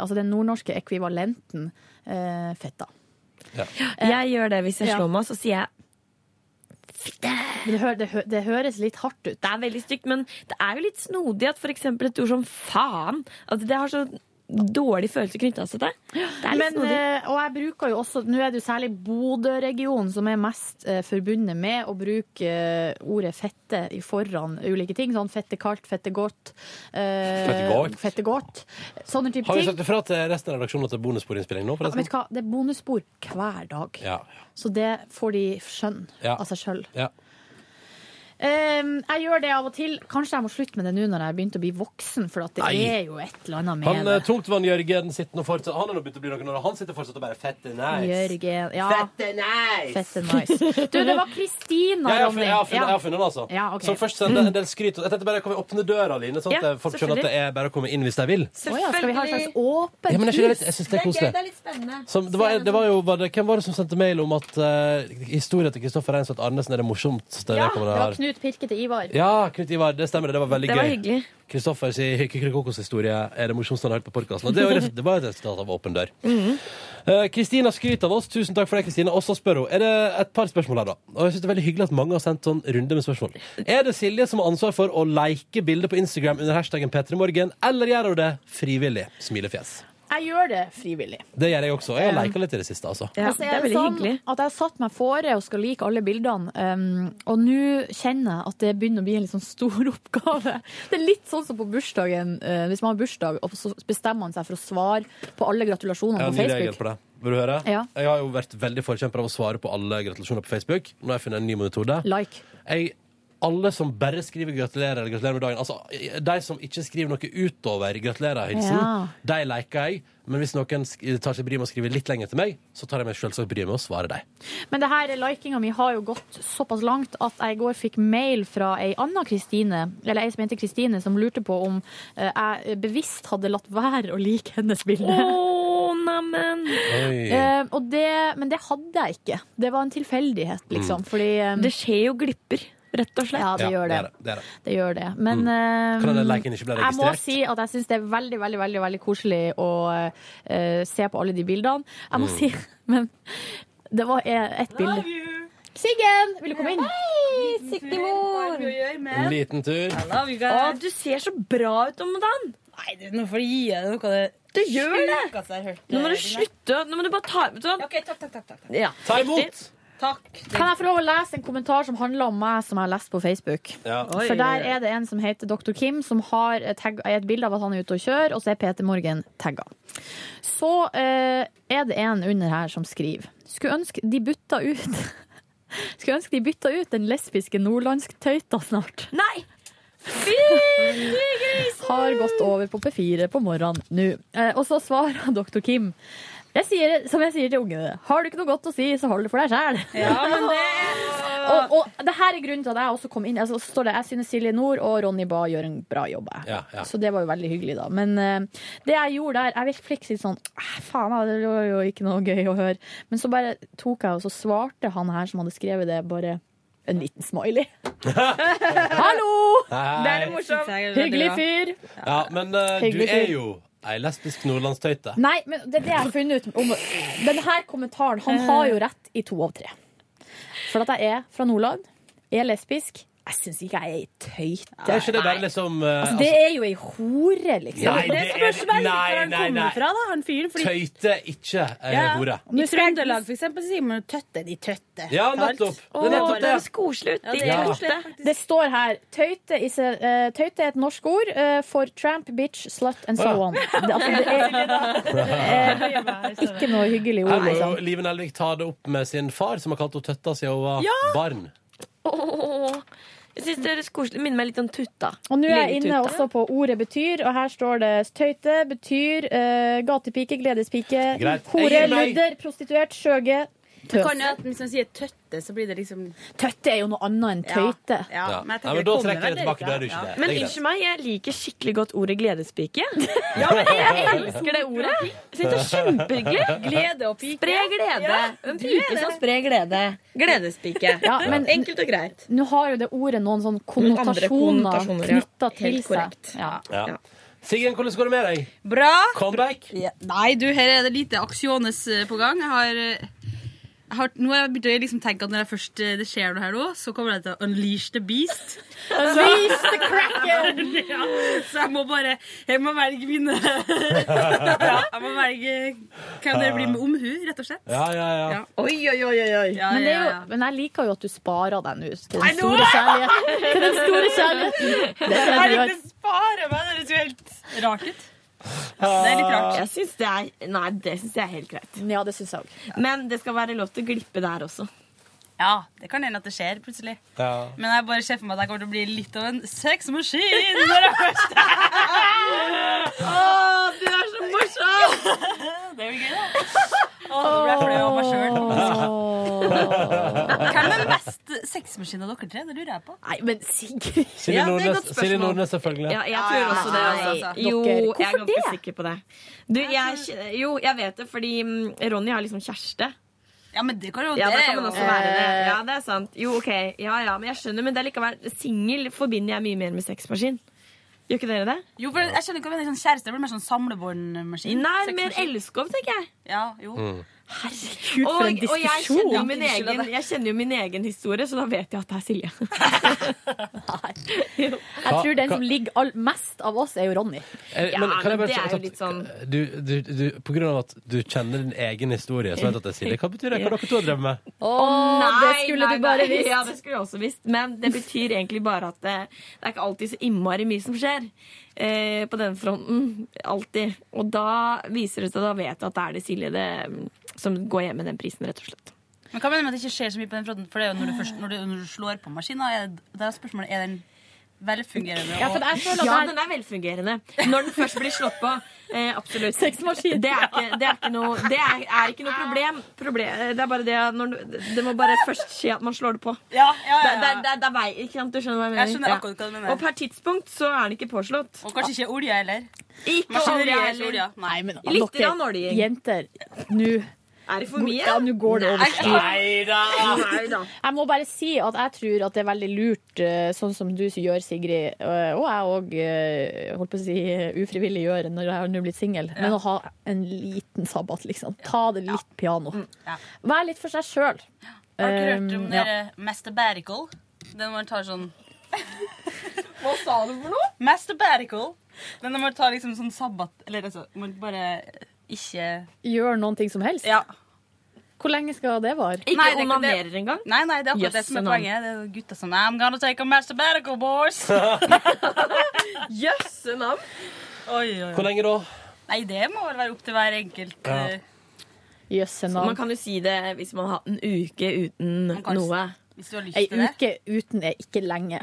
[SPEAKER 3] altså den nordnorske ekvivalenten eh, fetta.
[SPEAKER 4] Jeg gjør det hvis jeg
[SPEAKER 3] Ja.
[SPEAKER 4] slår meg, så sier jeg
[SPEAKER 3] Men Det, hø det, hø det høres litt hardt ut.
[SPEAKER 4] Det er veldig stygt, men det er jo litt snodig at f.eks. et ord som faen at Det har så dårlig følelse knytta seg til det. Det er litt
[SPEAKER 3] Men,
[SPEAKER 4] snodig.
[SPEAKER 3] eh, og jeg bruker jo også Nå er det jo særlig Bodø-regionen som er mest eh, forbundet med å bruke eh, ordet fette i foran ulike ting. Sånn fette kaldt, fette godt. eh,
[SPEAKER 2] Fette godt.
[SPEAKER 3] fette godt. Sånne type
[SPEAKER 2] Har vi
[SPEAKER 3] ting.
[SPEAKER 2] sagt ifra til resten av redaksjonen at det er bonusbordinnspilling nå?
[SPEAKER 3] Ja,
[SPEAKER 2] forresten?
[SPEAKER 3] vet du hva? Det er bonusspor hver dag.
[SPEAKER 2] Ja.
[SPEAKER 3] Så det får de skjønne
[SPEAKER 2] Ja.
[SPEAKER 3] av seg sjøl.
[SPEAKER 2] Ja.
[SPEAKER 3] Ehm, jeg gjør det av og til. Kanskje jeg må slutte med det nå når jeg har begynt å bli voksen, for at det
[SPEAKER 2] Nei.
[SPEAKER 3] er jo et eller annet med
[SPEAKER 2] Han eh, Tungtvann-Jørgen sitter nå fortsatt Han er nå begynt å bli noen år, og han sitter fortsatt og bare fette
[SPEAKER 3] det.
[SPEAKER 2] nice.
[SPEAKER 3] Jørgen. Ja.
[SPEAKER 2] Fette nice!
[SPEAKER 3] Fette nice. Du, det var
[SPEAKER 2] Ja,
[SPEAKER 3] Kristina,
[SPEAKER 2] jeg har
[SPEAKER 3] Ronny.
[SPEAKER 2] funnet, jeg har funnet,
[SPEAKER 3] Ja.
[SPEAKER 2] jeg har funnet den, altså.
[SPEAKER 3] Ja, ok.
[SPEAKER 2] Som først sender en del skryt. Jeg tenkte bare, kan vi åpne døra, Line, sånn at
[SPEAKER 3] Ja,
[SPEAKER 2] folk skjønner at det er bare å komme inn hvis de vil?
[SPEAKER 3] Å ja, skal vi ha et slags
[SPEAKER 2] Ja,
[SPEAKER 3] åpent
[SPEAKER 2] men jeg skjønner litt-
[SPEAKER 3] hus?
[SPEAKER 2] jeg synes det er koselig.
[SPEAKER 3] litt spennende.
[SPEAKER 2] Som, det var, det var jo, eh, var det, hvem var det som sendte mail om at uh, historien til Kristoffer Reinsvold Arnesen er det morsomste
[SPEAKER 3] ja, det
[SPEAKER 2] vedkommende
[SPEAKER 3] var
[SPEAKER 2] har?
[SPEAKER 3] Knut Knut Pirke til Ivar.
[SPEAKER 2] Ja, Knut Ivar, det stemmer. Det Det var veldig
[SPEAKER 3] Det var
[SPEAKER 2] gøy.
[SPEAKER 3] hyggelig.
[SPEAKER 2] Kristoffers historie er det morsomste han har hørt på podkasten. Det, var- det var et resultat av Åpen dør.
[SPEAKER 17] Mm.
[SPEAKER 2] Eh, Kristina skryter av oss. Tusen takk for det, Kristina. Og så spør hun er det et par spørsmål her, da. Og jeg synes det er veldig hyggelig at mange har sendt sånn runde med spørsmål. Er det Silje som har ansvar for å like bilder på Instagram under hashtaggen P3morgen, eller gjør hun det frivillig? Smilefjes.
[SPEAKER 3] Jeg gjør det frivillig.
[SPEAKER 2] Det gjør jeg også. Jeg har lika litt i det siste, altså.
[SPEAKER 3] Altså, jeg sånn At jeg satt meg fore og skal like alle bildene, um, og nå kjenner jeg at det begynner å bli en litt sånn stor oppgave. Det er litt sånn som på bursdagen, eh, hvis man har bursdag, og så bestemmer man seg for å svare på alle gratulasjonene
[SPEAKER 2] Jeg har en
[SPEAKER 3] på
[SPEAKER 2] ny regel
[SPEAKER 3] Facebook.
[SPEAKER 2] på det. Vil du høre?
[SPEAKER 3] Ja.
[SPEAKER 2] Jeg har jo vært veldig forkjemper av å svare på alle gratulasjoner på Facebook. Nå har jeg funnet en ny metode.
[SPEAKER 3] Like.
[SPEAKER 2] Jeg, alle som bare skriver 'gratulerer' eller 'gratulerer med dagen', altså de som ikke skriver noe utover 'gratulerer'-hilsen,
[SPEAKER 3] Ja.
[SPEAKER 2] de liker jeg. Men hvis noen sk- tar seg bryet med å skrive litt lenger til meg, så tar jeg meg selvsagt bryet med å svare dem.
[SPEAKER 3] Men det her likinga mi har jo gått såpass langt at jeg i går fikk mail fra ei anna Kristine, eller ei som heter Kristine, som lurte på om eh, jeg bevisst hadde latt være å like hennes bilde.
[SPEAKER 1] Å, neimen!
[SPEAKER 3] Eh, og det, men det hadde jeg ikke. Det var en tilfeldighet, liksom.
[SPEAKER 2] Mm.
[SPEAKER 3] Fordi, det skjer jo glipper, rett og slett. Ja, det
[SPEAKER 2] Ja,
[SPEAKER 3] gjør det.
[SPEAKER 2] er det Mm. er det.
[SPEAKER 3] Det gjør det. Men eh,
[SPEAKER 2] Kan den liken ikke bli
[SPEAKER 3] jeg må
[SPEAKER 2] registrert?
[SPEAKER 3] si at jeg syns det er veldig veldig, veldig, veldig koselig å eh, se på alle de bildene. Jeg må
[SPEAKER 2] Mm.
[SPEAKER 3] si Men det var eh, ett bilde. Siggen, vil du komme inn? Hei,
[SPEAKER 1] Siggemor!
[SPEAKER 2] En liten tur.
[SPEAKER 1] Å, du ser så bra ut om dagen! Nei, du, nå får du gi deg noe av det Du gjør altså, det! Nå må du slutte. Nå må du bare ta ut sånn.
[SPEAKER 3] Ja.
[SPEAKER 2] Ta imot!
[SPEAKER 3] Kan jeg få lov å lese en kommentar som handler om meg, som jeg har lest på Facebook?
[SPEAKER 2] Ja. Oi,
[SPEAKER 3] For der
[SPEAKER 2] oi, oi.
[SPEAKER 3] er det en som heter Dr. Kim, som har et, tagg- et bilde av at han er ute og kjører, og så er Peter Morgen tagga. Så eh, er det en under her som skriver Skulle ønske de bytta ut Skulle ønske de bytta ut den lesbiske nordlandsk-tøyta snart. Nei! Har gått over på P4 på morgenen nå. Eh, og så svarer Dr. Kim. Jeg sier, som jeg sier til ungene, har du ikke noe godt å si, så hold det for deg sjæl. og, og det her er grunnen til at jeg også kom inn. Altså, så står det, jeg synes Silje Nord og Ronny Bae gjør en bra jobb. Jeg.
[SPEAKER 2] Ja, ja.
[SPEAKER 3] Så det var jo veldig hyggelig, da. Men eh, det jeg gjorde der Jeg fikk litt sånn «Ah, Faen, det var jo ikke noe gøy å høre. Men så bare tok jeg, og så svarte han her som hadde skrevet det, bare en liten smiley. Hallo!
[SPEAKER 2] Hei. Det er det morsomt.
[SPEAKER 3] Hyggelig fyr.
[SPEAKER 2] Ja, men eh, du
[SPEAKER 3] Hyggelig
[SPEAKER 2] er
[SPEAKER 3] fyr.
[SPEAKER 2] jo ei lesbisk nordlandstøyte.
[SPEAKER 3] Nei, men det er det jeg har funnet ut om Denne kommentaren, han har jo rett i to av tre. For at jeg er fra Nordland, jeg er lesbisk. Jeg syns ikke jeg er ei tøyte.
[SPEAKER 2] Er ikke det bare liksom eh,
[SPEAKER 3] Altså, det er jo ei hore, liksom.
[SPEAKER 2] Nei, det er-
[SPEAKER 3] spørs vel litt
[SPEAKER 2] nei,
[SPEAKER 3] hvor han
[SPEAKER 2] nei,
[SPEAKER 3] kommer
[SPEAKER 2] nei.
[SPEAKER 3] fra, da, han fyren.
[SPEAKER 2] altså, Tøyte ikke ei
[SPEAKER 3] Ja.
[SPEAKER 2] hore.
[SPEAKER 3] I Trøndelag,
[SPEAKER 14] for eksempel, sier man jo tøtte, de tøtte.
[SPEAKER 2] Ja, nettopp. Det er nettopp det. Ja, det er Ja. koselig,
[SPEAKER 3] Det står her tøyte, is a, eh, tøyte er et norsk ord eh, for tramp, bitch, slut and so
[SPEAKER 2] Å, ja.
[SPEAKER 3] on. Det, altså, det er eh, ikke noe hyggelig
[SPEAKER 2] Her
[SPEAKER 3] ord,
[SPEAKER 2] må jo
[SPEAKER 3] liksom.
[SPEAKER 2] Live Nelvik ta det opp med sin far, som har kalt henne Tøtta siden hun var
[SPEAKER 1] Ja!
[SPEAKER 2] barn.
[SPEAKER 1] Åh, Jeg synes det er litt koselig. Det minner meg litt om Tutta.
[SPEAKER 3] Og nå er jeg
[SPEAKER 1] Lille
[SPEAKER 3] inne
[SPEAKER 1] Tutta.
[SPEAKER 3] også på ordet betyr, og her står det tøyte betyr eh, gatepike, gledespike,
[SPEAKER 14] Greit.
[SPEAKER 3] hore,
[SPEAKER 14] Jeg gir meg.
[SPEAKER 3] ludder, prostituert, skjøge,
[SPEAKER 14] Det
[SPEAKER 3] tøs.
[SPEAKER 14] kan jo at Hvis man sier tøtte, så blir det liksom
[SPEAKER 3] Tøtte er jo noe annet enn tøyte.
[SPEAKER 2] Ja.
[SPEAKER 14] Ja, men
[SPEAKER 2] Nei, men
[SPEAKER 14] jeg tenker
[SPEAKER 2] da
[SPEAKER 14] det kommer
[SPEAKER 2] trekker jeg det
[SPEAKER 14] vel
[SPEAKER 2] tilbake. Da er du ikke det.
[SPEAKER 1] Men
[SPEAKER 2] det er greit.
[SPEAKER 1] unnskyld meg, jeg liker skikkelig godt ordet gledespike. Ja, men jeg elsker det ordet. Jeg synes det er kjempehyggelig.
[SPEAKER 14] Glede og pike.
[SPEAKER 1] Spre glede.
[SPEAKER 14] Ja,
[SPEAKER 1] En pike
[SPEAKER 14] glede.
[SPEAKER 1] som sprer glede. Gledespike.
[SPEAKER 3] Ja, men-
[SPEAKER 1] Enkelt og greit.
[SPEAKER 3] Nå har jo det ordet noen sånne
[SPEAKER 1] Noen andre
[SPEAKER 3] konnotasjoner
[SPEAKER 1] konnotasjoner, ja.
[SPEAKER 3] knytta til
[SPEAKER 1] Helt
[SPEAKER 3] seg.
[SPEAKER 1] korrekt.
[SPEAKER 3] Ja.
[SPEAKER 2] Ja. Siggen, hvordan går det med deg?
[SPEAKER 14] Bra.
[SPEAKER 2] Comeback?
[SPEAKER 14] Ja. Nei, du, her er det lite aksjones eh, på gang. Jeg har, eh, jeg har, nå har jeg begynt å liksom tenke at når jeg først, eh, det skjer noe her nå, så kommer jeg til å unleash the beast.
[SPEAKER 3] Unleash the kraken!
[SPEAKER 14] ja, så jeg må bare Jeg må velge mine ja, Jeg må velge hvem dere blir med omhu, rett og slett.
[SPEAKER 2] Ja, ja, ja.
[SPEAKER 14] Oi, oi, oi, oi. oi. Ja,
[SPEAKER 3] Men, det er
[SPEAKER 14] ja,
[SPEAKER 3] jo,
[SPEAKER 14] ja.
[SPEAKER 3] men jeg liker jo at du sparer deg nå til
[SPEAKER 14] Nei,
[SPEAKER 3] den
[SPEAKER 14] nå-
[SPEAKER 3] store kjærligheten. Til den store kjærligheten. Det er det du gjør.
[SPEAKER 14] spare meg, det høres jo helt rart ut.
[SPEAKER 1] Det
[SPEAKER 14] er litt rart.
[SPEAKER 1] Jeg synes det er, nei, det syns jeg er helt greit.
[SPEAKER 3] Ja, det synes jeg også.
[SPEAKER 1] Men det skal være lov til å glippe der også.
[SPEAKER 14] Ja, det kan hende at det skjer plutselig. Men jeg bare ser for meg at jeg kommer til å bli litt av en sexmaskin når jeg først Å, du er så morsom! Det blir gøy, da. Å, nå ble jeg flau av meg sjøl. Hvem er mest sexmaskin av dere tre? Det lurer jeg på.
[SPEAKER 3] Nei, men Sigrid
[SPEAKER 2] Silje Nordnes, Silje Nordnes selvfølgelig.
[SPEAKER 1] Ja, jeg tror også det. Altså.
[SPEAKER 14] Nei,
[SPEAKER 1] Jo,
[SPEAKER 14] dere,
[SPEAKER 1] jeg er
[SPEAKER 14] hvorfor
[SPEAKER 1] ganske sikker på det. Du, jeg, jo, jeg vet det, fordi mm, Ronny har liksom kjæreste.
[SPEAKER 14] Ja, men det kan jo
[SPEAKER 4] Ja, det
[SPEAKER 14] er
[SPEAKER 4] kan man
[SPEAKER 14] jo-
[SPEAKER 4] også være det. Ja, det er sant. Jo, ok. Ja, ja, men jeg skjønner. Men det er likevel Singel forbinder jeg mye mer med sexmaskin. Gjør ikke dere det?
[SPEAKER 14] Jo, for jeg skjønner ikke hva det er sånn kjæreste. Det blir mer sånn samlebåndmaskin.
[SPEAKER 4] Nei,
[SPEAKER 14] Sexmaskin.
[SPEAKER 4] mer elskov, tenker jeg.
[SPEAKER 14] Ja, jo.
[SPEAKER 2] Mm.
[SPEAKER 4] Herregud,
[SPEAKER 14] for
[SPEAKER 4] Og
[SPEAKER 14] en
[SPEAKER 4] jeg
[SPEAKER 14] diskusjon.
[SPEAKER 4] kjenner,
[SPEAKER 14] Ja,
[SPEAKER 4] jo min
[SPEAKER 14] unnskyld
[SPEAKER 4] egen,
[SPEAKER 14] deg.
[SPEAKER 4] jeg kjenner jo min egen historie, så da vet jeg at det er Silje.
[SPEAKER 3] Jeg tror den som ligger all, mest av oss, er jo Ronny.
[SPEAKER 2] Eh, men kan jeg bare ta- ta-
[SPEAKER 3] sånn
[SPEAKER 2] Du, du, du, på grunn av at du kjenner din egen historie, så vet du at jeg sier det. Hva betyr det? Hva dere to har drevet med?
[SPEAKER 4] Å
[SPEAKER 3] det skulle du bare visst.
[SPEAKER 4] Ja, det skulle jeg også visst. Men det betyr egentlig bare at det, det er ikke alltid så innmari mye som skjer eh, på den fronten. Alltid. Og da viser det seg, da vet jeg at det er det Silje det, mm, som går hjem med den prisen, rett og slett.
[SPEAKER 14] Men hva mener du med at det ikke skjer så mye på den fronten? For det er jo når du, først, når du, når du slår på maskina, er, det- da er spørsmålet er den velfungerende.
[SPEAKER 4] Ja, for
[SPEAKER 14] og-
[SPEAKER 4] jeg føler at den er velfungerende. Når den først blir slått på. Eh, absolutt. Det, er ikke, det, er ikke noe, det er, er ikke noe problem. problem. Det er bare det at når du, Det må bare først skje at man slår det på.
[SPEAKER 14] Ja, ja, ja.
[SPEAKER 4] Det, det, det, det er vei, ikke sant? Du skjønner hva jeg mener?
[SPEAKER 14] Jeg skjønner
[SPEAKER 4] Ja.
[SPEAKER 14] akkurat hva du mener.
[SPEAKER 4] Og per tidspunkt så er den ikke påslått.
[SPEAKER 14] Og kanskje ikke olje heller.
[SPEAKER 4] Ikke
[SPEAKER 14] Maskineriet
[SPEAKER 4] olje
[SPEAKER 14] er ikke
[SPEAKER 4] heller.
[SPEAKER 14] olje. Nei, men
[SPEAKER 4] Litt
[SPEAKER 3] Dere,
[SPEAKER 4] grann olje.
[SPEAKER 3] Jenter, nå
[SPEAKER 4] Er det for mye?
[SPEAKER 3] Ja, nå går det over styr.
[SPEAKER 4] da.
[SPEAKER 3] Jeg må bare si at jeg tror at det er veldig lurt, eh, sånn som du gjør, Sigrid, eh, og jeg òg holdt på å si eh, ufrivillig gjør når jeg har nå blitt singel, men å ha en liten sabbat, liksom. Ta det litt piano.
[SPEAKER 14] Mm, Ja.
[SPEAKER 3] Vær litt for seg Eh, sjøl.
[SPEAKER 4] Eh,
[SPEAKER 14] Har dere hørt om det der masterbatical? Den hvor man tar sånn Hva sa du for noe? Masterbatical. Den hvor man tar liksom sånn sabbat Eller altså, man bare ikke
[SPEAKER 3] Gjør noen ting som helst. Hvor lenge skal det vare?
[SPEAKER 14] Nei, det er ikke det- Nei, nei, det er akkurat det som
[SPEAKER 3] Jøsse
[SPEAKER 14] er
[SPEAKER 3] navn.
[SPEAKER 14] poenget. Det er gutta som I'm gonna take a masterbatical, boys.
[SPEAKER 4] Jøsse navn.
[SPEAKER 14] Oi, oi,
[SPEAKER 2] Hvor
[SPEAKER 14] oi.
[SPEAKER 2] lenge da?
[SPEAKER 14] Nei, det må vel være opp til hver enkelt.
[SPEAKER 2] Ja.
[SPEAKER 14] eh,
[SPEAKER 3] Jøsse
[SPEAKER 4] Man kan jo si det hvis man har hatt en uke uten
[SPEAKER 3] kan jo
[SPEAKER 4] noe.
[SPEAKER 14] Hvis du har
[SPEAKER 3] Ei uke uten er ikke lenge.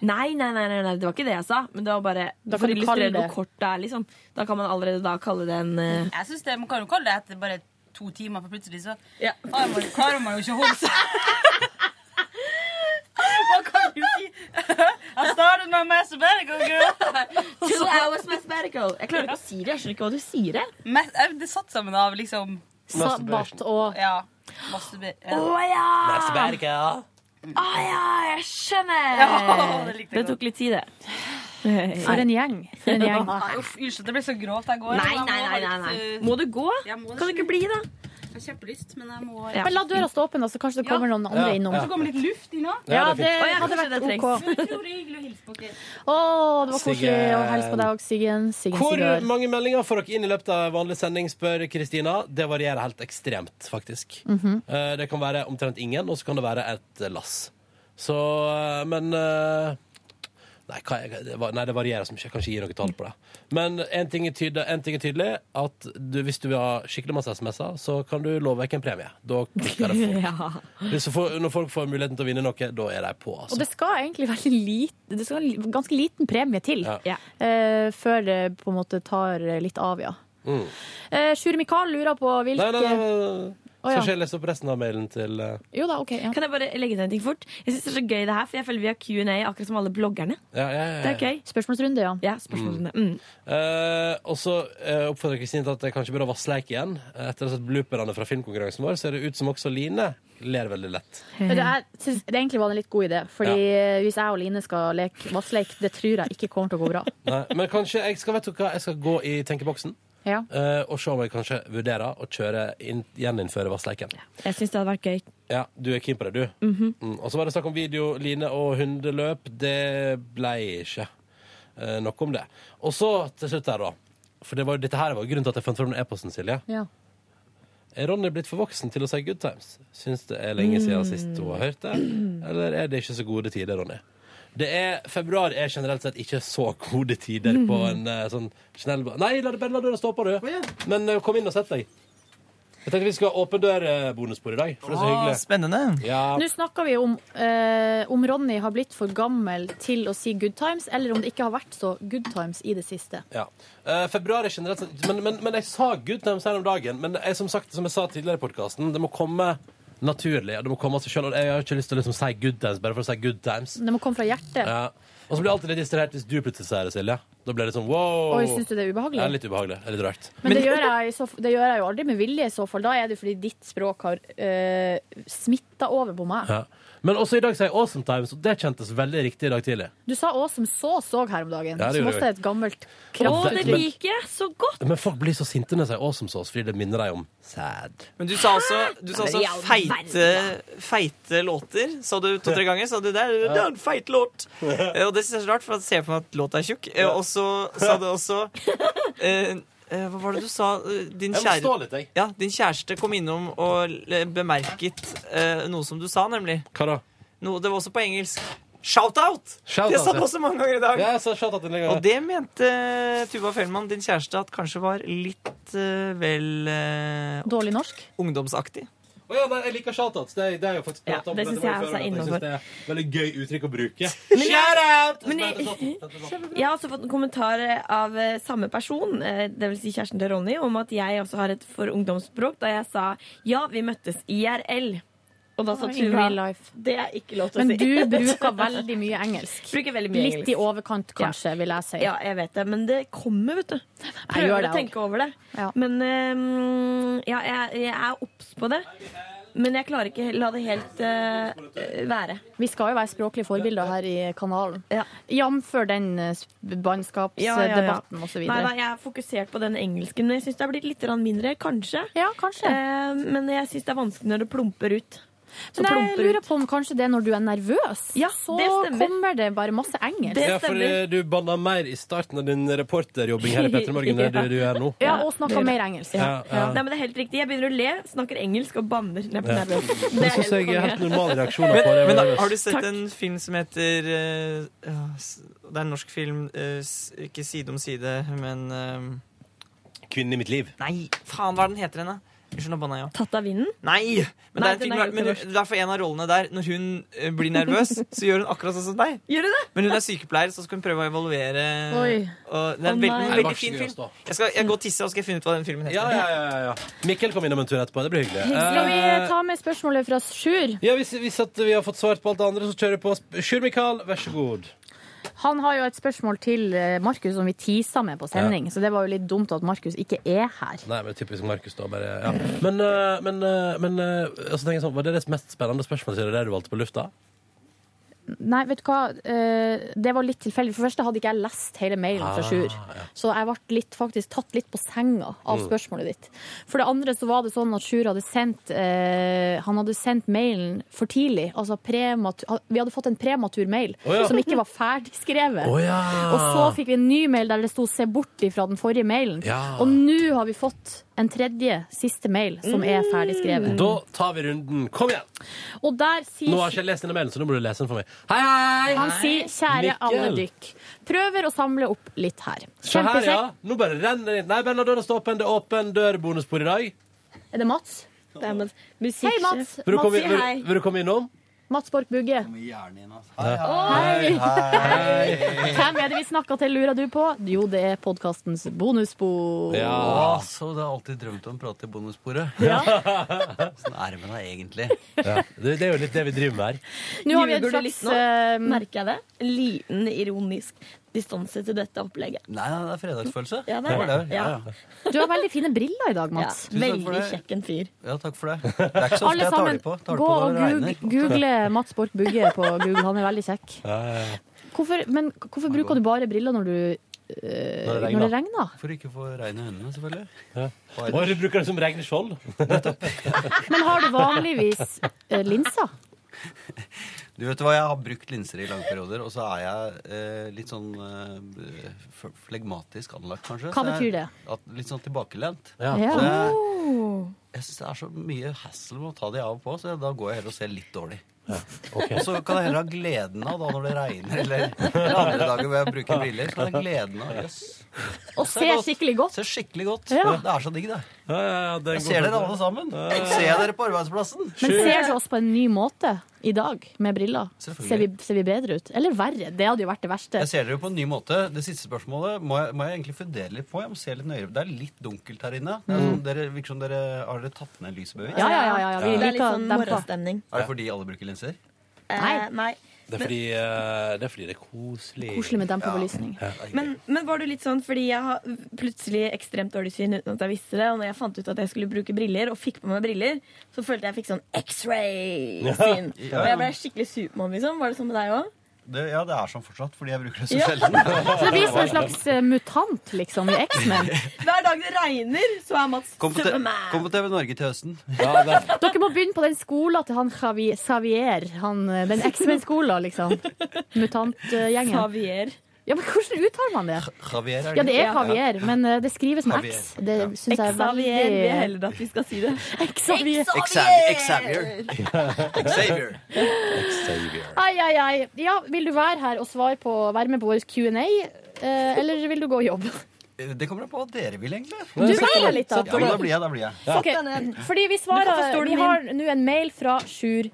[SPEAKER 4] Nei, nei, nei, nei, nei, det var ikke det jeg sa. Men det var bare
[SPEAKER 3] Da
[SPEAKER 4] for
[SPEAKER 3] kan
[SPEAKER 4] å
[SPEAKER 3] du kalle
[SPEAKER 4] illustrere
[SPEAKER 3] det-
[SPEAKER 4] hvor kort det er. liksom. Da kan man allerede da kalle det en eh,
[SPEAKER 14] Jeg synes det, Man kan jo kalle det etter bare to timer, for plutselig så har man, klarer man jo ikke å holde seg. Man kan jo si I started my masterbatical, girl.
[SPEAKER 4] Two hours mathematical. Jeg klarer ikke å si det. Jeg skjønner ikke hva du sier.
[SPEAKER 14] Mes- eh, Det er satt sammen av liksom
[SPEAKER 4] Sabbat
[SPEAKER 3] og
[SPEAKER 14] Ja. masturbe- ja.
[SPEAKER 4] Å ja! Å ja, jeg skjønner!
[SPEAKER 14] Ja, det likte jeg
[SPEAKER 4] tok litt tid, Eh, det.
[SPEAKER 3] For en gjeng. For en gjeng.
[SPEAKER 14] Nei, uff, Unnskyld, det ble så grovt jeg går.
[SPEAKER 4] Nei,
[SPEAKER 14] Jeg må
[SPEAKER 4] nei, nei,
[SPEAKER 14] ha
[SPEAKER 4] nei, nei.
[SPEAKER 14] litt, eh,
[SPEAKER 4] Må du gå?
[SPEAKER 14] jeg må det,
[SPEAKER 4] Kan du ikke
[SPEAKER 14] skjønner.
[SPEAKER 4] bli, da?
[SPEAKER 14] Jeg har kjempelyst, men jeg må
[SPEAKER 3] Men la døra stå åpen, da, så kanskje det kommer noen andre
[SPEAKER 14] Ja.
[SPEAKER 3] innom.
[SPEAKER 14] Så kommer litt luft inn òg.
[SPEAKER 3] Ja, det
[SPEAKER 14] Å, ja,
[SPEAKER 3] hadde
[SPEAKER 14] kanskje
[SPEAKER 3] vært
[SPEAKER 14] det
[SPEAKER 3] OK.
[SPEAKER 14] trengs. Det var utrolig hyggelig å hilse på dere.
[SPEAKER 3] Å, det var koselig å hilse på deg òg, Siggen. Siggen
[SPEAKER 2] Hvor
[SPEAKER 3] Sigurd.
[SPEAKER 2] mange meldinger får dere inn i løpet av vanlig sending, spør Kristina. Det varierer helt ekstremt, faktisk.
[SPEAKER 3] Mhm.
[SPEAKER 2] Eh, Det kan være omtrent ingen, og så kan det være et eh, lass. Så, eh, men eh, Nei, hva er- det var- nei, det varierer så mye. Jeg kan ikke gi noe tall på det. Men én ting, er tydelig- en ting er tydelig, at du, hvis du vil ha skikkelig masse SMS-er, så kan du love vekk en premie. Da klikker det folk. Hvis du får, når folk får muligheten til å vinne noe, da er de på, altså.
[SPEAKER 3] Og det skal egentlig veldig lite Det skal en ganske liten premie til eh, før det på en måte tar litt av, ja.
[SPEAKER 2] Mm.
[SPEAKER 3] Eh, Sjure Mikael lurer på hvilke
[SPEAKER 2] Nei, nei, nei, nei.
[SPEAKER 3] Å,
[SPEAKER 2] Skal
[SPEAKER 3] ja.
[SPEAKER 2] ikke jeg lese opp resten av mailen til eh,
[SPEAKER 3] Jo da, ok.
[SPEAKER 4] Kan jeg bare legge til en ting fort? Jeg synes det er så gøy det her, for jeg føler vi har Q&A akkurat som alle bloggerne.
[SPEAKER 2] ja, ja, ja, ja.
[SPEAKER 4] Det er gøy.
[SPEAKER 3] Spørsmålsrunde, ja.
[SPEAKER 4] Ja, spørsmålsrunde. Mm.
[SPEAKER 2] Eh, og så eh, oppfordrer Kristine til at jeg kanskje burde ha vassleik igjen. Eh, Etter å ha sett blooperne fra filmkonkurransen vår, ser det ut som også Line ler veldig lett.
[SPEAKER 3] Men det, er, synes, det egentlig var en litt god idé, Fordi eh, hvis jeg og Line skal leke vassleik, det tror jeg ikke kommer til å gå bra.
[SPEAKER 2] Nei, men kanskje jeg skal, vet du hva, jeg skal gå i tenkeboksen
[SPEAKER 3] Ja.
[SPEAKER 2] eh, og se om jeg kanskje vurderer å kjøre inn, gjeninnføre vassleiken.
[SPEAKER 4] Jeg syns det hadde vært gøy.
[SPEAKER 2] Ja, du er keen på det, du?
[SPEAKER 4] Mhm.
[SPEAKER 2] Mm, og så var det snakk om video, Line og hundeløp. Det ble ikke eh, nok om det. Og så til slutt der, da. For det var, dette her var grunnen til at jeg fant fram den e-posten, Silje.
[SPEAKER 3] Ja.
[SPEAKER 2] Er Ronny blitt for voksen til å si good times? Syns det er lenge siden sist hun har hørt det. Eller er det ikke så gode tider, Ronny? Det er, februar er generelt sett ikke så gode tider på en eh, sånn snell Nei, la, det- bare la døra stå på, du. Men eh, kom inn og sett deg. Jeg tenkte vi skal ha åpen dør-bonusbord i dag. For det er så
[SPEAKER 27] Å,
[SPEAKER 2] hyggelig. Spennende. Ja.
[SPEAKER 3] Nå snakker vi om eh, om Ronny har blitt for gammel til å si good times, eller om det ikke har vært så good times i det siste.
[SPEAKER 2] Ja. Eh, februar er generelt sett- men, men, men jeg sa good times her om dagen. Men jeg, som, sagt, som jeg sa tidligere i podkasten, det må komme naturlig. og Det må komme av seg selv, og Jeg har ikke lyst til å liksom si good times bare for å si good times.
[SPEAKER 3] Det må komme fra hjertet.
[SPEAKER 2] Ja. Og så blir jeg alltid litt distrahert hvis du plutselig sier det, Silje. Da blir det sånn wow.
[SPEAKER 3] Oi, syns du det er ubehagelig?
[SPEAKER 2] Ja, litt ubehagelig. Det er Litt rart.
[SPEAKER 3] Men, det, gjør jeg, i så, det gjør jeg jo aldri med vilje i så fall. Da er det fordi ditt språk har uh, smitta over på meg.
[SPEAKER 2] ja. Men også i dag sier jeg awesome times, og det kjentes veldig riktig i dag tidlig.
[SPEAKER 3] Du sa òg som så såg her om dagen,
[SPEAKER 2] Ja, det
[SPEAKER 3] som
[SPEAKER 2] gjorde
[SPEAKER 3] også
[SPEAKER 2] jeg.
[SPEAKER 3] er et gammelt
[SPEAKER 2] Å,
[SPEAKER 3] kraft.
[SPEAKER 2] det Men- liker
[SPEAKER 3] jeg så godt!
[SPEAKER 2] Men folk blir så sinte når jeg sier awesome sauce, fordi det minner dem om sad.
[SPEAKER 20] Men du sa også, du sa
[SPEAKER 2] Nei, men i
[SPEAKER 20] også
[SPEAKER 2] all
[SPEAKER 20] feite, feite låter. Sa du to-tre ganger, sa du der, det er en feit låt. Eh, Og det synes jeg er så rart, for jeg ser for meg at låta er tjukk. Eh, Og så sa du også eh, eh, Hva var det du sa? Eh, Din,
[SPEAKER 2] Jeg må
[SPEAKER 20] kjære,
[SPEAKER 2] stå litt, jeg.
[SPEAKER 20] ja, din kjæreste kom innom og eh, bemerket eh, noe som du sa, nemlig.
[SPEAKER 2] Hva da?
[SPEAKER 20] Noe, det var også på engelsk. Shout-out!
[SPEAKER 2] Shout-out,
[SPEAKER 20] det sa
[SPEAKER 2] ja.
[SPEAKER 20] du også mange ganger i dag.
[SPEAKER 2] Ja, jeg sa shout-out en gang, ja.
[SPEAKER 20] Og det mente Tuva Fellmann, din kjæreste, at kanskje var litt eh, vel eh,
[SPEAKER 3] Dårlig norsk?
[SPEAKER 20] Ungdomsaktig.
[SPEAKER 2] Å ja, nei, jeg liker shoutouts. Det, det er jo faktisk pratet
[SPEAKER 20] Ja,
[SPEAKER 2] om
[SPEAKER 20] det
[SPEAKER 2] dette
[SPEAKER 20] synes jeg
[SPEAKER 2] før,
[SPEAKER 20] også er
[SPEAKER 2] at synes
[SPEAKER 20] innenfor.
[SPEAKER 2] det er veldig gøy uttrykk å bruke.
[SPEAKER 20] Men jeg-
[SPEAKER 4] Jeg har også fått en kommentar av eh, samme person, eh, det vil si kjæresten til Ronny, om at jeg også har et for ungdomsspråk, da jeg sa ja, vi møttes IRL. Og da sa
[SPEAKER 3] Oi, in
[SPEAKER 4] Tuva
[SPEAKER 3] real life.
[SPEAKER 4] det er ikke lov til å
[SPEAKER 3] Men
[SPEAKER 4] si.
[SPEAKER 3] du bruker veldig mye engelsk.
[SPEAKER 4] Bruker veldig mye
[SPEAKER 3] Litt
[SPEAKER 4] engelsk.
[SPEAKER 3] i overkant, kanskje, vil jeg si.
[SPEAKER 4] Ja, jeg vet det, men det kommer, vet du.
[SPEAKER 3] gjør
[SPEAKER 4] Prøver
[SPEAKER 3] det
[SPEAKER 4] å tenke over det. Men eh, ja, jeg, jeg er obs på det. Men jeg klarer ikke la det helt eh, være.
[SPEAKER 3] Vi skal jo være språklige forbilder her i kanalen. Jf. den eh, sp- bannskapsdebatten og så
[SPEAKER 4] Nei,
[SPEAKER 3] videre.
[SPEAKER 4] nei, jeg er fokusert på den engelsken, men jeg syns det har blitt litt grann mindre, kanskje. Eh, men jeg syns det er vanskelig når det plumper ut. Så
[SPEAKER 3] Men jeg
[SPEAKER 4] plumper
[SPEAKER 3] lurer på om kanskje det er når du er nervøs. så
[SPEAKER 4] det stemmer.
[SPEAKER 3] kommer det bare masse engelsk.
[SPEAKER 2] ja, for eh, du banna mer i starten av din reporterjobbing her i Petter Morgen enn det du gjør nå.
[SPEAKER 3] snakker mer engelsk.
[SPEAKER 2] Ja, ja.
[SPEAKER 4] Nei, men det er helt riktig. Jeg begynner å le, snakker engelsk og banner. når jeg blir
[SPEAKER 2] Ja.
[SPEAKER 4] nervøs.
[SPEAKER 2] Det
[SPEAKER 4] er
[SPEAKER 2] synes jeg er
[SPEAKER 4] konge.
[SPEAKER 2] helt normal reaksjon
[SPEAKER 20] Men,
[SPEAKER 2] på det.
[SPEAKER 20] men da,
[SPEAKER 2] Marius.
[SPEAKER 20] har du sett
[SPEAKER 2] Takk.
[SPEAKER 20] en film som heter eh, ja, s- Det er en norsk film, eh, s- ikke Side om side, men eh,
[SPEAKER 2] Kvinnen i mitt liv.
[SPEAKER 20] Nei, faen, hva er den heter den, da? Unnskyld, nå banna jeg.
[SPEAKER 4] Tatt av vinden?
[SPEAKER 20] Nei! Men,
[SPEAKER 4] Nei,
[SPEAKER 20] det, er en film,
[SPEAKER 4] den er jo
[SPEAKER 20] men
[SPEAKER 4] ikke
[SPEAKER 20] hun, det er for en av rollene der. Når hun eh, blir nervøs, så gjør hun akkurat sånn som deg.
[SPEAKER 4] Gjør du det?
[SPEAKER 20] Men hun er sykepleier, så skal hun prøve å evaluere.
[SPEAKER 4] Oi.
[SPEAKER 20] Og det er
[SPEAKER 4] Å,
[SPEAKER 20] en veldig,
[SPEAKER 4] nei. Nei, det var
[SPEAKER 20] veldig fin
[SPEAKER 2] seriøst,
[SPEAKER 20] film. Jeg skal jeg går og tisser, og så skal jeg finne ut hva den filmen heter.
[SPEAKER 2] Ja, ja, ja, ja, ja. Mikkel kom innom en tur etterpå. Det blir hyggelig.
[SPEAKER 3] Skal vi
[SPEAKER 2] Eh,
[SPEAKER 3] ta med spørsmålet fra Sjur?
[SPEAKER 2] ja, hvis, hvis at vi har fått svart på alt det andre, så kjører vi på. Sp- Sjur Mikael, vær så god.
[SPEAKER 3] Han har jo et spørsmål til eh, Markus som vi tisa med på sending, så det var jo litt dumt at Markus ikke er her.
[SPEAKER 2] Nei, men typisk Markus, da. Bare, ja. Men, eh, men, eh, men eh, og så tenker jeg sånn, var det det mest spennende spørsmålet? Silje, Det du valgte på lufta?
[SPEAKER 3] Nei, vet du hva, Eh, det var litt tilfeldig. For det første hadde ikke jeg lest hele mailen fra
[SPEAKER 2] Ah,
[SPEAKER 3] Sjur,
[SPEAKER 2] ja.
[SPEAKER 3] så jeg ble litt, faktisk tatt litt på senga av
[SPEAKER 2] Mm.
[SPEAKER 3] spørsmålet ditt. For det andre så var det sånn at Sjur hadde sendt eh, Han hadde sendt mailen for tidlig. Altså prematur Vi hadde fått en prematur mail
[SPEAKER 12] Å ja.
[SPEAKER 3] som ikke var ferdigskrevet.
[SPEAKER 12] Å ja.
[SPEAKER 3] Og så fikk vi en ny mail der det sto 'se bort ifra den forrige mailen'.
[SPEAKER 2] Ja.
[SPEAKER 3] Og nå har vi fått en tredje, siste mail som er
[SPEAKER 2] Mm.
[SPEAKER 3] ferdigskrevet.
[SPEAKER 2] Da tar vi runden. Kom igjen!
[SPEAKER 3] Og der sier
[SPEAKER 2] Nå har ikke jeg lest denne mailen, så nå må du lese den for meg.
[SPEAKER 3] Han sier 'kjære alle
[SPEAKER 2] Mikkel.
[SPEAKER 3] dykk'. Prøver å samle opp litt her.
[SPEAKER 2] Se her, ja.
[SPEAKER 3] Kjempekjekt.
[SPEAKER 2] Nå bare renner det inn. Nei, bare la døra stå åpen. Det er åpen dør-bonusbord i dag.
[SPEAKER 3] Er det Mats? Det er Mats. Hei, Mats.
[SPEAKER 2] Vil du
[SPEAKER 3] Mats
[SPEAKER 2] komme,
[SPEAKER 3] sier
[SPEAKER 2] vil,
[SPEAKER 3] hei.
[SPEAKER 2] vil du komme innom?
[SPEAKER 3] Mats Borch Bugge.
[SPEAKER 2] Hei, hei.
[SPEAKER 3] Hvem er det vi snakker til, lurer du på? Jo, det er podkastens bonusbord.
[SPEAKER 12] Ja, så du har alltid drømt om å prate i bonussporet.
[SPEAKER 3] Ja.
[SPEAKER 12] Sånn er det med deg egentlig.
[SPEAKER 2] Det, det er jo litt det vi driver med her.
[SPEAKER 3] Nå har vi en
[SPEAKER 4] Ljuger du
[SPEAKER 3] slags,
[SPEAKER 4] litt nå?
[SPEAKER 3] eh,
[SPEAKER 4] Merker jeg det? En liten ironisk distanse til dette opplegget.
[SPEAKER 12] Nei, nei, det er fredagsfølelse.
[SPEAKER 4] Ja, det er
[SPEAKER 12] var
[SPEAKER 4] det.
[SPEAKER 12] Ja,
[SPEAKER 4] Ja.
[SPEAKER 12] ja.
[SPEAKER 3] Du har veldig fine briller i dag, Mats.
[SPEAKER 12] Ja, tusen takk for
[SPEAKER 4] Veldig
[SPEAKER 12] det.
[SPEAKER 4] kjekken fyr.
[SPEAKER 12] ja, takk for det. Det er ikke så ofte
[SPEAKER 3] Alle
[SPEAKER 12] jeg tar
[SPEAKER 3] sammen,
[SPEAKER 12] det på. Tar det
[SPEAKER 3] gå
[SPEAKER 12] på når
[SPEAKER 3] og
[SPEAKER 12] det regner.
[SPEAKER 3] goog- google Mats Borch Bugge på Google. Han er veldig kjekk.
[SPEAKER 2] Ja, ja, ja.
[SPEAKER 3] Hvorfor, men hvorfor bruker du bare briller når, du, eh,
[SPEAKER 12] Når det regner.
[SPEAKER 3] når det regner?
[SPEAKER 12] For ikke å få regn i øynene, selvfølgelig.
[SPEAKER 2] Å, du bruker det som regnskjold?
[SPEAKER 3] Men har du vanligvis eh, linser?
[SPEAKER 12] Du vet hva, Jeg har brukt linser i lange perioder, og så er jeg eh, litt sånn eh, f- flegmatisk anlagt, kanskje.
[SPEAKER 3] Hva
[SPEAKER 12] Så
[SPEAKER 3] betyr
[SPEAKER 12] jeg-
[SPEAKER 3] det?
[SPEAKER 12] At, litt sånn tilbakelent.
[SPEAKER 3] Ja. Oh.
[SPEAKER 12] Så jeg jeg syns det er så mye hassle med å ta de av og på, så da går jeg heller og ser litt dårlig.
[SPEAKER 2] ok.
[SPEAKER 12] Og så kan jeg heller ha gleden av, da når det regner eller eller andre dager hvor jeg bruker briller, så kan jeg ha gleden av jøss.
[SPEAKER 3] Og
[SPEAKER 12] ser
[SPEAKER 3] ser
[SPEAKER 12] godt.
[SPEAKER 3] skikkelig godt.
[SPEAKER 12] Ser skikkelig godt.
[SPEAKER 3] Ja.
[SPEAKER 12] Det er så digg, det.
[SPEAKER 2] er
[SPEAKER 12] Jeg
[SPEAKER 2] en god
[SPEAKER 12] ser dere
[SPEAKER 2] tanke.
[SPEAKER 12] alle sammen.
[SPEAKER 2] Ja, ja.
[SPEAKER 12] Ser jeg dere på arbeidsplassen?
[SPEAKER 3] Men ser du oss på en ny måte i dag, med briller?
[SPEAKER 12] Selvfølgelig.
[SPEAKER 3] Ser vi, ser vi bedre ut? Eller verre? Det hadde jo vært det verste.
[SPEAKER 12] Jeg ser dere jo på en ny måte. Det siste spørsmålet må jeg, må jeg egentlig fundere litt på. Jeg må se litt nøyere. Det er litt dunkelt her inne. Det er sånn, dere, virker som dere har dere tatt ned lyset bevisst.
[SPEAKER 3] Mm. Ja, ja, ja, ja,
[SPEAKER 4] Det
[SPEAKER 3] vi
[SPEAKER 4] er litt
[SPEAKER 3] liker
[SPEAKER 4] sånn
[SPEAKER 3] dempa.
[SPEAKER 4] morgenstemning.
[SPEAKER 12] Er det fordi alle bruker linser?
[SPEAKER 4] Eh, nei.
[SPEAKER 2] Det er fordi, eh, det er, fordi det er koselig.
[SPEAKER 3] Koselig med dempet belysning.
[SPEAKER 2] Ja.
[SPEAKER 1] Men, men var du litt sånn, fordi jeg har plutselig ekstremt dårlig syn uten at jeg visste det, og når jeg fant ut at jeg skulle bruke briller, og fikk på meg briller, så følte jeg jeg fikk sånn X-ray-syn.
[SPEAKER 12] Ja.
[SPEAKER 1] Og jeg ble skikkelig Supermann, liksom. Var det sånn med deg òg?
[SPEAKER 12] Det, ja, det er sånn fortsatt, fordi jeg bruker det så
[SPEAKER 1] Ja.
[SPEAKER 12] sjelden.
[SPEAKER 3] Så det blir som en slags eh, mutant, liksom, i X-Men.
[SPEAKER 1] Hver dag det regner, så er Mats
[SPEAKER 12] Kom på, te-
[SPEAKER 3] Superman.
[SPEAKER 12] kom på TV Norge til høsten.
[SPEAKER 3] Dere må begynne på den skolen til han Javi- Xavier. Han, eh, den X-Men-skolen, liksom. Mutantgjengen.
[SPEAKER 1] Xavier.
[SPEAKER 3] Ja, men hvordan uttaler man det?
[SPEAKER 12] Javier, er det
[SPEAKER 3] Ja, det er
[SPEAKER 12] ikke?
[SPEAKER 3] Javier, men eh, det skrives med
[SPEAKER 12] Javier,
[SPEAKER 3] X. Det syns jeg er
[SPEAKER 1] Xavier. Vi er
[SPEAKER 3] veldig
[SPEAKER 1] heller at vi skal si det.
[SPEAKER 3] Xavier.
[SPEAKER 12] Xavier. Xavier. Xavier.
[SPEAKER 3] Ai, ai, ai. Ja, vil du være her og svare på, være med på vår Q&A, eh, eller vil du gå i jobb?
[SPEAKER 12] Det kommer an på hva dere vil, egentlig.
[SPEAKER 3] Du vil det litt, da.
[SPEAKER 12] Ja, men da blir jeg. Da blir jeg.
[SPEAKER 3] Ok, Fordi vi
[SPEAKER 1] Men hvorfor står
[SPEAKER 3] svarer
[SPEAKER 1] det
[SPEAKER 3] Vi
[SPEAKER 1] min?
[SPEAKER 3] har nå en mail fra Sjur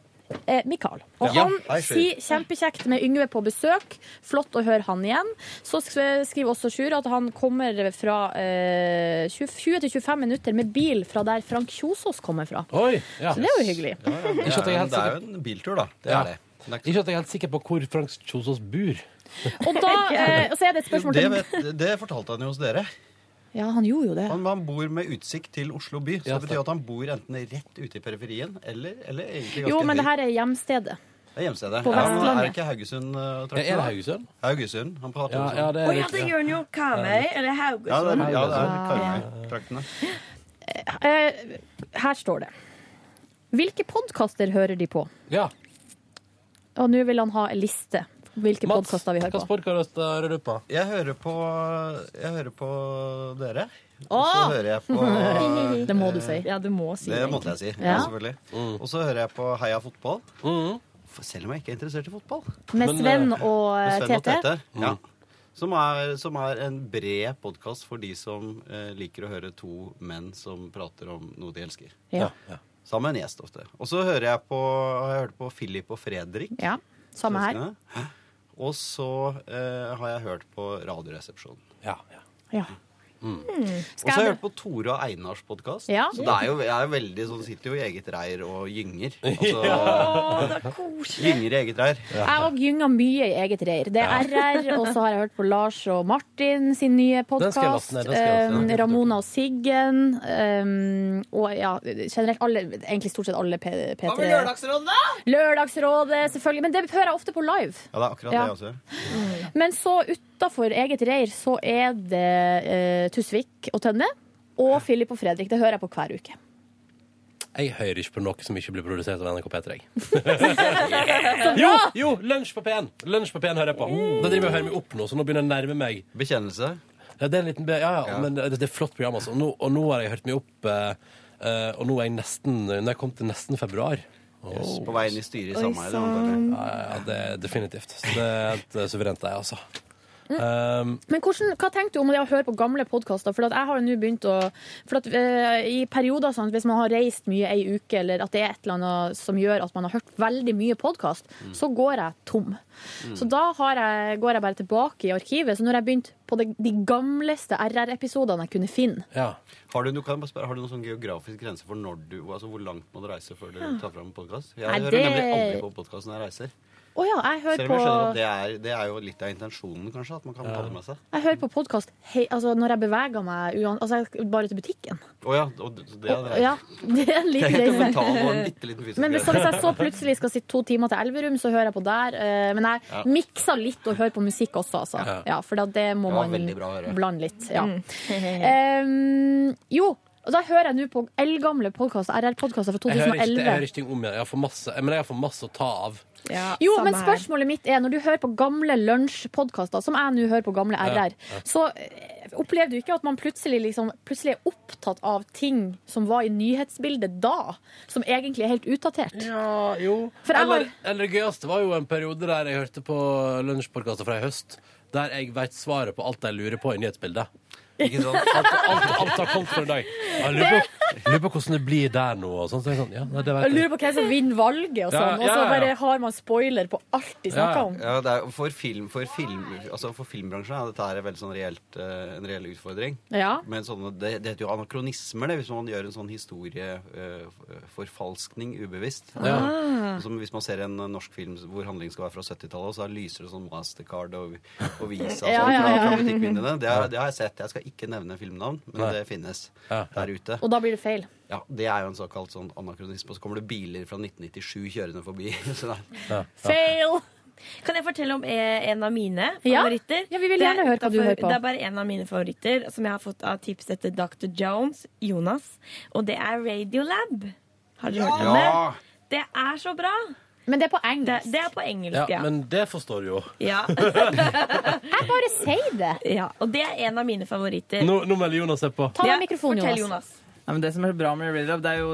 [SPEAKER 3] eh, Mikael. Og
[SPEAKER 1] Ja.
[SPEAKER 3] han
[SPEAKER 1] Hei, Sjur.
[SPEAKER 3] sier kjempekjekt med Yngve på besøk. Flott å høre han igjen. Så sk- skriver også Sjur at han kommer fra eh, 20-25 minutter med bil fra der Frank Kjosås kommer fra.
[SPEAKER 2] Oi, ja.
[SPEAKER 3] Så det er jo hyggelig.
[SPEAKER 12] Det
[SPEAKER 2] Ikke at
[SPEAKER 12] er
[SPEAKER 2] jeg er
[SPEAKER 12] jo-
[SPEAKER 2] helt
[SPEAKER 12] det er
[SPEAKER 2] sikker
[SPEAKER 12] jo en biltur, da. Det
[SPEAKER 2] Ja.
[SPEAKER 12] er det.
[SPEAKER 2] Ikke at jeg er helt sikker på hvor Frank Kjosås bor.
[SPEAKER 3] Og da eh, og så er det et
[SPEAKER 12] Jo,
[SPEAKER 3] spørsmål
[SPEAKER 12] det,
[SPEAKER 3] til
[SPEAKER 12] vet, det fortalte han jo hos dere.
[SPEAKER 3] Ja, han gjorde jo det.
[SPEAKER 12] Han, han bor med utsikt til Oslo by. Så det betyr at han bor enten rett ute i periferien eller, eller egentlig ganske
[SPEAKER 3] Jo, men det
[SPEAKER 12] høyt.
[SPEAKER 3] her er hjemstedet.
[SPEAKER 12] Det er hjemstedet. Ja,
[SPEAKER 3] på
[SPEAKER 12] men er
[SPEAKER 3] Vestlandet.
[SPEAKER 12] det ikke Haugusund? eh, trakten,
[SPEAKER 2] Er det
[SPEAKER 12] da?
[SPEAKER 2] Haugesund?
[SPEAKER 12] Haugesund. Han prater
[SPEAKER 2] Ja,
[SPEAKER 12] om sånn.
[SPEAKER 2] ja,
[SPEAKER 1] Å ja, det gjør han jo. Karmøy eller
[SPEAKER 12] Ja, det
[SPEAKER 1] Haugesund.
[SPEAKER 12] er, ja, det er
[SPEAKER 3] Ja.
[SPEAKER 12] Karmøy-traktene.
[SPEAKER 3] Eh, her står det. Hvilke podkaster hører de på?
[SPEAKER 2] Ja.
[SPEAKER 3] Og nå vil han ha en liste. Hvilke podkaster vi hører på.
[SPEAKER 2] Hvilken podkast hører du på?
[SPEAKER 12] Jeg hører på, jeg hører på dere. Og så
[SPEAKER 3] Åh!
[SPEAKER 12] hører jeg på
[SPEAKER 3] Det må du si.
[SPEAKER 1] Ja, du må si
[SPEAKER 12] Det måtte jeg si. Ja.
[SPEAKER 3] Ja.
[SPEAKER 12] selvfølgelig. Og så hører jeg på Heia fotball. For selv om jeg ikke er interessert i fotball.
[SPEAKER 3] Med
[SPEAKER 12] Men,
[SPEAKER 3] Sven
[SPEAKER 12] eh,
[SPEAKER 3] og eh,
[SPEAKER 12] med Sven og
[SPEAKER 3] Tete.
[SPEAKER 12] Ja. Som er, som er en bred podkast for de som eh, liker å høre to menn som prater om noe de elsker.
[SPEAKER 3] Ja.
[SPEAKER 12] Sammen med en gjest ofte. Og så hører jeg på, har jeg hørt på Philip og Fredrik.
[SPEAKER 3] Ja, samme her.
[SPEAKER 12] svenskene. Og så eh, har jeg hørt på Radioresepsjonen.
[SPEAKER 3] Ja. Mm.
[SPEAKER 12] Og så har jeg hørt på Tore og Einars podkast.
[SPEAKER 3] Ja.
[SPEAKER 12] Så det er jo, jeg er jo veldig sånn, sitter jo i eget reir og gynger. Altså,
[SPEAKER 3] Åh, det er koselig.
[SPEAKER 12] Gynger i eget reir.
[SPEAKER 3] Jeg òg gynger mye i eget reir. Det er RR, og så har jeg hørt på Lars og Martin sin nye
[SPEAKER 12] Den skal jeg laste
[SPEAKER 3] podkast.
[SPEAKER 12] ned, den skal jeg laste ned.
[SPEAKER 3] Ramona og Siggen. ehm, og ja, generelt alle, egentlig stort sett alle P- P3.
[SPEAKER 1] da?
[SPEAKER 3] Lørdagsrådet, selvfølgelig. Men det hører jeg ofte på live.
[SPEAKER 12] Ja, det er akkurat det
[SPEAKER 3] Ja.
[SPEAKER 12] jeg også gjør.
[SPEAKER 3] Men så utafor eget reir så er det eh, Tusvik og Tønne og Filip og Fredrik. Det hører jeg på hver uke.
[SPEAKER 2] Jeg hører ikke på noe som ikke blir produsert av NRK P3. jeg. jo, jo! Lunsj på P1 Lunsj på P1 hører jeg på. Da driver jeg og hører meg opp nå, så nå begynner jeg å nærme meg.
[SPEAKER 12] Bekjennelse?
[SPEAKER 2] Ja, det er en liten be ja, ja, men det, det er flott program, altså. Og nå, og nå har jeg hørt meg opp, eh, eh, og nå er jeg nesten Nå er jeg kommet til nesten februar.
[SPEAKER 12] Yes, på vei inn i styret i
[SPEAKER 2] Oi,
[SPEAKER 12] Sameiet, da,
[SPEAKER 2] sann. Ja, ja, ja, det er definitivt. Så det er helt eh, suverent, det, altså. Um,
[SPEAKER 3] Men hvordan, hva tenker du om det å høre på gamle podkaster? For at jeg har jo nå begynt å For at eh, i perioder sånn, hvis man har reist mye ei uke, eller at det er et eller annet som gjør at man har hørt veldig mye podkast,
[SPEAKER 12] Mm.
[SPEAKER 3] så går jeg tom. Så da har jeg, går jeg bare tilbake i arkivet. Så når jeg begynte på de, de gamleste RR-episodene jeg kunne finne
[SPEAKER 12] Har du, du kan jeg bare spørre, har du noen sånn geografisk grense for når du, altså hvor langt må du reise før du
[SPEAKER 3] Ja.
[SPEAKER 12] tar fram en podkast? Jeg
[SPEAKER 3] Nei,
[SPEAKER 12] hører
[SPEAKER 3] det-
[SPEAKER 12] nemlig aldri på podkast når jeg reiser.
[SPEAKER 3] Å ja, jeg
[SPEAKER 12] Selv
[SPEAKER 3] hører
[SPEAKER 12] om jeg
[SPEAKER 3] på
[SPEAKER 12] skjønner at det er, det er jo litt av intensjonen, kanskje, at man kan ta det med seg.
[SPEAKER 3] Jeg hører på podkast altså, når jeg beveger meg, uan- altså, jeg- bare til butikken.
[SPEAKER 12] Å ja, og det, så det er det.
[SPEAKER 3] Ja, det er en liten
[SPEAKER 12] Det er en
[SPEAKER 3] reise.
[SPEAKER 12] mental og en bitte liten fysisk
[SPEAKER 3] Men hvis,
[SPEAKER 12] reise.
[SPEAKER 3] hvis jeg så plutselig skal sitte to timer til Elverum, så hører jeg på der. Eh, Men jeg
[SPEAKER 12] Ja.
[SPEAKER 3] mikser litt og hører på musikk også, altså.
[SPEAKER 12] Ja.
[SPEAKER 3] Ja, for da, det må
[SPEAKER 12] Det var
[SPEAKER 3] man
[SPEAKER 12] veldig bra å høre.
[SPEAKER 3] blande litt. Ja.
[SPEAKER 8] Mm.
[SPEAKER 3] Em, jo, og da hører jeg nå på eldgamle podkaster, RR-podkaster fra
[SPEAKER 2] jeg, hører ikke, jeg hører
[SPEAKER 3] 2011.
[SPEAKER 2] ikke ting om igjen. Jeg har for masse, men jeg har for masse å ta av.
[SPEAKER 3] Jo, men spørsmålet mitt er, når du hører på gamle lunsjpodkaster, som jeg nå hører på gamle
[SPEAKER 2] Ja.
[SPEAKER 3] RR, så eh, opplever du ikke at man plutselig, liksom, plutselig er opptatt av ting som var i nyhetsbildet da, som egentlig er helt utdatert?
[SPEAKER 2] Ja, jo.
[SPEAKER 3] For jeg
[SPEAKER 2] Eller,
[SPEAKER 3] har...
[SPEAKER 2] eller det gøyeste var jo en periode der jeg hørte på lunsjpodkaster fra i høst, der jeg veit svaret på alt jeg lurer på i nyhetsbildet.
[SPEAKER 12] Ikke sant?
[SPEAKER 2] Alt, alt, alt har kommet for i dag. Jeg lurer på Lurer på hvordan det blir der nå. Og sånn, så jeg sånn, ja, nei, det vet
[SPEAKER 3] Jeg lurer på hvem som vinner valget, og sånn.
[SPEAKER 12] Ja, ja,
[SPEAKER 3] Og så
[SPEAKER 12] ja.
[SPEAKER 3] bare har man spoiler på alt de snakker om.
[SPEAKER 12] Ja, det er, for, film, for, film, altså for filmbransjen er dette her veldig sånn reelt, eh, en reell utfordring.
[SPEAKER 3] Ja.
[SPEAKER 12] Men sånne, det, det heter jo anakronismer, det, hvis man gjør en sånn historieforfalskning ubevisst.
[SPEAKER 3] Ah.
[SPEAKER 28] Ja.
[SPEAKER 12] Og Som hvis man ser en eh, norsk film hvor handlingen skal være fra 70-tallet, og så lyser det sånn Mastercard og, og Visa og sånt
[SPEAKER 3] Ja, ja, ja.
[SPEAKER 12] fra- fra butikkvinduene. Det, har- det har jeg sett. Jeg skal ikke nevne filmnavn, men det finnes der ute.
[SPEAKER 3] Og da blir det feil.
[SPEAKER 12] Ja, Det er jo en såkalt sånn anakronisme. Og så kommer det biler fra 1997 kjørende forbi. Så det er-
[SPEAKER 1] Fail! Kan jeg fortelle om eh, en av mine
[SPEAKER 3] Ja?
[SPEAKER 1] favoritter?
[SPEAKER 3] Ja, vi vil
[SPEAKER 1] Det er
[SPEAKER 3] gjerne høre hva du hører på.
[SPEAKER 1] Det er bare en av mine favoritter som jeg har fått av tips etter Dr. Jones, Jonas. Og det er Radiolab. Har dere hørt om
[SPEAKER 2] Ja.
[SPEAKER 1] det? Det er så bra.
[SPEAKER 3] Men det er på engelsk.
[SPEAKER 1] Det, er på engelsk,
[SPEAKER 2] Ja,
[SPEAKER 1] ja.
[SPEAKER 2] men det forstår du jo.
[SPEAKER 1] Ja.
[SPEAKER 3] jeg bare sier det.
[SPEAKER 1] Ja, og det er en av mine
[SPEAKER 4] Eh,
[SPEAKER 1] favoritter.
[SPEAKER 2] Nå, nå melder Jonas seg på.
[SPEAKER 1] Ja, fortell,
[SPEAKER 29] Nei, men det som er bra med Real Lab, det er jo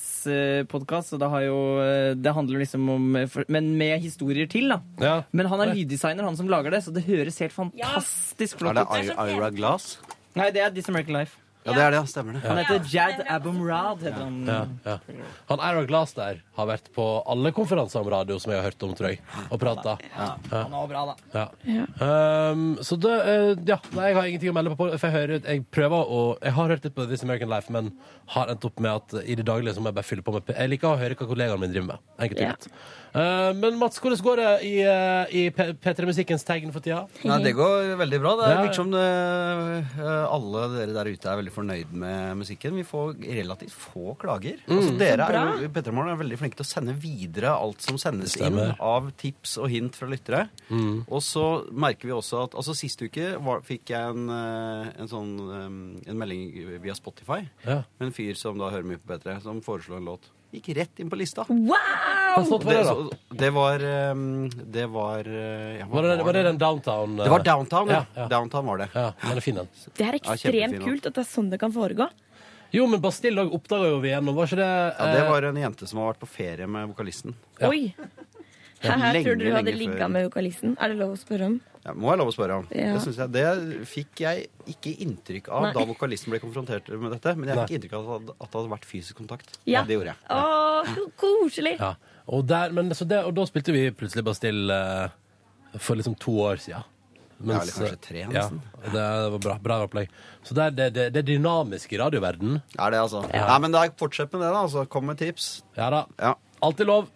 [SPEAKER 29] science-podkast, og det, har jo, eh, det handler liksom om eh, for- Men med historier til, da. Men han er lyddesigner, han som lager det, så det høres helt fantastisk flott
[SPEAKER 12] Er
[SPEAKER 29] ut.
[SPEAKER 12] det I- Ira Glass?
[SPEAKER 29] Nei, det er This American Life.
[SPEAKER 12] Ja, det er det. ja, Stemmer det.
[SPEAKER 29] Han heter Jad Abumrad. Heter han.
[SPEAKER 2] Ja, ja. Han Ira Glass der har vært på alle konferanser om radio som jeg har hørt om, tror jeg, og prata. Ja.
[SPEAKER 29] Han var bra, da.
[SPEAKER 2] Ja. Ehm, så det eh, Ja, nei, jeg har ingenting å melde på. For jeg, hører, jeg prøver å Jeg har hørt litt på This American Life, men har endt opp med at i det daglige så må jeg bare fylle på med p- Jeg liker å høre hva kollegaene mine driver med. Enkelt og
[SPEAKER 29] Ja.
[SPEAKER 2] greit. Eh, men Mats, hvordan går det i, eh, i P- P3-musikkens tegn for tida?
[SPEAKER 12] Nei, det går veldig bra. Det
[SPEAKER 2] Ja.
[SPEAKER 12] virker som det, eh, alle dere der ute er veldig fornøyd med musikken. Vi får relativt få klager.
[SPEAKER 2] Mm.
[SPEAKER 12] Altså, dere
[SPEAKER 2] Så
[SPEAKER 12] er,
[SPEAKER 2] bra.
[SPEAKER 12] jo- Petremorgen er veldig flinke til å sende videre alt som sendes
[SPEAKER 2] Det
[SPEAKER 12] inn
[SPEAKER 2] stemmer. Mm.
[SPEAKER 12] av tips og hint fra lyttere. Og så merker vi også at altså, Sist uke var, fikk jeg en, eh, en, sånn, eh, en melding via Spotify
[SPEAKER 2] Ja.
[SPEAKER 12] med en fyr som da hører mye på P3, som foreslo en låt. Gikk rett inn på lista.
[SPEAKER 2] Hva
[SPEAKER 12] Og
[SPEAKER 2] slags var det,
[SPEAKER 12] det,
[SPEAKER 2] da?
[SPEAKER 12] så- det var eh, Det var eh, ja, hva
[SPEAKER 2] Var det, var det den downtown? eh?
[SPEAKER 12] det var downtown, ja.
[SPEAKER 2] Ja, ja.
[SPEAKER 12] Downtown var det.
[SPEAKER 2] Ja, den er fin, den.
[SPEAKER 1] Det er
[SPEAKER 12] Ja,
[SPEAKER 1] ekstremt
[SPEAKER 12] kjempefin låt.
[SPEAKER 1] kult at det er sånn det kan foregå.
[SPEAKER 2] Jo, men Bastille òg oppdaga jo vi igjennom, var ikke det?
[SPEAKER 12] Ja, det
[SPEAKER 2] eh,
[SPEAKER 12] var en jente som har vært på ferie med vokalisten.
[SPEAKER 1] Oi!
[SPEAKER 12] Ja,
[SPEAKER 1] Her
[SPEAKER 12] lenge,
[SPEAKER 1] tror du du hadde
[SPEAKER 12] lenge
[SPEAKER 1] ligga
[SPEAKER 12] før.
[SPEAKER 1] med vokalisten. Er det lov å spørre om?
[SPEAKER 12] Ja, må jeg lov å spørre om.
[SPEAKER 1] Ja.
[SPEAKER 12] Det, synes jeg, det fikk jeg ikke inntrykk av
[SPEAKER 1] Nei.
[SPEAKER 12] da vokalisten ble konfrontert med dette, men jeg
[SPEAKER 2] Nei.
[SPEAKER 12] fikk inntrykk av at det- at det hadde vært fysisk kontakt.
[SPEAKER 2] Ja.
[SPEAKER 12] Det gjorde jeg.
[SPEAKER 1] Å, koselig!
[SPEAKER 2] Ja. Og, der, men, så det, og da spilte vi plutselig Bastille eh, for liksom to år siden. eh,
[SPEAKER 12] Ja, eller kanskje tre,
[SPEAKER 2] ja,
[SPEAKER 12] nesten.
[SPEAKER 2] det, det var bra, bra opplegg. Så det er det, det, det er dynamisk i radioverdenen.
[SPEAKER 12] Er det, altså? Nei, men da, fortsett med det, da. Altså, kom med tips.
[SPEAKER 2] Ja da. Alltid lov.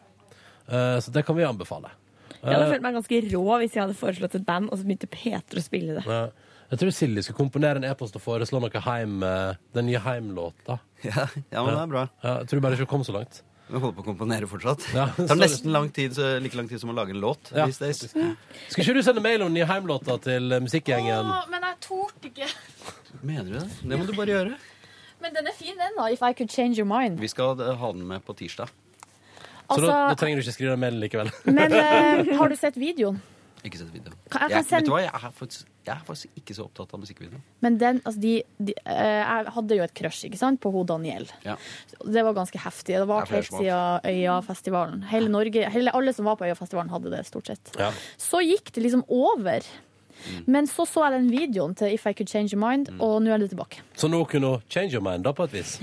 [SPEAKER 2] Eh, så det kan vi anbefale.
[SPEAKER 1] Jeg hadde
[SPEAKER 2] Eh,
[SPEAKER 1] følt meg ganske rå hvis jeg hadde foreslått et band, og så begynte Peter å spille det.
[SPEAKER 2] Eh, ja. jeg tror Silje skulle komponere en e-post og foreslå noe heim, eh, den nye Heim-låta.
[SPEAKER 12] Ja, ja, men det er bra.
[SPEAKER 2] Ja, jeg tror bare ikke hun kom så langt.
[SPEAKER 12] Vi holder på å komponere fortsatt.
[SPEAKER 2] Ja,
[SPEAKER 12] Det tar nesten lang tid, så- like lang tid som å lage en låt.
[SPEAKER 2] Ja,
[SPEAKER 12] these days.
[SPEAKER 2] Skal ikke du sende mail om den nye Heim-låta til eh, musikkgjengen?
[SPEAKER 3] Å, men jeg torde ikke.
[SPEAKER 12] Mener du det? Det må du bare gjøre.
[SPEAKER 3] Men den er fin, den, da. If I could change your mind.
[SPEAKER 12] Vi skal eh, ha den med på tirsdag.
[SPEAKER 2] Så da, da
[SPEAKER 3] Altså,
[SPEAKER 2] trenger du ikke skrive den mailen likevel.
[SPEAKER 3] men eh, har du sett videoen?
[SPEAKER 12] Ikke sett video.
[SPEAKER 3] Kan- jeg kan
[SPEAKER 12] Jeg, vet
[SPEAKER 3] sende-
[SPEAKER 12] du hva, jeg er, faktisk, jeg er faktisk ikke så opptatt av musikkvideo.
[SPEAKER 3] Men den, altså de, de eh, Jeg hadde jo et crush ikke sant, på hun Daniel.
[SPEAKER 12] Ja.
[SPEAKER 3] Det var ganske heftig.
[SPEAKER 12] Det
[SPEAKER 3] Det
[SPEAKER 12] er
[SPEAKER 3] varte
[SPEAKER 12] flere
[SPEAKER 3] helt
[SPEAKER 12] som
[SPEAKER 3] siden Øyafestivalen. Hele Norge, hele, alle som var på Øyafestivalen, hadde det, stort sett.
[SPEAKER 2] Ja.
[SPEAKER 3] Så gikk det liksom over.
[SPEAKER 12] Mm.
[SPEAKER 3] Men så så jeg den videoen til If I Could Change Your Mind, og nå er det tilbake.
[SPEAKER 2] Så nå kunne hun change your mind, da, på et vis.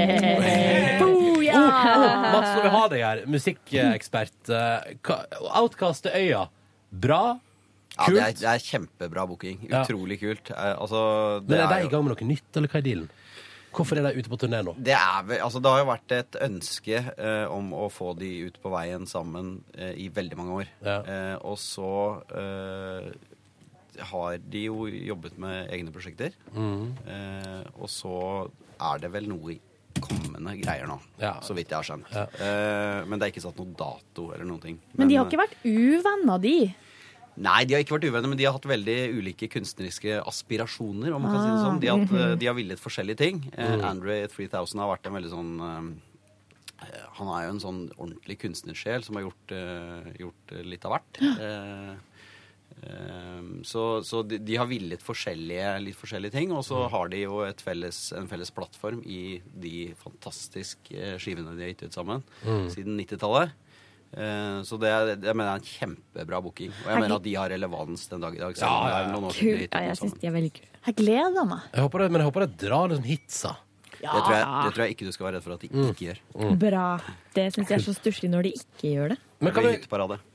[SPEAKER 2] Oh,
[SPEAKER 12] Oh,
[SPEAKER 3] Oh,
[SPEAKER 2] Mats, når vi har deg her, musikkekspert eh, hva- Outcast til øya. Bra.
[SPEAKER 12] Ja,
[SPEAKER 2] Kult.
[SPEAKER 12] det er, det er kjempebra booking.
[SPEAKER 2] Ja.
[SPEAKER 12] Utrolig kult. Eh, altså, det,
[SPEAKER 2] Men er de
[SPEAKER 12] er
[SPEAKER 2] i
[SPEAKER 12] jo,
[SPEAKER 2] gang med noe nytt, eller hva er dealen? Hvorfor er de ute på turné nå?
[SPEAKER 12] det, er, vel- altså, det har jo vært et ønske eh, om å få de ut på veien sammen eh, i veldig mange år. Eh, og så eh, har de jo jobbet med egne prosjekter.
[SPEAKER 2] Mhm.
[SPEAKER 12] Eh, og så er det vel noe kommende greier nå,
[SPEAKER 2] Ja.
[SPEAKER 12] så vidt jeg har skjønt. Eh, men det er ikke satt noen dato eller noen ting.
[SPEAKER 3] Men de har ikke vært uvenner, de.
[SPEAKER 12] Nei, de har ikke vært uvenner, men de har hatt veldig ulike kunstneriske aspirasjoner. om man kan si det
[SPEAKER 3] Ah.
[SPEAKER 12] sånn. De har, hatt, eh, de har villet forskjellige ting. Eh, Andre 3000 har vært en veldig sånn eh, Han er jo en sånn ordentlig kunstnersjel som har gjort, eh, gjort eh, litt av hvert. Eh, eh, så så de, de har villet forskjellige, litt forskjellige ting, og så har de jo et felles, en felles plattform i de fantastiske eh, skivene de har gitt ut sammen
[SPEAKER 2] Mm.
[SPEAKER 12] siden 90-tallet. Eh, Så det, er- jeg mener det er en kjempebra booking. Og jeg
[SPEAKER 3] Herregud.
[SPEAKER 12] mener at de har relevans den dag i dag. selv
[SPEAKER 2] Ja,
[SPEAKER 12] om det
[SPEAKER 2] ja,
[SPEAKER 12] er
[SPEAKER 2] ja.
[SPEAKER 12] noen år siden de
[SPEAKER 3] Kul.
[SPEAKER 12] gikk ut sammen.
[SPEAKER 3] Jeg gleder meg.
[SPEAKER 2] Jeg håper det, men jeg håper de drar liksom hitsa. Mm.
[SPEAKER 12] Det, tror jeg, det tror jeg ikke du skal være redd for at de ikke gjør.
[SPEAKER 1] Bra. Det syns jeg er så stusslig når de ikke gjør det.
[SPEAKER 2] Men kan vi,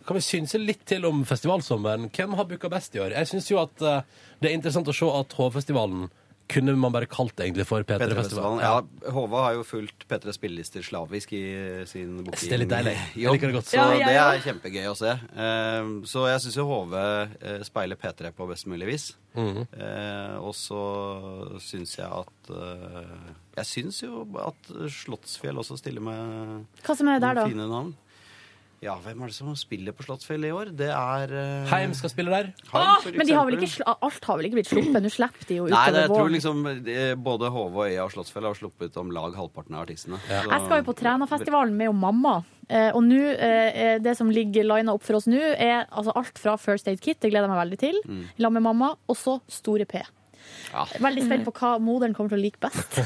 [SPEAKER 2] kan vi synse litt til om festivalsommeren? Hvem har booka best i år? Jeg syns jo at eh, det er interessant å se at Hovfestivalen kunne man bare kalt det egentlig for P3-festivalen.
[SPEAKER 12] P3-festivalen. Ja, Håva har jo fulgt P3s spillelister slavisk i sin booking.
[SPEAKER 2] Det er litt deilig. Jeg
[SPEAKER 12] Jobb,
[SPEAKER 2] liker det godt.
[SPEAKER 12] Så
[SPEAKER 2] Ja, ja, ja.
[SPEAKER 12] det er kjempegøy å se. Ehm, Så jeg syns jo Håve eh, speiler P3 på best mulig vis.
[SPEAKER 2] Mhm.
[SPEAKER 12] Eh, Og så syns jeg at eh, Jeg syns jo at Slottsfjell også stiller med
[SPEAKER 3] Hva som er der, da?
[SPEAKER 12] noen fine navn. Ja, hvem er det som spiller på Slottsfjell i år? Det er eh,
[SPEAKER 2] Heim skal spille der.
[SPEAKER 12] Heim, for
[SPEAKER 3] Men de har vel
[SPEAKER 12] eksempel.
[SPEAKER 3] ikke, sla- alt har vel ikke blitt sluppet? Nå slipper de jo
[SPEAKER 12] Nei, det,
[SPEAKER 3] utover
[SPEAKER 12] jeg tror
[SPEAKER 3] våren.
[SPEAKER 12] liksom eh, både Hove og Øya og Slottsfjell har sluppet om lag halvparten av artistene. Så-
[SPEAKER 3] Jeg skal jo på Trænafestivalen med jo mamma. Eh, og nå, eh, det som ligger lina opp for oss nå, er altså alt fra First Aid Kit, det gleder jeg meg veldig til,
[SPEAKER 12] Mm.
[SPEAKER 3] la med mamma, og så Store P. Veldig spent på hva moderen kommer til å like best.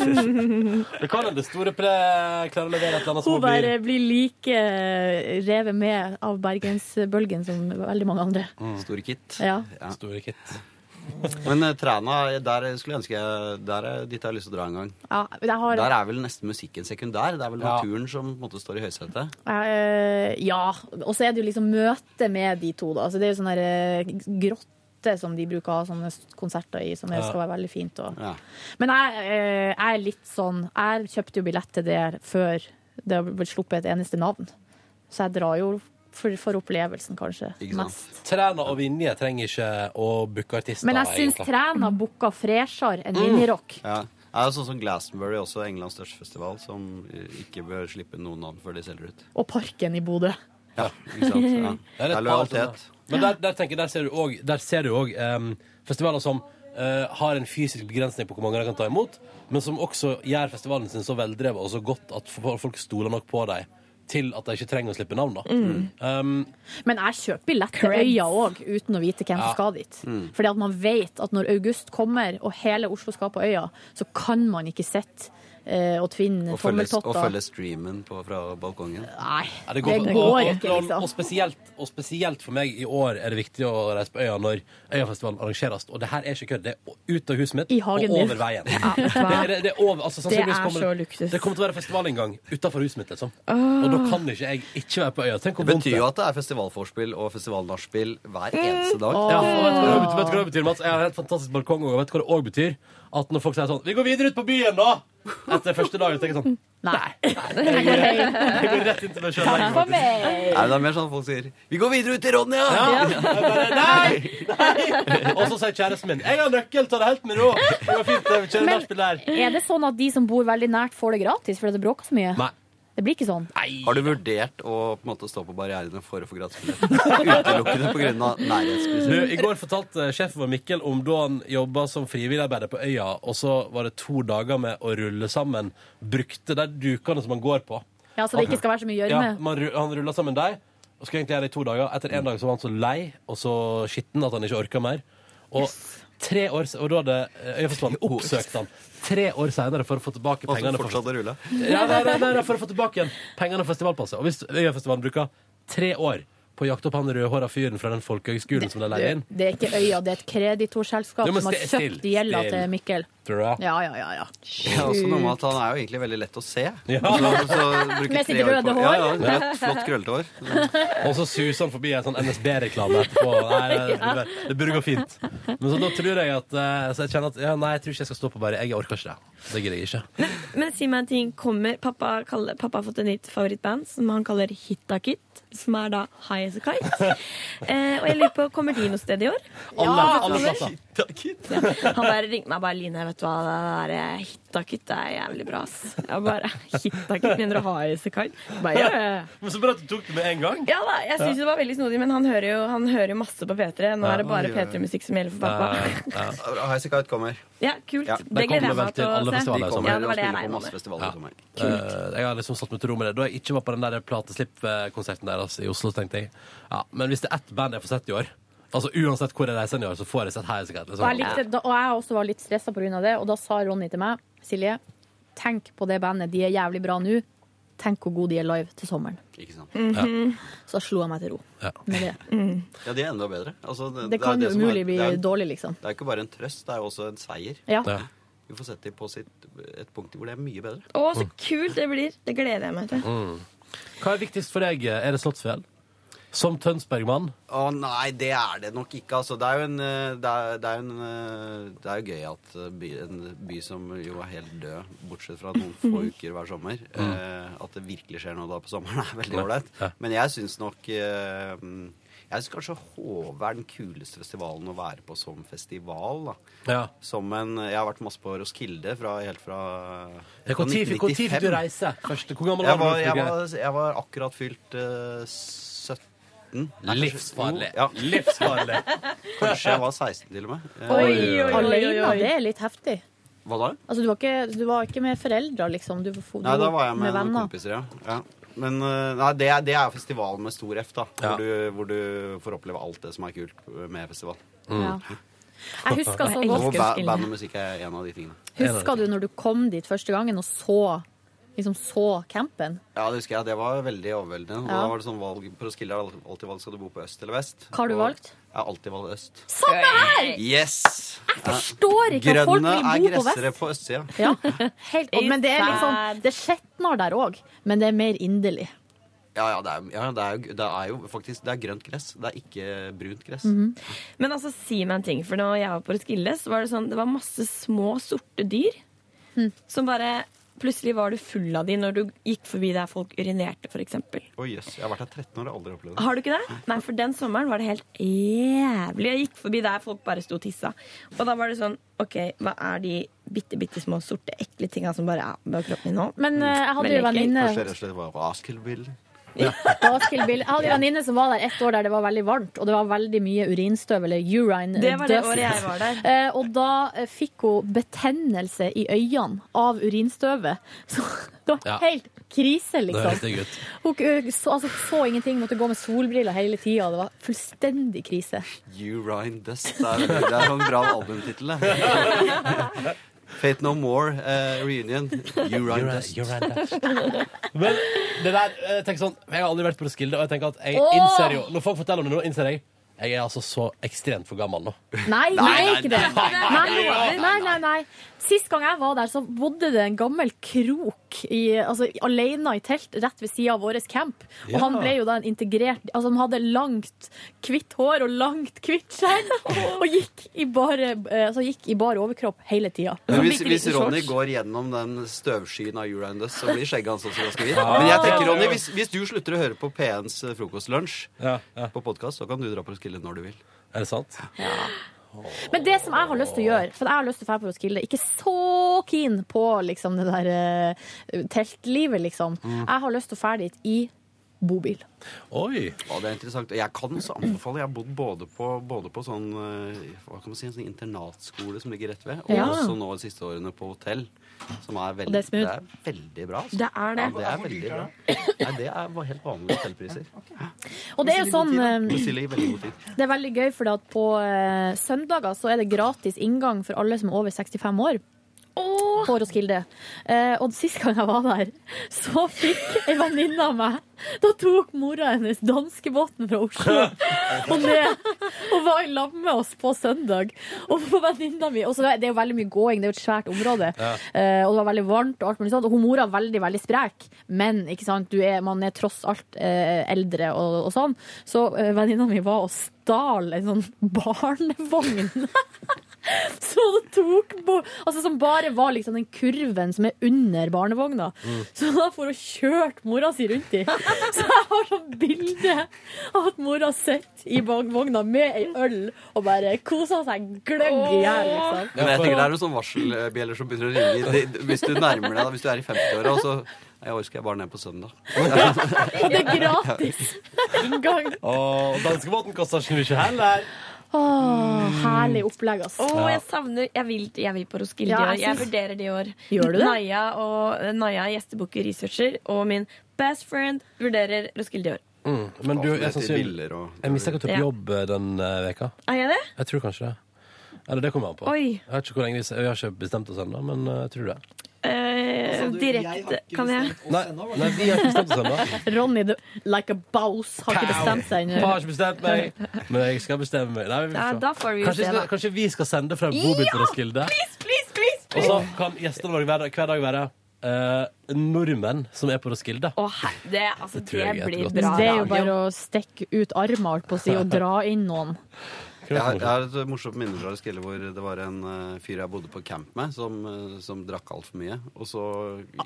[SPEAKER 2] det kan hende Store Pre klarer å levere et eller annet som må
[SPEAKER 3] Hun
[SPEAKER 2] bli
[SPEAKER 3] bare blir like eh, revet med av bergensbølgen som veldig mange andre.
[SPEAKER 12] Mm. Store Kit.
[SPEAKER 3] Ja.
[SPEAKER 2] Store Kit.
[SPEAKER 12] Men eh, Træna, der skulle jeg ønske jeg Der er dit jeg har lyst til å dra en gang.
[SPEAKER 3] Ja, men jeg har,
[SPEAKER 12] Der er vel nesten musikken sekundær. Det er vel
[SPEAKER 3] Ja.
[SPEAKER 12] naturen som på en måte står i høysetet.
[SPEAKER 3] Eh, ja. Og så er det jo liksom møte med de to, da. Altså, det er jo sånn der, eh, grotte som de bruker å ha sånne s- konserter i, som er-
[SPEAKER 28] Ja.
[SPEAKER 3] skal være veldig fint. Og.
[SPEAKER 12] Ja.
[SPEAKER 3] Men jeg, eh, jeg er litt sånn Jeg kjøpte jo billett til det før det har blitt sluppet et eneste navn. Så jeg drar jo for, for opplevelsen, kanskje. mest.
[SPEAKER 2] Træna og Vinje trenger ikke å booke artister.
[SPEAKER 3] Men jeg syns
[SPEAKER 2] egentlig.
[SPEAKER 3] Træna booka freshere
[SPEAKER 12] Mm.
[SPEAKER 3] enn Minirock.
[SPEAKER 12] Ja. Det er jo sånn som Glastonbury, også Englands største festival, som eh, ikke bør slippe noen navn før de selger ut.
[SPEAKER 3] Og Parken i Bodø.
[SPEAKER 12] Ja, ikke sant? Ja. Det er
[SPEAKER 2] et par
[SPEAKER 12] lojalitet.
[SPEAKER 2] sånne. Men der, der tenker jeg, der ser du òg- der ser du òg em, festivaler som eh, har en fysisk begrensning på hvor mange de kan ta imot, men som også gjør festivalen sin så veldrevet og så godt at fo- folk stoler nok på dem til at de ikke trenger å slippe navn. da.
[SPEAKER 3] Mm.
[SPEAKER 2] Um,
[SPEAKER 3] Men jeg kjøper billett til
[SPEAKER 2] Creds.
[SPEAKER 3] øya òg, uten å vite hvem
[SPEAKER 2] Ja.
[SPEAKER 3] som skal dit.
[SPEAKER 2] Mm.
[SPEAKER 3] Fordi at man vet at når august kommer, og hele Oslo skal på øya, så kan man ikke sitte eh, og tvinne
[SPEAKER 12] Og følge, og
[SPEAKER 3] tommeltotter.
[SPEAKER 12] følge streamen på, fra balkongen.
[SPEAKER 3] Nei,
[SPEAKER 2] Ja, det
[SPEAKER 3] det
[SPEAKER 2] går,
[SPEAKER 3] går,
[SPEAKER 2] og, og, og,
[SPEAKER 3] ikke,
[SPEAKER 2] og,
[SPEAKER 3] liksom.
[SPEAKER 2] spesielt, og spesielt for meg i år er det viktig å reise på øya når Øyafestivalen arrangeres. Og det her er ikke kødd. Det er ut av huset mitt
[SPEAKER 3] I
[SPEAKER 2] og
[SPEAKER 3] hagen din.
[SPEAKER 2] over veien. det, er, det, er over, altså,
[SPEAKER 3] Det
[SPEAKER 2] sannsynligvis
[SPEAKER 3] er
[SPEAKER 2] kommer,
[SPEAKER 3] så luksus.
[SPEAKER 2] Det kommer til å være festivalinngang utafor huset mitt, liksom.
[SPEAKER 3] Åh.
[SPEAKER 2] Og da kan ikke jeg ikke være på øya. Tenk
[SPEAKER 12] Det
[SPEAKER 2] hvor vondt
[SPEAKER 12] betyr jo at det er festivalforspill og festivalnachspiel hver
[SPEAKER 3] Mm.
[SPEAKER 12] eneste dag.
[SPEAKER 2] Ja, og vet du hva det betyr, vet du hva det betyr, Mats? Jeg har en helt fantastisk balkong, og vet du hva det òg betyr? At når folk sier sånn 'Vi går videre ut på byen, da!' Etter første dagen, så tenker jeg sånn
[SPEAKER 3] Nei.
[SPEAKER 2] Jeg går, jeg går rett inn til meg sjøl.
[SPEAKER 3] Takk for meg.
[SPEAKER 12] Nei, det er mer sånn at folk sier 'Vi går videre ut til Ronja'!
[SPEAKER 2] Ja. Og så sier kjæresten min 'Jeg har nøkkel, ta det helt med ro'. Det går fint, det, vi kjører nachspiel der.
[SPEAKER 3] Er det sånn at de som bor veldig nært, får det gratis fordi det bråker så mye?
[SPEAKER 12] Nei.
[SPEAKER 3] Det blir ikke sånn.
[SPEAKER 12] Har du vurdert å på en måte stå på barrierene for å få gratisbillett? Utelukkende pga.
[SPEAKER 2] Du,
[SPEAKER 12] nærhetsprinsippet.
[SPEAKER 2] I går fortalte sjefen vår Mikkel om da han jobba som frivilligarbeider på øya, og så var det to dager med å rulle sammen brukte de dukene som man går på.
[SPEAKER 3] Ja, Så det ikke skal være så mye å gjøre
[SPEAKER 2] Ja,
[SPEAKER 3] med.
[SPEAKER 2] man, ru- han rulla sammen deg, og skulle egentlig gjøre det i to dager. Etter
[SPEAKER 12] Mm.
[SPEAKER 2] én dag så var han så lei og så skitten at han ikke orka mer. Og tre år, s- og da hadde eh, Øyafestivalen oppsøkt han tre år seinere for å få tilbake
[SPEAKER 12] Og så
[SPEAKER 2] pengene. for-
[SPEAKER 12] fortsatte å rulle.
[SPEAKER 2] ja, nei, nei, nei, nei, for å få tilbake igjen pengene og festivalpasset. Og hvis Øyafestivalen bruker tre år på å jakte opp han rødhåra fyren fra den folkehøgskolen som de leide inn
[SPEAKER 3] Det er ikke øya, det er et kreditorselskap
[SPEAKER 2] Jo, men
[SPEAKER 3] som har
[SPEAKER 2] still,
[SPEAKER 3] kjøpt
[SPEAKER 2] still,
[SPEAKER 3] gjelda
[SPEAKER 2] still.
[SPEAKER 3] til Mikkel.
[SPEAKER 2] Tror du det?
[SPEAKER 3] Ja, ja, ja. ja.
[SPEAKER 12] Ja, også noe med at han er jo egentlig veldig lett å se.
[SPEAKER 2] Ja.
[SPEAKER 12] Så- så bruker
[SPEAKER 3] Med sitt
[SPEAKER 12] tre år
[SPEAKER 3] røde
[SPEAKER 12] på-
[SPEAKER 3] hår.
[SPEAKER 12] Ja, ja, flott, flott krøllete hår.
[SPEAKER 2] Og så suser han forbi en sånn NSB-reklame etterpå. Nei, nei, det, burde, det burde gå fint. Men så da tror jeg at eh, Så jeg kjenner at ja, nei, jeg tror ikke jeg skal stå på bare. Jeg orker ikke det. Det gidder jeg ikke.
[SPEAKER 1] Men si meg en ting. Kommer, pappa, kaller, pappa har fått et nytt favorittband som han kaller Hitakit. Som er da High As A Kite. eh, og jeg lurer på, kommer de noe sted i år?
[SPEAKER 2] Alle,
[SPEAKER 1] Ja,
[SPEAKER 2] alle
[SPEAKER 1] kommer.
[SPEAKER 2] plasser.
[SPEAKER 1] Ja, han bare ringte meg og bare Line, vet du hva, det der eh, Hitakit er jævlig bra, ass. Jeg bare Hitakit, mener du High As A Kite? Jeg Bare, ja, ja, ja.
[SPEAKER 2] Men så bra at du tok det med en gang.
[SPEAKER 1] Ja da, jeg syns det var veldig snodig, men han hører jo, han hører jo masse på P3. Nå er det bare P3-musikk som gjelder for pappa.
[SPEAKER 12] Highasakite kommer.
[SPEAKER 1] Ja, kult.
[SPEAKER 12] Ja,
[SPEAKER 1] det gleder jeg meg til å se.
[SPEAKER 12] De kommer
[SPEAKER 1] Ja, det
[SPEAKER 12] og
[SPEAKER 1] var det
[SPEAKER 12] spiller
[SPEAKER 1] jeg
[SPEAKER 12] på
[SPEAKER 1] regnet
[SPEAKER 12] masse
[SPEAKER 1] med.
[SPEAKER 12] festivaler i sommer.
[SPEAKER 2] Eh, jeg har liksom satt meg til ro med det. Da jeg ikke var på den der plateslippkonserten deres i Oslo, tenkte jeg ja, men hvis det er ett band jeg får sett i år Altså Uansett hvor jeg reiser i år, så får jeg sett High Asakite.
[SPEAKER 3] Og jeg, likte, da- og jeg også var litt stressa pga. det, og da sa Ronny til meg Silje, tenk på det bandet, de er jævlig bra nå. Tenk hvor gode de er live til sommeren.
[SPEAKER 12] Mhm.
[SPEAKER 3] Så da slo jeg meg til ro
[SPEAKER 2] Ja. Mhm.
[SPEAKER 3] med det.
[SPEAKER 12] Ja, de er enda bedre. Altså,
[SPEAKER 3] Det kan jo
[SPEAKER 12] som
[SPEAKER 3] umulig bli
[SPEAKER 12] det er-
[SPEAKER 3] dårlig, liksom.
[SPEAKER 12] Det er ikke bare en trøst, det er jo også en seier.
[SPEAKER 3] Ja.
[SPEAKER 12] vi får sette dem på sitt, et punkt hvor det er mye bedre.
[SPEAKER 4] Å, så kult det blir! Det gleder jeg meg til.
[SPEAKER 2] Mm. Hva er viktigst for deg? Er det Slottsfjell? Som Tønsbergmann?
[SPEAKER 12] Å nei, det er det nok ikke. Altså, det er jo en, eh, det er, det er en, eh, det er jo gøy at eh, by, en by som jo er helt død, bortsett fra noen få
[SPEAKER 3] Mhm.
[SPEAKER 12] uker hver sommer, eh, at det virkelig skjer noe da på sommeren, er veldig
[SPEAKER 2] Mm. Ja.
[SPEAKER 12] ålreit.
[SPEAKER 2] Ja.
[SPEAKER 12] Men jeg syns nok eh, Jeg syns kanskje Hove er den kuleste festivalen å være på som festival, da.
[SPEAKER 2] Ja.
[SPEAKER 12] Som en Jeg har vært masse på Roskilde fra, helt fra
[SPEAKER 2] Ja, Hvor tid fikk hvor tid fikk du
[SPEAKER 12] 1995.
[SPEAKER 2] reise? Første, hvor gammel
[SPEAKER 12] Jeg
[SPEAKER 2] var
[SPEAKER 12] var,
[SPEAKER 2] du?
[SPEAKER 12] jeg,
[SPEAKER 2] Torgeir?
[SPEAKER 12] var, jeg var akkurat fylt eh, 17. Nei, kanskje-
[SPEAKER 2] Livsfarlig.
[SPEAKER 12] Jo, Ja.
[SPEAKER 2] Livsfarlig.
[SPEAKER 12] Kanskje jeg var 16 til og med. Eh,
[SPEAKER 3] Alene, det er litt heftig.
[SPEAKER 12] Hva da?
[SPEAKER 3] Altså, du var ikke, du var ikke med foreldre, liksom. Du, fo- du
[SPEAKER 12] Nei, da var jeg med, noen
[SPEAKER 3] venner.
[SPEAKER 12] kompiser, ja. ja. Men eh, nei, det, er- det er festivalen med stor F, da. Hvor, du, hvor du får oppleve alt det som er kult med festival.
[SPEAKER 3] Mm. Ja. Jeg husker så
[SPEAKER 12] Og
[SPEAKER 3] godt-
[SPEAKER 12] ba- Band og musikk er en av de tingene.
[SPEAKER 3] Husker du når du kom dit første gangen og så, liksom, så campen?
[SPEAKER 12] Ja, det husker jeg. Det var veldig overveldende. Og
[SPEAKER 3] Ja.
[SPEAKER 12] Da var det sånn valg på Roskilde er det alltid valg. Skal du bo på øst eller vest?
[SPEAKER 3] Hva har du
[SPEAKER 12] Og
[SPEAKER 3] valgt?
[SPEAKER 12] Jeg har alltid valgt øst.
[SPEAKER 3] Samme her!
[SPEAKER 12] Yes! Jeg
[SPEAKER 3] forstår ikke at folk vil bo på
[SPEAKER 12] Grønne er
[SPEAKER 3] vest.
[SPEAKER 12] gressere på østsida.
[SPEAKER 3] Ja, helt, og, men det er litt sånn Det skjetner der òg, men det er mer inderlig.
[SPEAKER 12] Ja, ja, det er, ja det, er, jo- det er jo faktisk det er grønt gress. Det er ikke brunt gress.
[SPEAKER 1] Men altså, si meg en ting, for når jeg var på Roskilde, så var det sånn, det var masse små sorte dyr
[SPEAKER 3] Hmm.
[SPEAKER 1] som bare Plutselig var du full av de når du gikk forbi der folk urinerte, f.eks.
[SPEAKER 12] Å jøss, jeg har vært her 13 år og aldri opplevd det.
[SPEAKER 1] Har du ikke det? Nei, for den sommeren var det helt jævlig. Jeg gikk forbi der folk bare sto og tissa. Og da var det sånn OK, hva er de bitte, bitte små sorte, ekle tinga som bare er Mm. på kroppen min nå?
[SPEAKER 3] Men, eh, jeg hadde
[SPEAKER 1] Veldig
[SPEAKER 3] jo
[SPEAKER 1] ekkelt.
[SPEAKER 3] venninne-
[SPEAKER 12] Kanskje rett og slett var Raskildbill.
[SPEAKER 3] Basketball. Jeg hadde en venninne som var der et år der det var veldig varmt, og det var veldig mye urinstøv, eller urine.
[SPEAKER 1] Det var det
[SPEAKER 3] dust.
[SPEAKER 1] året jeg var der.
[SPEAKER 3] Eh, Og da eh, fikk hun betennelse i øynene av urinstøvet. Så det var
[SPEAKER 2] Ja.
[SPEAKER 3] helt krise,
[SPEAKER 2] Det høres
[SPEAKER 3] liksom.
[SPEAKER 2] digg ut.
[SPEAKER 3] Hun eh, så, altså, så ingenting, måtte gå med solbriller hele tida. Det var fullstendig krise.
[SPEAKER 12] Urine Dust. Det er, det er sånn bra albumtittel, det. Fate No More, eh, Reunion. Urine Dust.
[SPEAKER 2] Men det der, eh, tenk sånn, jeg har aldri vært på Roskilde, og jeg tenker at jeg
[SPEAKER 3] Åh!
[SPEAKER 2] innser jo Når folk forteller om det nå, innser jeg jeg er altså så ekstremt for gammel nå.
[SPEAKER 3] Nei,
[SPEAKER 2] Nei,
[SPEAKER 3] nei,
[SPEAKER 2] nei,
[SPEAKER 3] ikke det.
[SPEAKER 2] nei,
[SPEAKER 3] Nei,
[SPEAKER 2] nei,
[SPEAKER 3] nei, nei, nei, Sist gang jeg var der, så bodde det en gammel krok i, altså, i- alene i telt rett ved sida av vår camp. Og
[SPEAKER 2] Ja.
[SPEAKER 3] han ble jo da en integrert Altså, han hadde langt, hvitt hår og langt, hvitt skjegg. Og gikk i bare, eh, altså, gikk i bar overkropp hele tida.
[SPEAKER 12] Men hvis,
[SPEAKER 3] Bitte
[SPEAKER 12] hvis
[SPEAKER 3] liten
[SPEAKER 12] Ronny
[SPEAKER 3] shorts.
[SPEAKER 12] går gjennom den støvskyen av Urine Dust, så blir skjegget hans også ganske hvitt. Men jeg tenker, Ronny, hvis, hvis du slutter å høre på P1s frokostlunsj på podkast, så kan du dra på Roskilde når du vil.
[SPEAKER 2] Er det sant?
[SPEAKER 3] Men det som jeg har lyst til å gjøre, for jeg har lyst til å dra på Roskilde, ikke så keen på liksom, det der eh, teltlivet, liksom.
[SPEAKER 12] Mm.
[SPEAKER 3] Jeg har lyst til å dra dit i bobil.
[SPEAKER 2] Oi!
[SPEAKER 12] Ja, det er interessant. Og Jeg kan også anbefale. Jeg har bodd både på, både på sånn, eh, hva kan man si, en sånn internatskole som ligger rett ved, og
[SPEAKER 3] Ja.
[SPEAKER 12] også nå de siste årene på hotell. Som er
[SPEAKER 3] Og
[SPEAKER 12] veldig,
[SPEAKER 3] det er smooth.
[SPEAKER 12] veldig bra. altså.
[SPEAKER 3] Det er det.
[SPEAKER 12] Ja, det er veldig bra. Nei, det er bare helt vanlige hotellpriser.
[SPEAKER 3] Og det er jo sånn eh,
[SPEAKER 12] Bestiller i veldig god tid.
[SPEAKER 3] Det er veldig gøy, for at på eh, søndager så er det gratis inngang for alle som er over 65 år. På Roskilde. Eh, og sist gang jeg var der, så fikk en venninne av meg Da tok mora hennes danskebåten fra Oslo og ned. Og var i lag med oss på søndag. Og på venninna mi Og så er det er jo veldig mye gåing, det er jo et svært område.
[SPEAKER 28] Ja.
[SPEAKER 3] Eh, og det var veldig varmt og alt mulig sånt. Og hun mora er veldig, veldig sprek, men ikke sant, du er, man er tross alt eh, eldre og, og sånn. Så eh, venninna mi var og stal en sånn barnevogn. Så det tok bo Altså Som bare var liksom den kurven som er under barnevogna. Så da får hun kjørt mora si rundt i. Så jeg har sånn bilde av at mora sitter i barnevogna med ei øl og bare koser seg gløgg i hjel. Liksom.
[SPEAKER 12] Men jeg tenker det er noen sånne varselbjeller som begynner å ringe De- de- hvis du nærmer deg, da, hvis du er i 50-åra, og så Jeg orker jeg bare ned på søndag.
[SPEAKER 3] Og det er gratis inngang.
[SPEAKER 2] Og danskebåten koster ikke mye heller.
[SPEAKER 3] Åh, herlig opplegg, ass.
[SPEAKER 1] Å,
[SPEAKER 2] Mm. Ja.
[SPEAKER 1] jeg savner Jeg vil, jeg vil på Roskilde
[SPEAKER 3] Ja,
[SPEAKER 1] i år.
[SPEAKER 3] jeg
[SPEAKER 1] Jeg
[SPEAKER 3] syns-
[SPEAKER 1] vurderer det i år.
[SPEAKER 3] Gjør du det?
[SPEAKER 1] Naya, og, Naya gjestebukker researcher, og min best friend vurderer Roskilde i år.
[SPEAKER 2] Mm. Men du,
[SPEAKER 12] Alt ned
[SPEAKER 2] jeg
[SPEAKER 12] til
[SPEAKER 2] sannsynlig
[SPEAKER 12] biller og-
[SPEAKER 2] Jeg mistenker at du er
[SPEAKER 1] Ja.
[SPEAKER 2] på jobb eh, den eh, veka.
[SPEAKER 1] Er jeg det?
[SPEAKER 2] Jeg tror kanskje det. Eller det kommer an på.
[SPEAKER 1] Oi.
[SPEAKER 2] Jeg vet ikke hvor lenge vi, vi har ikke bestemt oss ennå, men eh, jeg tror det.
[SPEAKER 1] Eh, direkte Kan jeg?
[SPEAKER 2] Nei, nei, vi har ikke bestemt oss ennå.
[SPEAKER 3] Ronny the, like a bouse har ikke bestemt seg
[SPEAKER 2] Jeg har ikke
[SPEAKER 3] ennå.
[SPEAKER 2] bestemt meg, men jeg skal bestemme meg. Nei, vi
[SPEAKER 3] Ja,
[SPEAKER 2] får se.
[SPEAKER 3] da får vi jo
[SPEAKER 2] kanskje,
[SPEAKER 3] se,
[SPEAKER 2] vi skal-
[SPEAKER 3] da.
[SPEAKER 2] kanskje vi skal sende fra en bobil til Roskilde?
[SPEAKER 1] Please, please,
[SPEAKER 2] Og så kan gjestene våre hver, hver dag være eh, nordmenn som er på Roskilde.
[SPEAKER 1] Det, altså,
[SPEAKER 2] Det tror jeg er et godt
[SPEAKER 3] Men det er
[SPEAKER 2] radio.
[SPEAKER 3] jo bare å stikke ut armen holdt på å si, og dra inn noen.
[SPEAKER 12] Jeg har, jeg har et eh, morsomt minne fra Roskilde hvor det var en eh, fyr jeg bodde på camp med, som, eh, som drakk altfor mye. Og så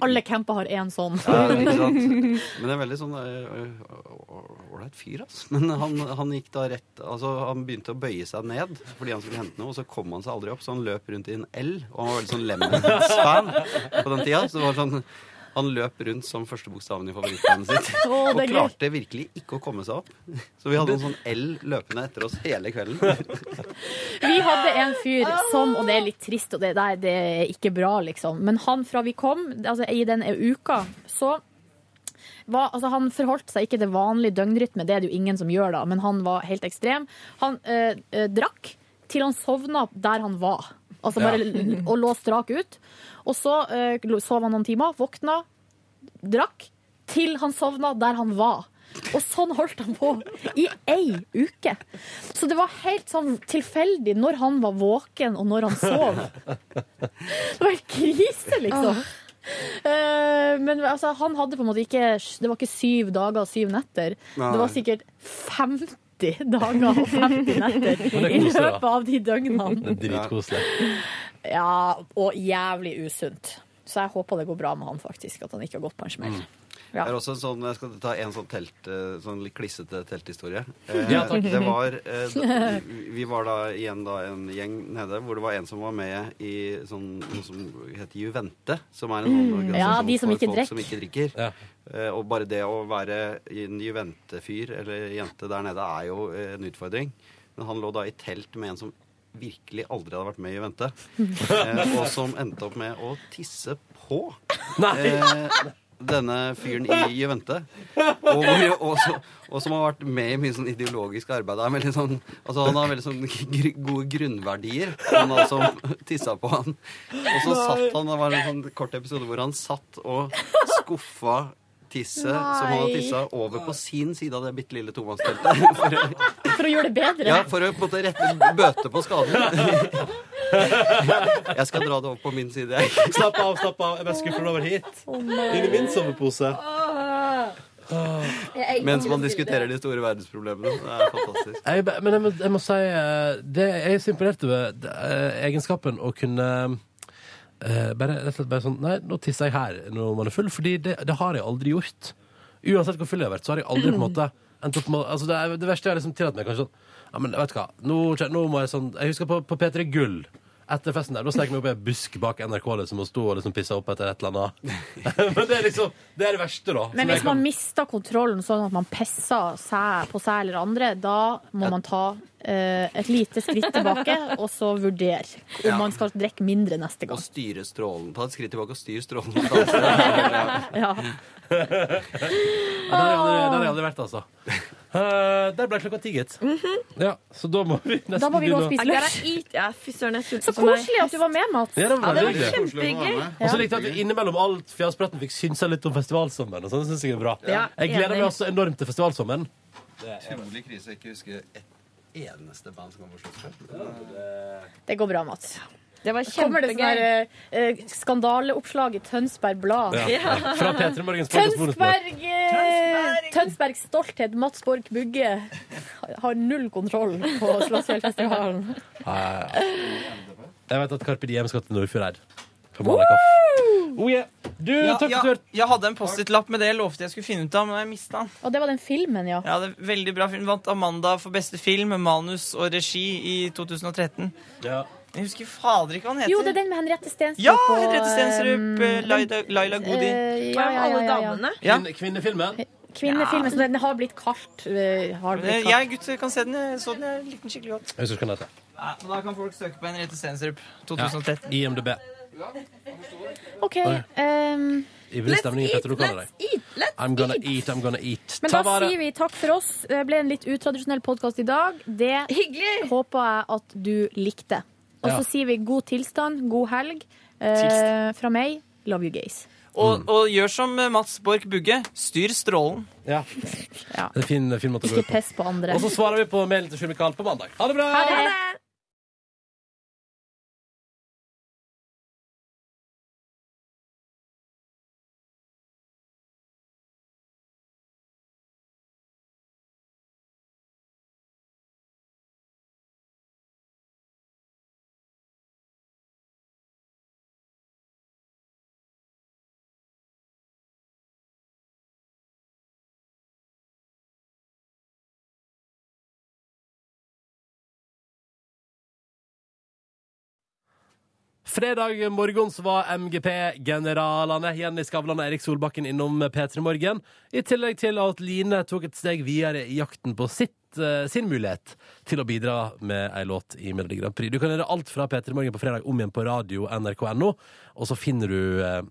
[SPEAKER 3] Alle camper har én sånn.
[SPEAKER 12] Ja, ikke sant? Men det er veldig sånn eh, ålreit fyr, altså. Men han, han gikk da rett Altså, han begynte å bøye seg ned fordi han skulle hente noe, og så kom han seg aldri opp, så han løp rundt i en L, og han var veldig sånn Lemons-fan på den tida. Så det var sånn han løp rundt som første bokstaven i favorittbandet sitt.
[SPEAKER 3] Å,
[SPEAKER 12] og
[SPEAKER 3] det er gøy.
[SPEAKER 12] klarte virkelig ikke å komme seg opp. Så vi hadde en sånn L løpende etter oss hele kvelden.
[SPEAKER 3] Vi hadde en fyr som, og det er litt trist, og det, nei, det er ikke bra, liksom. Men han fra vi kom, altså i den uka, så var, altså han forholdt seg ikke til vanlig døgnrytme, det er det jo ingen som gjør da, men han var helt ekstrem. Han eh, eh, drakk til han sovna der han var. Altså bare,
[SPEAKER 28] Ja.
[SPEAKER 3] Og lå strak ut. Og så eh, lo- sov han noen timer, våkna, drakk, til han sovna der han var. Og sånn holdt han på i ei uke. Så det var helt sånn tilfeldig når han var våken og når han sov. Det var helt krise, liksom. Eh, Men altså, han hadde på en måte ikke Det var ikke syv dager og syv netter.
[SPEAKER 30] Nei.
[SPEAKER 3] Det var sikkert 50 dager og 50
[SPEAKER 30] Men det
[SPEAKER 3] netter
[SPEAKER 30] er
[SPEAKER 3] i
[SPEAKER 30] koselig, da.
[SPEAKER 3] løpet av de døgnene.
[SPEAKER 2] Dritkoselig.
[SPEAKER 3] Ja, og jævlig usunt. Så jeg håper det går bra med han, faktisk. At han ikke har gått på en
[SPEAKER 30] Mm.
[SPEAKER 3] smell. Ja.
[SPEAKER 12] Det er også en sånn, Jeg skal ta en sånn, telt, eh, sånn litt klissete telthistorie. Eh,
[SPEAKER 19] Ja, takk.
[SPEAKER 12] Det var, eh, da- vi var da igjen da en gjeng nede hvor det var en som var med i sånn, noe som heter Juvente. Som er en sånn
[SPEAKER 3] Mm.
[SPEAKER 12] organisasjon
[SPEAKER 3] Ja, de som
[SPEAKER 12] for
[SPEAKER 3] ikke
[SPEAKER 12] folk
[SPEAKER 3] drikker.
[SPEAKER 12] som ikke drikker. Eh, og bare det å være en Juvente-fyr eller -jente der nede er jo eh, en utfordring. Men han lå da i telt med en som virkelig aldri hadde vært med i Juvente. Eh, og som endte opp med å tisse på. Eh, denne fyren i Juvente. Og, hvor- og, så- og som har vært med i mye sånn ideologisk arbeid. Er veldig sånn, altså han har veldig sånn gr gode grunnverdier, han da som tissa på han. Og så satt han, det var en sånn kort episode hvor han satt og skuffa tisset som han hadde
[SPEAKER 3] Nei.
[SPEAKER 12] tissa, over på sin side av det bitte lille tomannsteltet. For, å-
[SPEAKER 3] For å gjøre det bedre.
[SPEAKER 12] ja, for å på en måte rette bøte på skaden. Jeg skal dra det over på min side. jeg.
[SPEAKER 2] Slapp av, slapp av. Jeg bare skuffer den over hit. Inn i min sovepose.
[SPEAKER 12] Mens man diskuterer de store verdensproblemene. Det er fantastisk.
[SPEAKER 2] Jeg, be- men jeg må, jeg må si eh, det, Jeg er så imponert over eh, egenskapen å kunne eh, bare, rett og slett bare sånn Nei, nå tisser jeg her når man er full, fordi det, det har jeg aldri gjort. Uansett hvor full jeg har vært, så har jeg aldri på
[SPEAKER 3] Mm.
[SPEAKER 2] en måte endt opp med å- altså det, er, det verste jeg har liksom tillatt meg, kanskje sånn Ja, men vet du hva, nå, kjen- nå må jeg sånn Jeg husker på, på P3 Gull. Etter festen der, Da snek jeg meg opp i en busk bak NRK liksom, og sto og liksom pissa opp etter et eller annet. Men det er liksom, det er det verste, da. som
[SPEAKER 3] Men
[SPEAKER 2] jeg
[SPEAKER 3] hvis
[SPEAKER 2] kan-
[SPEAKER 3] man mister kontrollen sånn at man pisser seg på seg eller andre, da må man ta eh, et lite skritt tilbake og så vurdere om
[SPEAKER 12] Ja.
[SPEAKER 3] man skal drikke mindre neste gang.
[SPEAKER 12] Og styre strålen. Ta et skritt tilbake og styr strålen. et annet sted.
[SPEAKER 3] Ja.
[SPEAKER 2] Ja, der har jeg aldri, der har jeg aldri vært, altså. Eh, der ble klokka ti, gitt. Ja, så Mhm. da må vi nesten begynne å-
[SPEAKER 1] Ja, fy søren, jeg er sulten
[SPEAKER 3] Så
[SPEAKER 1] som ei
[SPEAKER 3] koselig at du var med, Mats.
[SPEAKER 2] Ja, det var veldig hyggelig.
[SPEAKER 1] kjempegøy.
[SPEAKER 2] Og så likte jeg at vi innimellom alt fjaspraten fikk synsa litt om festivalsommeren. Og sånn, det synes jeg er bra.
[SPEAKER 12] Ja,
[SPEAKER 2] jeg gleder
[SPEAKER 12] enig.
[SPEAKER 2] meg også enormt til festivalsommeren.
[SPEAKER 12] Det er utrolig krise. Jeg ikke husker et eneste band som kom på sluttspill.
[SPEAKER 3] Det går bra, Mats.
[SPEAKER 1] Det var
[SPEAKER 3] Kommer det sånn her eh, eh, skandaleoppslag i Tønsberg Blad?
[SPEAKER 2] Ja. Ja. Fra P3 Morgens podkast-bonusbord.
[SPEAKER 3] Tønsberg, eh, Tønsbergs stolthet, Mats Borg Bugge, har null kontroll på Slottsfjellfestivalen.
[SPEAKER 2] Jeg vet at Carpe Diem skal til Nordfjord her. På Mala Kaff. Oh, yeah. Du,
[SPEAKER 29] Ja,
[SPEAKER 2] takk
[SPEAKER 29] ja,
[SPEAKER 2] for tur.
[SPEAKER 29] Jeg hadde en Post-It-lapp med det jeg lovte jeg skulle finne ut av, men jeg mista den.
[SPEAKER 3] Og det var den filmen, ja.
[SPEAKER 29] Ja, det er Veldig bra film. Vant Amanda for beste film, manus og regi i 2013.
[SPEAKER 2] Ja.
[SPEAKER 29] Jeg husker fader ikke hva han heter.
[SPEAKER 3] Jo, det er den med Henriette Stensrup.
[SPEAKER 29] Ja!
[SPEAKER 3] og,
[SPEAKER 29] Henriette Stensrup,
[SPEAKER 3] eh,
[SPEAKER 29] eh, Laila, Laila Goody.
[SPEAKER 3] eh, ja, ja, ja, ja, ja.
[SPEAKER 29] Ja.
[SPEAKER 2] Kvinne- Kvinnefilmen.
[SPEAKER 3] Kvinnefilmen, som den har blitt kalt. eh, Har blitt
[SPEAKER 29] Eh,
[SPEAKER 3] kalt.
[SPEAKER 29] Jeg og gutter kan se den. Jeg så den, jeg likte den skikkelig godt.
[SPEAKER 2] Jeg husker ikke hva den heter.
[SPEAKER 29] Ja, men da kan folk søke på Henriette Stensrup.
[SPEAKER 2] Ja.
[SPEAKER 29] 2013.
[SPEAKER 2] IMDb.
[SPEAKER 3] OK.
[SPEAKER 2] Oi.
[SPEAKER 3] ehm,
[SPEAKER 2] Ivrig stemning i Petter I'm gonna eat, I'm gonna eat.
[SPEAKER 3] men da sier vi takk for oss. Det ble en litt utradisjonell podkast i dag. Det håper jeg at du likte. Og så
[SPEAKER 29] Ja.
[SPEAKER 3] sier vi god tilstand, god helg. Eh, fra meg, love you gays.
[SPEAKER 29] Og, og gjør som eh, Mats Borch Bugge. Styr strålen.
[SPEAKER 2] Ja. Det er fin, fin måte å gå
[SPEAKER 3] Ikke
[SPEAKER 2] ut på.
[SPEAKER 3] piss på andre.
[SPEAKER 2] Og så svarer vi på mailen til Sjur Mikael på mandag. Ha det bra!
[SPEAKER 3] Ha det!
[SPEAKER 2] Fredag morgen så var MGP-generalene Jenny Skavlan og Erik Solbakken innom P3 Morgen. I tillegg til at Line tok et steg videre i jakten på sitt, eh, sin mulighet til å bidra med ei låt i Melodi Grand Prix. Du kan gjøre alt fra P3 Morgen på fredag om igjen på radio nrk.no, og så finner du eh,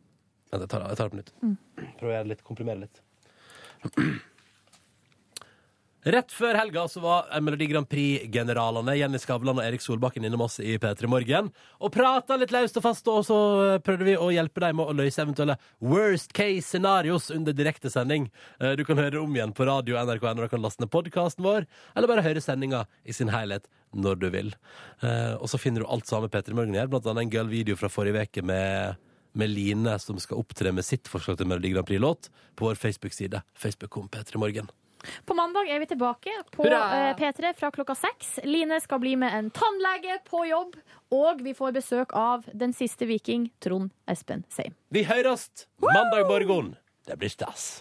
[SPEAKER 2] Vent, jeg tar, jeg tar det på nytt. Prøv å gjøre det litt, komprimere litt. Rett før helga så var Melodi Grand Prix-generalene Jenny Skavlan og Erik Solbakken innom oss i P3 Morgen og prata litt løst og fast, og så eh, prøvde vi å hjelpe dem med å løse eventuelle worst case scenarios under direktesending. Eh, Du kan høre det om igjen på radio NRK når du kan laste ned podkasten vår, eller bare høre sendinga i sin helhet når du vil. Eh, Og så finner du alt sammen P3 Morgen her, blant annet en gøy video fra forrige uke med med Line, som skal opptre med sitt forslag til Melodi Grand Prix-låt, på vår Facebook-side. Facebook.com P3 Morgen.
[SPEAKER 3] På mandag er vi tilbake på
[SPEAKER 2] Hurra!
[SPEAKER 3] eh, P3 fra klokka seks. Line skal bli med en tannlege på jobb, og vi får besøk av den siste viking, Trond Espen Seim.
[SPEAKER 2] Vi høres mandag morgen. Det blir stas.